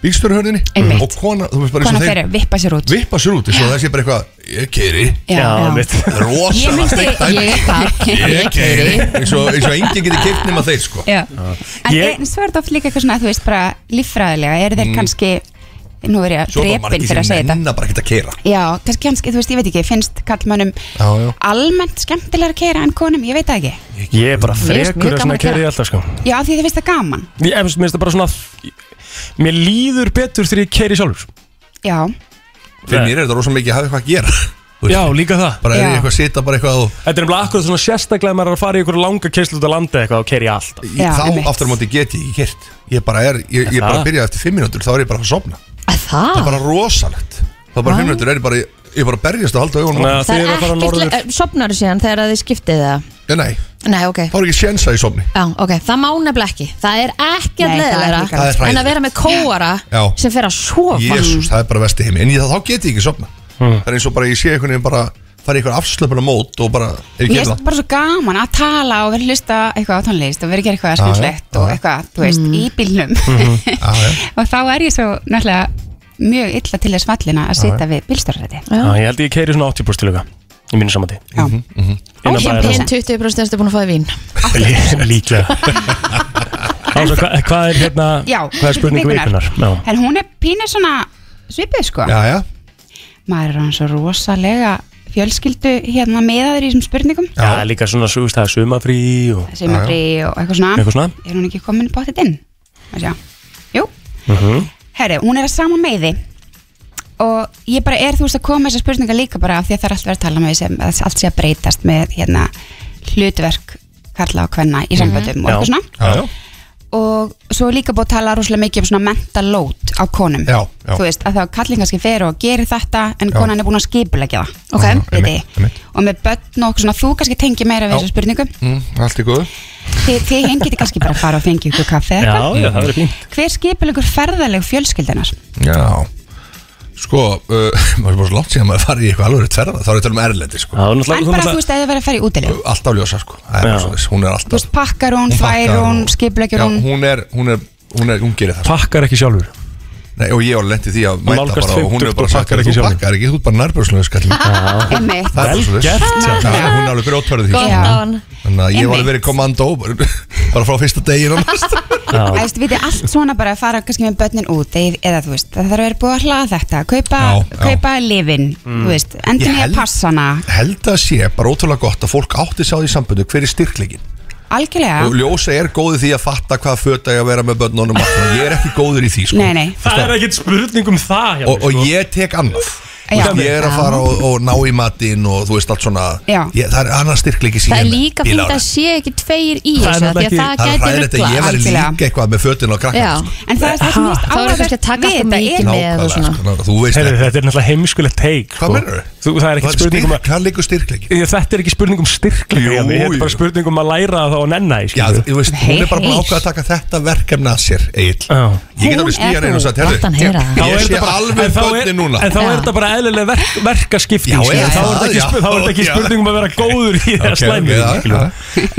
[SPEAKER 6] bílstjórahörðinni
[SPEAKER 13] Einmitt.
[SPEAKER 6] og kona, þú veist bara eins
[SPEAKER 13] Kona
[SPEAKER 6] og þeir-
[SPEAKER 13] fyrir, vippa sér út
[SPEAKER 6] vippa sér út, þess að það sé bara eitthvað ég keiri,
[SPEAKER 13] Já, Já, já. einmitt. Ég
[SPEAKER 6] rosalega
[SPEAKER 13] myndi-
[SPEAKER 6] steikt dæmi.
[SPEAKER 13] ég er það.
[SPEAKER 6] ég
[SPEAKER 13] Ég
[SPEAKER 6] keiri
[SPEAKER 13] keyri.
[SPEAKER 6] eins og, eins og enginn getur keirt nema þeir sko
[SPEAKER 13] Já. En
[SPEAKER 6] Ég-
[SPEAKER 13] ég... svo er þetta oft líka eitthvað svona, þú veist, bara líffræðilega, eru þeir
[SPEAKER 6] Mm.
[SPEAKER 13] kannski nú er ég að
[SPEAKER 6] svo
[SPEAKER 13] drepin
[SPEAKER 6] er það margir
[SPEAKER 13] fyrir
[SPEAKER 6] sem
[SPEAKER 13] að segja þetta
[SPEAKER 6] nenna bara ekkert að keira
[SPEAKER 13] Já, kannski, kannski, þú veist, ég veit ekki, finnst kallmönnum
[SPEAKER 6] já, já.
[SPEAKER 13] almennt skemmtilegra að keira en konum, ég veit það ekki
[SPEAKER 1] Ég er bara
[SPEAKER 13] Mér finnst
[SPEAKER 1] frekur
[SPEAKER 13] mjög
[SPEAKER 1] að
[SPEAKER 13] gaman
[SPEAKER 1] svona
[SPEAKER 13] að
[SPEAKER 1] kerið
[SPEAKER 13] gera.
[SPEAKER 1] alltaf, sko
[SPEAKER 13] Já, af því þið finnst það gaman
[SPEAKER 1] Ég efst, mér finnst það bara svona Mér líður betur þegar ég keiri sjálfur
[SPEAKER 13] Já,
[SPEAKER 6] fyrir mér er þetta rosa mikið að hafa eitthvað að gera Þú veist,
[SPEAKER 1] Já, líka það
[SPEAKER 6] bara er ég eitthvað að sita bara eitthvað og
[SPEAKER 1] Þetta er nefnilega akkurat svona sérstaklega ef maður er að fara í einhverju langa keislu út að landa eitthvað og keiri alltaf
[SPEAKER 6] Í- þá aftur á móti get ég ekki keirt ég bara er, ég, ég bara
[SPEAKER 1] það?
[SPEAKER 6] byrja eftir 5 minútur þá er ég bara að sofna
[SPEAKER 2] það
[SPEAKER 6] er bara rosalegt þá bara 5 minútur er ég bara ég er bara að berjast að halda augunum
[SPEAKER 1] Nei,
[SPEAKER 2] Það er ekkert Sopnar síðan þegar að þið skiptið það
[SPEAKER 6] Já, Eh, nei,
[SPEAKER 2] Nei, ok
[SPEAKER 6] þá er ekki séns að ég sofni
[SPEAKER 2] Já, ok, það má nefnilega ekki Það er
[SPEAKER 13] Nei,
[SPEAKER 2] ekkert
[SPEAKER 13] það er
[SPEAKER 6] líka Það er
[SPEAKER 2] leðilega
[SPEAKER 6] hræðilegt.
[SPEAKER 2] En að vera með kóara
[SPEAKER 6] Já.
[SPEAKER 2] sem fer að sofa
[SPEAKER 6] Jésús, það er bara vesti heimi En ég, þá get ég ekki sofna
[SPEAKER 13] Hmm.
[SPEAKER 6] Það er eins og bara ég sé einhvern veginn bara Það er einhver afslöpun á mót og bara Er
[SPEAKER 13] mér
[SPEAKER 6] ekki hérna.
[SPEAKER 13] finnst bara svo gaman að tala og vera að hlusta eitthvað á tónlist og vera að gera eitthvað
[SPEAKER 6] Já, já,
[SPEAKER 13] skemmtilegt og
[SPEAKER 6] já. Mhm.
[SPEAKER 13] eitthvað, þú veist,
[SPEAKER 2] Mm.
[SPEAKER 13] í bílnum
[SPEAKER 6] það
[SPEAKER 13] og þá er ég svo náttúrulega mjög illa til þess fallina að sitja við bílstörðræti
[SPEAKER 1] Já, ég held að ég keiri svona 80% tilöka Í mínu samandi
[SPEAKER 13] Já
[SPEAKER 6] Mhm,
[SPEAKER 1] Innan
[SPEAKER 2] Hinn
[SPEAKER 1] bæjar
[SPEAKER 2] hinn
[SPEAKER 1] og-
[SPEAKER 2] 20% erstu búin að fá í vín
[SPEAKER 1] Líklega Ása, hva, hvað er hérna
[SPEAKER 13] Já,
[SPEAKER 1] Hvað er spurning vikunar? Já.
[SPEAKER 13] En hún er pínir svona svipið sko
[SPEAKER 6] já
[SPEAKER 13] Maður er hann svo rosalega fjölskyldu hérna meðaður í þessum spurningum
[SPEAKER 1] Já, líka svona súst, það er sumafrí og...
[SPEAKER 13] Sumafrí og eitthvað svona.
[SPEAKER 1] Eitthvað svona
[SPEAKER 13] Er hún ekki komin bóttið inn? Að sjá. Jú,
[SPEAKER 1] mm
[SPEAKER 13] herri, hún er að sama meiði og ég bara er þú veist að koma með þessar spurningar líka bara af því að það er allt verið að tala með sem að allt sé að breytast með hérna hlutverk karla og kvenna í samböndum og eitthvað svona
[SPEAKER 6] Mhm. Já, já
[SPEAKER 13] og svo er líka búið að tala rosalega mikið um svona mentalót á konum
[SPEAKER 6] Já, já.
[SPEAKER 13] þú veist, að þá kallin kannski fer og gerir þetta en
[SPEAKER 6] Já.
[SPEAKER 13] konan er búin að skipulegja það
[SPEAKER 2] Ok.
[SPEAKER 13] Veit þið. og með börn og okkur svona þú kannski tengi meira við
[SPEAKER 6] Já.
[SPEAKER 13] þessu spurningu
[SPEAKER 6] mm, Allt í góðu
[SPEAKER 13] Þi, þið hinn geti kannski bara að fara og fengi ykkur kaffe eða
[SPEAKER 6] Já,
[SPEAKER 13] eitthvað.
[SPEAKER 6] já, það verður fínt.
[SPEAKER 13] hver skipulegur ferðaleg fjölskyldunar
[SPEAKER 6] Já Sko, uh, maður er bara svo langt síðan maður farið í eitthvað alveg tverra Þá er ég að tala um erlendi sko
[SPEAKER 1] Já,
[SPEAKER 13] en bara þú veist að þið verið að fara í útileg
[SPEAKER 6] Alltaf ljósa sko Það er bara svoleiðis, Hún er alltaf
[SPEAKER 13] pakkar hún, þvær
[SPEAKER 6] pakkar
[SPEAKER 13] hún,
[SPEAKER 6] og-
[SPEAKER 13] skipulegur
[SPEAKER 6] Já,
[SPEAKER 13] hún
[SPEAKER 6] hún er, hún er, hún er, hún gerir það sko.
[SPEAKER 1] Pakkar ekki sjálfur
[SPEAKER 6] Nei, og ég var lendið því að mæta
[SPEAKER 1] nálgast
[SPEAKER 6] bara og hún
[SPEAKER 1] 50
[SPEAKER 6] er bara sagt
[SPEAKER 1] pakkar
[SPEAKER 6] að
[SPEAKER 1] ekki
[SPEAKER 6] þú
[SPEAKER 1] sjálfur.
[SPEAKER 6] pakkar ekki, þú ert bara nærbjörnslega skallin
[SPEAKER 13] Einmitt.
[SPEAKER 6] Það er
[SPEAKER 1] Vel
[SPEAKER 6] bara svoleiðis.
[SPEAKER 1] gert,
[SPEAKER 6] Já,
[SPEAKER 1] Jakob.
[SPEAKER 6] já, Hún er alveg grjótverðið
[SPEAKER 13] Gott á hann.
[SPEAKER 6] Þannig að ég var
[SPEAKER 13] Einmitt.
[SPEAKER 6] alveg verið kommando bara frá fyrsta degi
[SPEAKER 13] Það veist, við þið allt svona bara að fara kannski með börnin út eð, eða þú veist, það þarf að vera búið að hlaða þetta kaupa,
[SPEAKER 6] Já, já. Mm.
[SPEAKER 13] kaupa lifin þú veist, endur
[SPEAKER 6] Ég
[SPEAKER 13] nýja
[SPEAKER 6] held-
[SPEAKER 13] passana
[SPEAKER 6] Held að sé bara ótrúlega gott að fólk átti sá því sambundu hver er styrklegin og
[SPEAKER 13] algjörlega,
[SPEAKER 6] ljósa er góðið því að fatta hvað föta ég að vera með börnunum og allt það. ég er ekki góður í því sko.
[SPEAKER 13] nei nei
[SPEAKER 1] Það er ekkert spurning um það
[SPEAKER 6] og, og ég tek annað Þú veist,
[SPEAKER 13] Já.
[SPEAKER 6] Ég er að fara og, og ná í matinn og þú veist allt svona
[SPEAKER 13] Já.
[SPEAKER 6] ég, Það er annar styrkleiki sem
[SPEAKER 2] Það
[SPEAKER 6] ég
[SPEAKER 2] er
[SPEAKER 6] með
[SPEAKER 2] líka
[SPEAKER 6] í
[SPEAKER 2] fínt
[SPEAKER 6] Láru.
[SPEAKER 2] að sé ekki tveir í
[SPEAKER 6] Það er
[SPEAKER 2] þessu af því
[SPEAKER 6] nefnilega
[SPEAKER 2] að
[SPEAKER 6] ekki-
[SPEAKER 2] það
[SPEAKER 6] það
[SPEAKER 2] gæti
[SPEAKER 6] er hræðilegt að
[SPEAKER 2] ruggla
[SPEAKER 6] ég væri líka eitthvað með fötin á krakkan
[SPEAKER 2] Já, en það er það sem mest
[SPEAKER 13] áhugavert
[SPEAKER 2] áhugavert að taka alltaf mikið með og svona
[SPEAKER 6] svona Þú veist
[SPEAKER 1] Heyrðu, Þetta er náttúrulega heimskulegt teik sko.
[SPEAKER 6] Hvað meinarðu?
[SPEAKER 1] Það er ekkert
[SPEAKER 6] Hvað
[SPEAKER 1] spurning
[SPEAKER 6] er
[SPEAKER 1] um
[SPEAKER 6] styrk- Hvað liggur styrkleiki?
[SPEAKER 1] að Þetta er ekki spurning um styrkleiki
[SPEAKER 6] Jú,
[SPEAKER 1] Jami, Þetta
[SPEAKER 6] jú.
[SPEAKER 1] er bara spurning um að læra það og nenna því,
[SPEAKER 6] Já,
[SPEAKER 1] skilurðu.
[SPEAKER 6] þú veist, hún er bara búin að ákveða að taka þetta verkefni að sér, Egil Ég get
[SPEAKER 1] Hún
[SPEAKER 6] alveg
[SPEAKER 1] er
[SPEAKER 6] stíðan einu og sagt,
[SPEAKER 1] nú- láta hann heyra það. Þá er
[SPEAKER 6] herðu Ég sé
[SPEAKER 1] þetta bara- en
[SPEAKER 6] alveg
[SPEAKER 1] þá er-
[SPEAKER 6] bönni núna
[SPEAKER 1] En þá er þetta bara eðlilega verk, verkaskipting
[SPEAKER 6] Já,
[SPEAKER 1] skilurðu.
[SPEAKER 6] já,
[SPEAKER 1] Þá er
[SPEAKER 6] já,
[SPEAKER 1] þetta
[SPEAKER 6] já,
[SPEAKER 1] ekki spurning- þá er þetta ekki
[SPEAKER 6] já.
[SPEAKER 1] spurning um að vera góður í það
[SPEAKER 6] Ok, ok,
[SPEAKER 1] slæmi
[SPEAKER 6] já, já.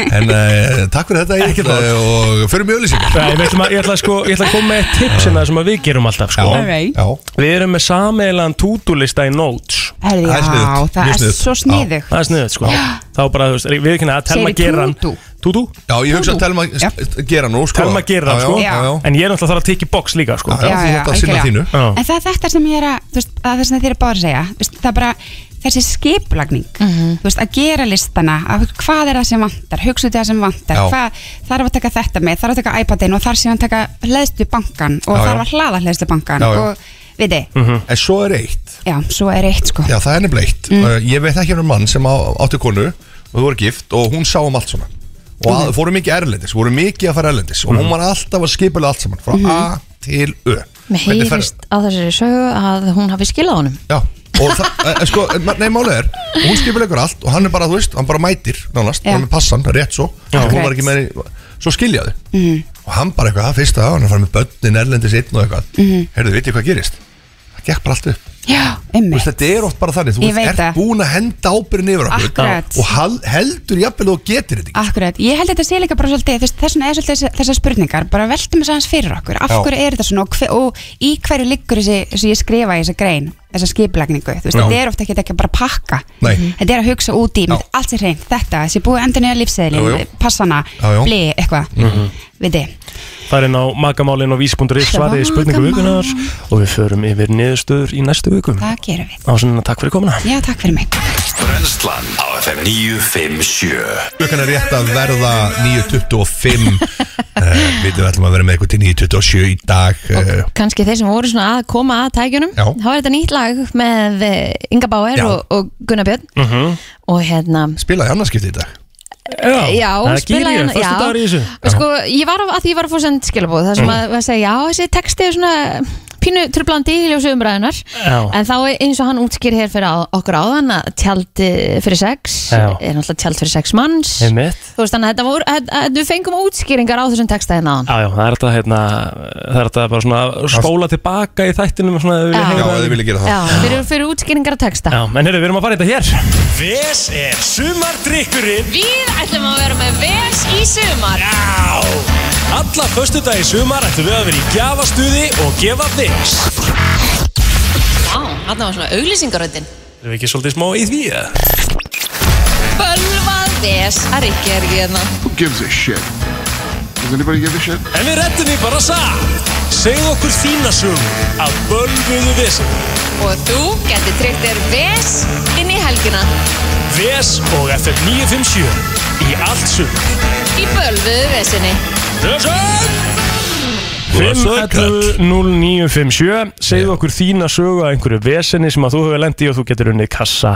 [SPEAKER 6] En eh, takk fyrir þetta,
[SPEAKER 1] Ekkert
[SPEAKER 6] Egil
[SPEAKER 1] mál.
[SPEAKER 6] eh, Og fyrir mjög lýsingar
[SPEAKER 1] Nei, við ætlum að- ég ætla, sko, ég ætla að koma með eitt tips hérna sem að við gerum alltaf sko.
[SPEAKER 6] Já, Alright. já.
[SPEAKER 1] Við erum með sameigilegan to-do-lista í notes
[SPEAKER 13] Herri, já, Það er sniðugt, það mjög er sniðugt. svo sniðugt.
[SPEAKER 1] Já, Það er sniðugt sko. Þá bara, þú veist, við kynna að telma
[SPEAKER 13] Segirðu
[SPEAKER 1] geran
[SPEAKER 13] to-do?
[SPEAKER 1] To-do?
[SPEAKER 6] Já, ég hugsa að telma gera nú sko.
[SPEAKER 1] Telma gera,
[SPEAKER 6] Já, já,
[SPEAKER 1] sko
[SPEAKER 13] já, já.
[SPEAKER 1] En ég er náttúrulega þarf að tikið box líka sko.
[SPEAKER 13] Já, já, algjörlega.
[SPEAKER 1] Já.
[SPEAKER 13] En það er þetta sem ég er að, þú veist, að þess að þér er bara að segja þú veist, Það er bara þessi skiplagning Þú veist, að gera listana að, Hvað er það sem vantar, hugsaðu það sem vantar
[SPEAKER 14] Já.
[SPEAKER 13] Hvað þarf að taka þetta með, þarf að taka iPadin og þarf síðan að taka hleðstu bankan og
[SPEAKER 6] Já, já.
[SPEAKER 13] þarf að hlaða hleðstu bankan
[SPEAKER 6] Já, já.
[SPEAKER 13] og við þið,
[SPEAKER 1] Mhm.
[SPEAKER 6] En svo er eitt
[SPEAKER 13] já, svo er eitt sko
[SPEAKER 6] Já, það er nefnilega eitt
[SPEAKER 2] Mm.
[SPEAKER 6] uh, Ég veit ekki um mann sem á, átti konu og þau voru gift og hún sá um allt svona og að, fóru mikið erlendis, voru mikið að fara erlendis
[SPEAKER 2] Mhm.
[SPEAKER 6] og hún var alltaf að skipulega allt saman frá A til Ö
[SPEAKER 2] Mér
[SPEAKER 6] Hvernig fer-
[SPEAKER 2] Mhm. heyrist á þessari sögu að hún hafi skilað honum
[SPEAKER 6] Já, og það, eh, sko, eh, ma- nei, málið er hún skipulegur allt og hann er bara, þú veist, hann bara mætir nánast,
[SPEAKER 2] Já.
[SPEAKER 6] bara með passan, rétt svo
[SPEAKER 2] Já.
[SPEAKER 6] hún var ekki með, í- svo skiljaði
[SPEAKER 13] Mm.
[SPEAKER 6] og hann bara eitthvað, fyrsta á, hann er farið með börnin erlendis einn og eitthvað
[SPEAKER 13] Mhm.
[SPEAKER 6] heyrðu, veit ég hvað gerist? Það gekk bara allt upp
[SPEAKER 13] Já,
[SPEAKER 6] Þú
[SPEAKER 13] einmitt
[SPEAKER 6] veist, þetta er oft bara þannig, þú
[SPEAKER 13] Ég
[SPEAKER 6] veist,
[SPEAKER 13] veit
[SPEAKER 6] ert
[SPEAKER 13] það.
[SPEAKER 6] búin að henda ábyrðin yfir okkur
[SPEAKER 13] Akkurat.
[SPEAKER 6] og hal- heldur jafnvel og getur þetta
[SPEAKER 13] Akkurat, ég held að þetta sé líka bara svolítið þess, þess vegna er svolítið þess- þessar spurningar bara veltum þess aðeins fyrir okkur, af
[SPEAKER 6] Já.
[SPEAKER 13] hverju er þetta svona og, hve, og í hverju liggur þessi, þessi ég skrifa í þessa grein, þessa skipulagningu þú veist,
[SPEAKER 6] Já.
[SPEAKER 13] þetta er ofta ekki, ekki bara að pakka Mhm.
[SPEAKER 6] Nei.
[SPEAKER 13] þetta er að hugsa út í, mynd, allt er hreint þetta, þessi búið endur nýja
[SPEAKER 1] Jú, jú.
[SPEAKER 13] lífseðilin passana,
[SPEAKER 1] Já, já.
[SPEAKER 13] bli, eitthvað
[SPEAKER 1] Mhm.
[SPEAKER 13] við þið,
[SPEAKER 1] Það er inn á magamálin og vís.is svarið í spurningu vikunar og við förum yfir niðurstöður í næstu viku
[SPEAKER 13] það gerum við
[SPEAKER 1] Ásynina, takk fyrir komuna
[SPEAKER 13] já, takk fyrir mig
[SPEAKER 3] Brennslan á FM 957
[SPEAKER 6] Klukkan er rétt að verða 9.25 uh, Við við ætlum að vera með eitthvað til 9.27 í dag uh,
[SPEAKER 2] Kanski þeir sem voru svona að koma að tækjunum
[SPEAKER 6] Já.
[SPEAKER 2] Þá er þetta nýtt lag með eh, Inga Bauer
[SPEAKER 6] Já.
[SPEAKER 2] og, og Gunnar Björn
[SPEAKER 6] uh -huh.
[SPEAKER 2] Og hérna
[SPEAKER 6] Spilaði annarskipti í dag
[SPEAKER 2] Eh, Já,
[SPEAKER 6] Það er
[SPEAKER 2] spilaði
[SPEAKER 6] Gíli,
[SPEAKER 2] hann- já.
[SPEAKER 6] föstudagur í þessu.
[SPEAKER 2] Og Sko, ég var af, að því ég var að fá send skilabóð Það sem
[SPEAKER 6] Mm.
[SPEAKER 2] að, að segja, já, þessi texti er svona pínu trublandi í ljósu umræðunar
[SPEAKER 1] Já.
[SPEAKER 2] en þá er eins og hann útskýr hér fyrir á, okkur áðan að tjald eh, fyrir sex
[SPEAKER 1] Já.
[SPEAKER 2] er náttúrulega tjald fyrir sex manns
[SPEAKER 1] Einmitt.
[SPEAKER 2] þú veist þannig að þetta voru að, að við fengum útskýringar á þessum texta hérna áðan
[SPEAKER 1] Já, já, það er þetta hérna, það er þetta bara svona að spóla tilbaka í þættinum og svona ef þið viljið
[SPEAKER 2] Já. Já, ef þið viljið
[SPEAKER 1] heyra það.
[SPEAKER 2] Já, fyrir, fyrir útskýringar á texta
[SPEAKER 1] Já, en heyrðu, við erum að fara í þetta hér Ves er sumardrykkurinn
[SPEAKER 2] Við ætlum að vera með vers í sumar
[SPEAKER 1] Já Alla förstu dag í sumar ættum við að vera í gjafastuði og gefa viks
[SPEAKER 2] Vá, þarna var svona auglýsingaröndin
[SPEAKER 1] Erum við ekki svolítið smá í því eða?
[SPEAKER 2] Bölvað vers að Rikki er ekki hérna
[SPEAKER 15] Who gives a shit? Does anybody give a shit?
[SPEAKER 1] En við rettum því bara satt Segð okkur þína sögu af bölvuðu vissin
[SPEAKER 2] og þú getur tryggt þér vers inn í helgina
[SPEAKER 1] Ves og FM 957 Í allt sumar
[SPEAKER 2] í bölvuðu versinni
[SPEAKER 1] Þessan
[SPEAKER 2] 511
[SPEAKER 1] 0957 segðu okkur þína sögu að einhverju vesenni sem að þú hefur lendi og þú getur unnið kassa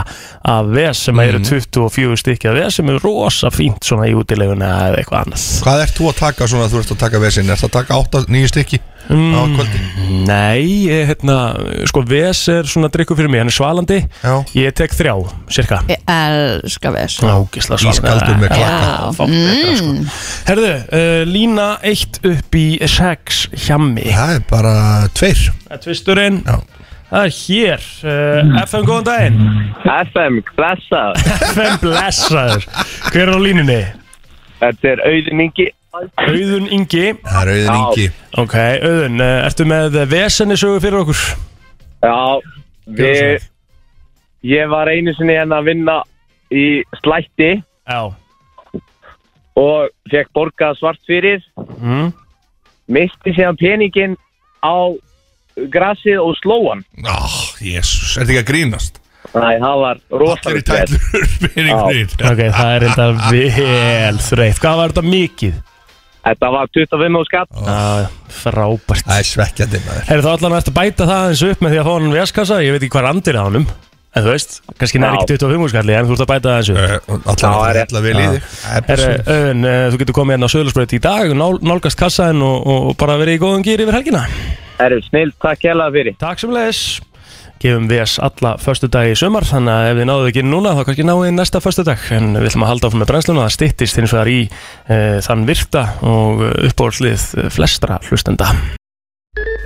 [SPEAKER 1] af ves sem að eru 24 stykki af ves sem er rosa fínt svona í útileguna eða eitthvað annað
[SPEAKER 6] Hvað ert þú að taka svona, þú ert að taka vesinn Ert að taka 8-9 stykki á kvöldi
[SPEAKER 1] Mm, Nei, ég, hérna, sko ves er svona drikku fyrir mig, hann er svalandi Já. ég tek þrjá, cirka
[SPEAKER 2] Ég elska vers
[SPEAKER 1] Ágisla svalandi
[SPEAKER 6] Ískaldur með klakka.
[SPEAKER 1] Já, fá betra, sko. Herðu, uh, lína 1 upp í 6 hjammi
[SPEAKER 6] Það er bara tveir
[SPEAKER 1] Það er tvisturinn Það er hér uh, FM, góðan daginn
[SPEAKER 16] FM, blessaður
[SPEAKER 1] FM, blessaður Hver er á línunni?
[SPEAKER 16] Þetta er Auðun Ingi
[SPEAKER 1] Auðun Ingi
[SPEAKER 6] Það er Auðun
[SPEAKER 16] Ingi.
[SPEAKER 1] Ok, Auðun, uh, ertu með vesenni sögu fyrir okkur?
[SPEAKER 16] Já, við Ég var einu sinni hérna að vinna í slætti
[SPEAKER 1] Já
[SPEAKER 16] Og fekk borgað svart fyrir
[SPEAKER 1] mm.
[SPEAKER 16] Misti síðan peningin á grasið og slóan
[SPEAKER 6] oh, Jésus, er þetta ekki að grínast?
[SPEAKER 16] Nei, það var
[SPEAKER 6] Allir í tætlur peningurinn
[SPEAKER 1] Ok, það er enda vel þreitt Hvað var þetta mikið?
[SPEAKER 16] Þetta var 25 og skatt
[SPEAKER 1] Já, frábært
[SPEAKER 6] Það er svekkjandi maður
[SPEAKER 1] Herri þá allan eftir að bæta það eins upp með því að fá hann veskassa Ég veit ekki hvað randir á hannum En þú veist, kannski næri ekki 25 skalli En þú ert að bæta það
[SPEAKER 6] Eh,
[SPEAKER 1] eins upp
[SPEAKER 6] allan er illa vel í þig. Það er bara
[SPEAKER 1] Herri,
[SPEAKER 6] svo.
[SPEAKER 1] Öðun, eh, þú getur komið hérna á Söðlarsbröð í dag nál, Nálgast kassaðin og, og bara verið í góðum gýr yfir helgina
[SPEAKER 16] Herru, snill, takk hella fyrir
[SPEAKER 1] Takk sem leðis Gefum VS alla förstu dag í sumar Þannig að ef þið náðu ekki núna þá kannski náðu þið næsta förstu dag En við ætlum að halda áfram með brennsluna Það styttist hins vegar í e, þann virta Og uppbólslið flestra hlustenda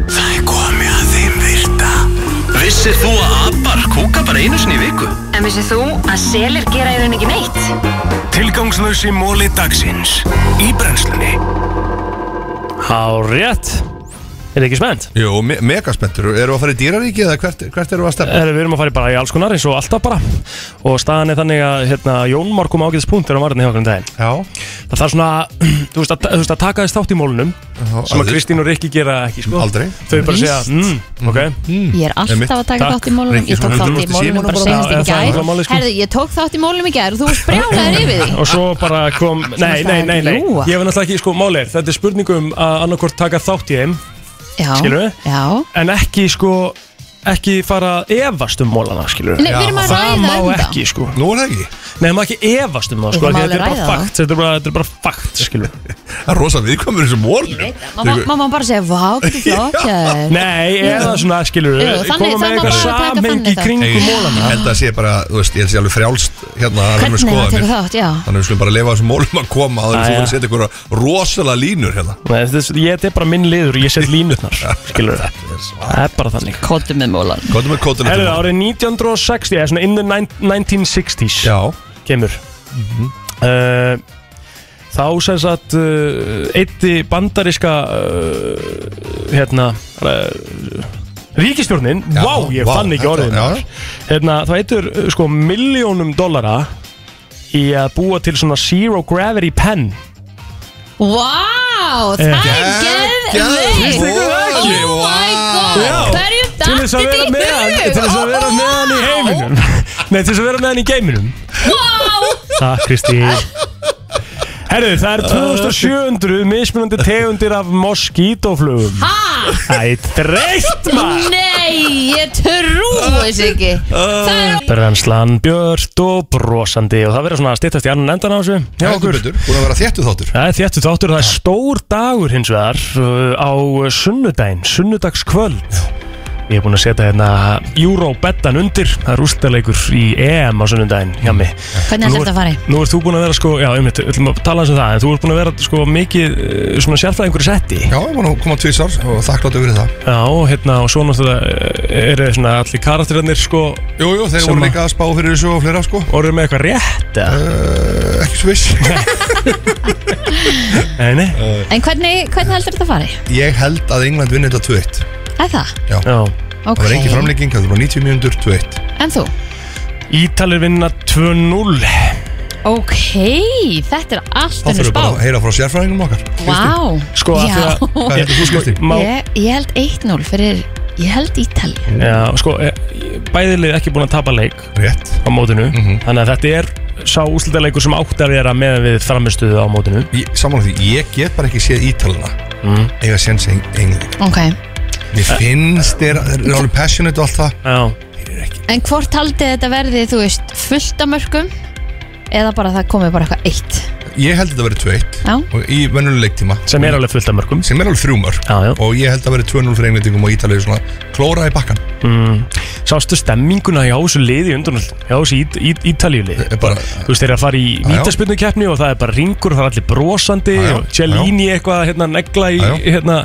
[SPEAKER 3] Það er komið að þeim virta Vissir þú að abar kúka bara einu sinni í viku?
[SPEAKER 8] En vissið þú að selir gera í raun ekki neitt?
[SPEAKER 3] Tilgangslösi móli dagsins Í brennslunni
[SPEAKER 1] Há rétt Er þið ekki spennt?
[SPEAKER 6] Jú, me megaspentur Eru að fara í dýraríki eða hvert, hvert eru að stefna?
[SPEAKER 1] Eh, Við erum að fara í bara í alls konar eins og alltaf bara Og staðan er þannig að hérna, Jón Már kom ágætis punkt þegar hann var hérna hjá okkur um daginn
[SPEAKER 6] Já
[SPEAKER 1] Það þarf svona, þú veist, að, þú veist að taka þess þátt í mólunum Sem að
[SPEAKER 6] aldrei.
[SPEAKER 1] Kristín og Rikki gera ekki sko.
[SPEAKER 6] Aldrei
[SPEAKER 1] Þau bara segja,
[SPEAKER 6] Víst.
[SPEAKER 1] mm, ok
[SPEAKER 2] Ég er alltaf að taka þátt í mólunum Ég tók þátt í mólunum bara senast í gær
[SPEAKER 1] sko.
[SPEAKER 2] Herðu, ég tók þátt í mólunum í gær og þú sprjálaður yfir því
[SPEAKER 1] Og svo bara kom, nei, nei, nei, nei
[SPEAKER 2] Ljúga.
[SPEAKER 1] Ég hef náttúrulega ekki, sko, máli er Þetta er spurning um að annarkvort taka þátt í þeim
[SPEAKER 2] Já,
[SPEAKER 1] Skilur við?
[SPEAKER 2] já
[SPEAKER 1] En ekki, sko, ekki fara að efast um mólana, skilur
[SPEAKER 2] Nei, við erum að ræða
[SPEAKER 1] Það
[SPEAKER 2] um
[SPEAKER 1] má
[SPEAKER 2] það.
[SPEAKER 1] ekki, sko Nú er það ekki Nei, það má ekki efast um það,
[SPEAKER 2] Við
[SPEAKER 1] sko
[SPEAKER 2] erum
[SPEAKER 1] af því að
[SPEAKER 2] alveg ræða
[SPEAKER 1] Þetta er bara
[SPEAKER 2] það.
[SPEAKER 1] fakt, þetta er bara, þetta er bara fakt, skilur Það er rosa viðkomur þessu mólinu
[SPEAKER 2] Má- má- Má má bara segja, vá, hvað flott hjá
[SPEAKER 1] Nei, eða svona, skilur
[SPEAKER 2] Jú, þannig-
[SPEAKER 1] Koma
[SPEAKER 2] það
[SPEAKER 1] með
[SPEAKER 2] má bara
[SPEAKER 1] eitthvað
[SPEAKER 2] taka
[SPEAKER 1] samhengi
[SPEAKER 2] þannig
[SPEAKER 1] í
[SPEAKER 2] þátt.
[SPEAKER 1] kringum mólana
[SPEAKER 6] Ég held að það sé bara, þú veist, ég held að sé alveg frjálst Hérna, að vera með
[SPEAKER 2] Hvernig það
[SPEAKER 6] skoðanir.
[SPEAKER 2] tekur þátt, já
[SPEAKER 6] Þannig að við skulum bara leifa þessum mólum að koma Þannig að þú
[SPEAKER 1] Jæja.
[SPEAKER 6] fyrir að setja einhverja rosalega línur hérna
[SPEAKER 1] Nei, þetta er- ég- þetta er bara minn liður, ég set línutnar Skilur Það er bara þannig
[SPEAKER 2] Kóttu með mólan
[SPEAKER 6] Kóttu með kóttu
[SPEAKER 1] Herðu, árið 1960, eða svona in the nine- 1960s
[SPEAKER 6] Já Mhm.
[SPEAKER 1] Kemur uh, Þá sem sagt uh, eitti bandariska uh, hérna uh, ríkistjórnin
[SPEAKER 6] Já,
[SPEAKER 1] Vá, ég
[SPEAKER 6] vá,
[SPEAKER 1] fann ekki
[SPEAKER 6] þetta-
[SPEAKER 1] orðin
[SPEAKER 6] já.
[SPEAKER 1] hérna, Það eittur sko miljónum dollara í að búa til svona zero gravity pen
[SPEAKER 2] Vá, það er
[SPEAKER 1] Eh. Finnst
[SPEAKER 2] geðveikt
[SPEAKER 1] ykkur það ekki?
[SPEAKER 2] Oh my god, hverjum
[SPEAKER 1] til þess að
[SPEAKER 2] datti
[SPEAKER 1] vera
[SPEAKER 2] þetta í
[SPEAKER 1] með hann
[SPEAKER 2] hug?
[SPEAKER 1] til þess að vera með hann í heiminum nei, til þess að vera með hann í geiminum
[SPEAKER 2] Vá
[SPEAKER 1] Takk Kristi Herðu, það er 2700 mismunandi tegundir af moskítoflugum
[SPEAKER 2] Ha?
[SPEAKER 1] Það er dreitt maður
[SPEAKER 2] Nei, ég trúi þess ekki Það
[SPEAKER 1] Eh.
[SPEAKER 2] er
[SPEAKER 1] Brennslan björt og brosandi og það verður svona að styttast í annan endan á þessu hjá okkur
[SPEAKER 6] Búin að vera þéttu þáttur
[SPEAKER 1] Það er þéttu þáttur, það er stór dagur hins vegar uh, á sunnudaginn, sunnudagskvöld Ég er búin að setja hérna Eurobettan undir, það er úrstæðleikur í EM á sunnudaginn hjá mig
[SPEAKER 2] Hvernig
[SPEAKER 1] Nú
[SPEAKER 2] ætlar þetta að fara í?
[SPEAKER 1] Nú ert þú búin að vera sko, já, um þetta, ætlum að tala aðeins um það, en þú ert búin að vera sko mikið eh, svona sérfræðingur í setti.
[SPEAKER 6] Já, ég var nú að koma tvísar og þakkláttu fyrir það
[SPEAKER 1] Já, hérna, og svo náttúrulega eh, eru svona allir karakterarnir sko.
[SPEAKER 6] Jú, jú, þeir voru líka að spá fyrir þessu og fleira sko
[SPEAKER 1] Orður með eitthvað rétt, eða?
[SPEAKER 6] uh, Ekki svo viss
[SPEAKER 1] Nei, nei
[SPEAKER 2] En hvernig, hvernig heldur þetta að fara í?
[SPEAKER 6] Eh, Ég held að England vinni þetta 2-1
[SPEAKER 2] Er það?
[SPEAKER 6] Já,
[SPEAKER 2] Ok.
[SPEAKER 6] það var engin framlegging, það var 90 mínútur 2-1
[SPEAKER 2] En þú?
[SPEAKER 1] Ítalir vinna 2-0
[SPEAKER 2] Ok, þetta er allt
[SPEAKER 6] Þá
[SPEAKER 2] önnur
[SPEAKER 6] þurfum við
[SPEAKER 2] spá
[SPEAKER 6] bara að heyra frá sérfræðingum okkar
[SPEAKER 2] Vá
[SPEAKER 1] Sko, af því
[SPEAKER 2] Já.
[SPEAKER 1] að- Hvað heldur þú, Kristín? Má-
[SPEAKER 2] Ég ég held 1-0 fyrir Ég held Ítali
[SPEAKER 1] Já, sko, e- bæðilið ekki búin að tapa leik
[SPEAKER 6] Hérna. Rétt Mhm.
[SPEAKER 1] Á mótinu Þannig að þetta er sá úslitaleikur sem átti að vera með við framistuðu á mótinu
[SPEAKER 6] Samanlega því, ég get bara ekki séð Ítalina
[SPEAKER 1] mm.
[SPEAKER 6] Eiga séns Eng- England
[SPEAKER 2] Ok
[SPEAKER 6] Mér finnst þeir, þeir eru alveg passionate og allt það
[SPEAKER 1] Eh? Já
[SPEAKER 2] En hvort haldið þetta verði, þú veist, fullt af mörgum eða bara það komið bara eitthvað eitt
[SPEAKER 6] Ég held að þetta verið 2-1
[SPEAKER 2] Já.
[SPEAKER 6] og í vennuleg leiktíma
[SPEAKER 1] Sem er alveg fullt af mörgum
[SPEAKER 6] Sem er alveg þrjú mörg
[SPEAKER 1] já, já.
[SPEAKER 6] Og ég held að verið 2-0 fyrir englendingum og Ítalið svona klóra í bakkan
[SPEAKER 1] mm. Sástu stemminguna hjá þessu liði undan Hjá þessu ít, ít, ítalíuliði Þú veist, þeir eru að fara í
[SPEAKER 6] já.
[SPEAKER 1] vítaspinnukeppni Og það er bara ringur, það er allir brosandi
[SPEAKER 6] Já, já,
[SPEAKER 1] Og Cellini eitthvað, hérna, negla í
[SPEAKER 6] Já, já.
[SPEAKER 1] hérna,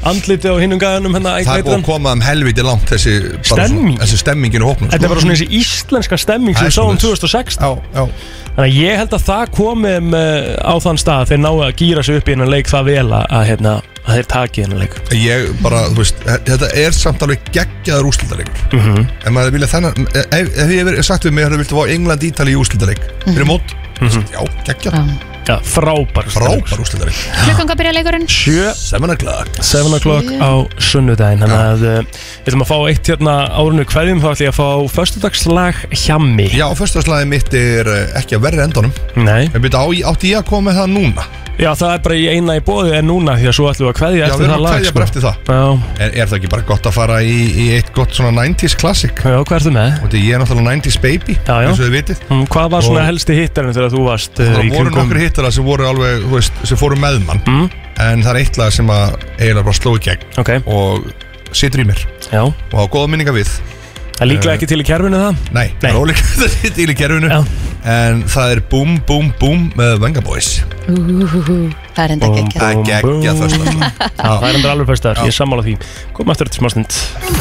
[SPEAKER 1] Andliti á hinnum gæðanum hérna,
[SPEAKER 6] Það er búið að koma um helviti langt þessi bara svona-
[SPEAKER 1] Stemming.
[SPEAKER 6] Þessi stemmingin og hópnum sko.
[SPEAKER 1] Þetta er bara svona þessi íslenska stemming sem
[SPEAKER 6] Það
[SPEAKER 1] við
[SPEAKER 6] er
[SPEAKER 1] sáum
[SPEAKER 6] svoleiðis.
[SPEAKER 1] 2016
[SPEAKER 6] já, já.
[SPEAKER 1] Þannig að ég held að það komi um, eh, á þann stað að þeir náu að gýra sig upp í hennan leik það vel að, að, hérna, að þeir taki hennan leik
[SPEAKER 6] Ég bara, þú veist, þetta er samt alveg geggjaður úrslitaleikur
[SPEAKER 1] mm
[SPEAKER 6] En maður vilja þennan Ef, ef ég hef sagt við mig að þú viltu fá England Ítali í úrslitaleik Fyrir mót, já, geggjað
[SPEAKER 1] Mhm. Já, frábær
[SPEAKER 6] Frábær úrslitaleik
[SPEAKER 2] Klukkan hvað byrja leikurinn?
[SPEAKER 1] 7
[SPEAKER 6] 7 o'clock
[SPEAKER 1] 7 o'clock
[SPEAKER 2] Sjö.
[SPEAKER 1] á sunnudaginn Þannig að eh, við ætlum að fá eitt hérna árunni hverjum þá ætlum ég að fá föstudagslag hjammi
[SPEAKER 6] Já, fyrsta slagið mitt er eh, ekki að verra endanum
[SPEAKER 1] Nei
[SPEAKER 6] En byrja, á, ég- átti ég að koma með það núna?
[SPEAKER 1] Já, það er bara í eina í bóði en núna því að svo ætlum við að kveðja
[SPEAKER 6] Já, við
[SPEAKER 1] eftir
[SPEAKER 6] erum
[SPEAKER 1] það
[SPEAKER 6] að
[SPEAKER 1] lag sko.
[SPEAKER 6] kveðja bara eftir það er, er það ekki bara gott að fara í, í eitt gott svona 90s klassik?
[SPEAKER 1] Já, hvað ertu með?
[SPEAKER 6] Og því ég er náttúrulega 90s baby já,
[SPEAKER 1] já.
[SPEAKER 6] eins og þið vitið
[SPEAKER 1] Mm, Hvað var svona
[SPEAKER 6] Og-
[SPEAKER 1] helsti hittarinn þegar þú varst uh,
[SPEAKER 6] Það
[SPEAKER 1] í
[SPEAKER 6] voru
[SPEAKER 1] kringum Mm.
[SPEAKER 6] nokkur hittara sem voru alveg, þú veist, sem fóru með mann En það er eitt lag sem að eiginlega bara sló í gegn
[SPEAKER 1] okay.
[SPEAKER 6] Og situr í mér
[SPEAKER 1] Já.
[SPEAKER 6] Og á góða minninga við
[SPEAKER 1] Það
[SPEAKER 6] Eh,
[SPEAKER 1] er líklega ekki til í kerfinu það?
[SPEAKER 6] Nei, það er ólíklega ekki til í kerfinu En það er Boom Boom Boom með Venga Boys
[SPEAKER 2] Það er enda
[SPEAKER 1] Búm,
[SPEAKER 2] geggjað
[SPEAKER 6] Það er geggjað föstudagur.
[SPEAKER 1] Já, Það er endur alveg föstudagur, ég er sammála því Komum eftir þetta smástund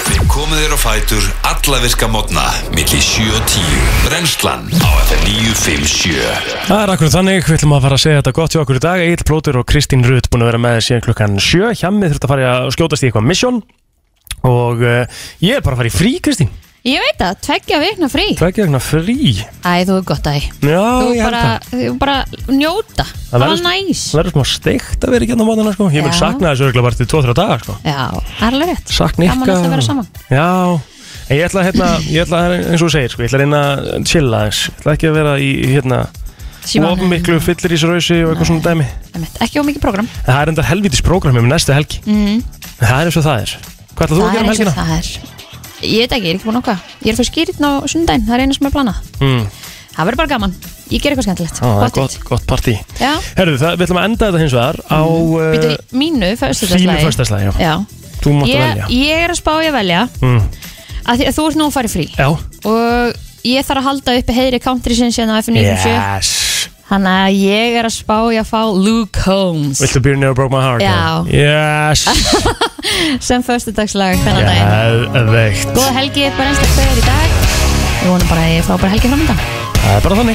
[SPEAKER 3] Við komum þér á fætur alla virka mótna millir 7 og 10 Brennslan á FM 957
[SPEAKER 1] Það er akkur þannig, við ætlum að fara að segja þetta gott hjá okkur í dag Egil Plótur og Kristín Rut búin að vera með þér síðan klukkan 7 Hjammið þurft að fara að skjótast í eitthvað mission Og uh, ég er bara að fara í frí, Kristín
[SPEAKER 2] Ég veit það, tveggja vikna frí
[SPEAKER 1] Tveggja vegna frí
[SPEAKER 2] Æ, þú er gott að því
[SPEAKER 1] Já,
[SPEAKER 2] Þú
[SPEAKER 1] ég held
[SPEAKER 2] bara, þú bara njóta Það var næs
[SPEAKER 1] Það verður smá steikt að vera ekki hérna á mótana sko Ég mun
[SPEAKER 2] Já.
[SPEAKER 1] sakna þessu örgulega bara til 2-3 dagar sko
[SPEAKER 2] Já, það er alveg rétt
[SPEAKER 1] Sakna ykkar
[SPEAKER 2] Gaman alltaf að vera saman
[SPEAKER 1] Já, en ég ætla að hérna, ég ætla að eins og þú segir sko Ég ætla að reyna að chilla aðeins Ég ætla ekki að vera í hérna
[SPEAKER 2] Símanum.
[SPEAKER 1] Of miklu fyllir í og eitthvað svona dæmi
[SPEAKER 2] Einmitt, Ekki of mikið program
[SPEAKER 1] En það er enda helvitis prógrammi með næstu helgi
[SPEAKER 2] mm.
[SPEAKER 1] En Það er eins og það er Hvað ætlaðu þú að
[SPEAKER 2] Það
[SPEAKER 1] gera
[SPEAKER 2] er
[SPEAKER 1] um
[SPEAKER 2] eins og
[SPEAKER 1] helgina?
[SPEAKER 2] það er Ég veit ekki, ég er ekki búin okkar Ég er fyrir skýritn á sundaginn, það er einu sem er planað
[SPEAKER 1] Mm.
[SPEAKER 2] Það verður bara gaman, ég ger eitthvað skemmtilegt
[SPEAKER 1] Á, Það er
[SPEAKER 2] Gott.
[SPEAKER 1] Ah, gott, gott partí
[SPEAKER 2] Já,
[SPEAKER 1] Herðu, það, við ætlum að enda þetta hins vegar á
[SPEAKER 2] býtu,
[SPEAKER 1] uh,
[SPEAKER 2] mínu
[SPEAKER 1] Þínu
[SPEAKER 2] föstudagslagi
[SPEAKER 1] föstaslagi, já
[SPEAKER 2] Já,
[SPEAKER 1] Þú mátt að
[SPEAKER 2] ég,
[SPEAKER 1] velja
[SPEAKER 2] ég er að spá ég að velja
[SPEAKER 1] mm.
[SPEAKER 2] að Því að þú ert nú að fara í frí
[SPEAKER 1] Já,
[SPEAKER 2] Og ég þarf að halda uppi heiðri country sinns hérna á FN97
[SPEAKER 1] yes
[SPEAKER 2] Þannig að ég er að spá ég að fá Luke Holmes
[SPEAKER 1] Viltu byrja never broke my heart?
[SPEAKER 2] Já.
[SPEAKER 1] Yes
[SPEAKER 2] sem föstudagslag þennan daginn
[SPEAKER 1] Geðveikt
[SPEAKER 2] Góða helgi, bara einstaklega er í dag Ég vonum bara að ég fá bara helgi framöndan
[SPEAKER 1] Það er bara þannig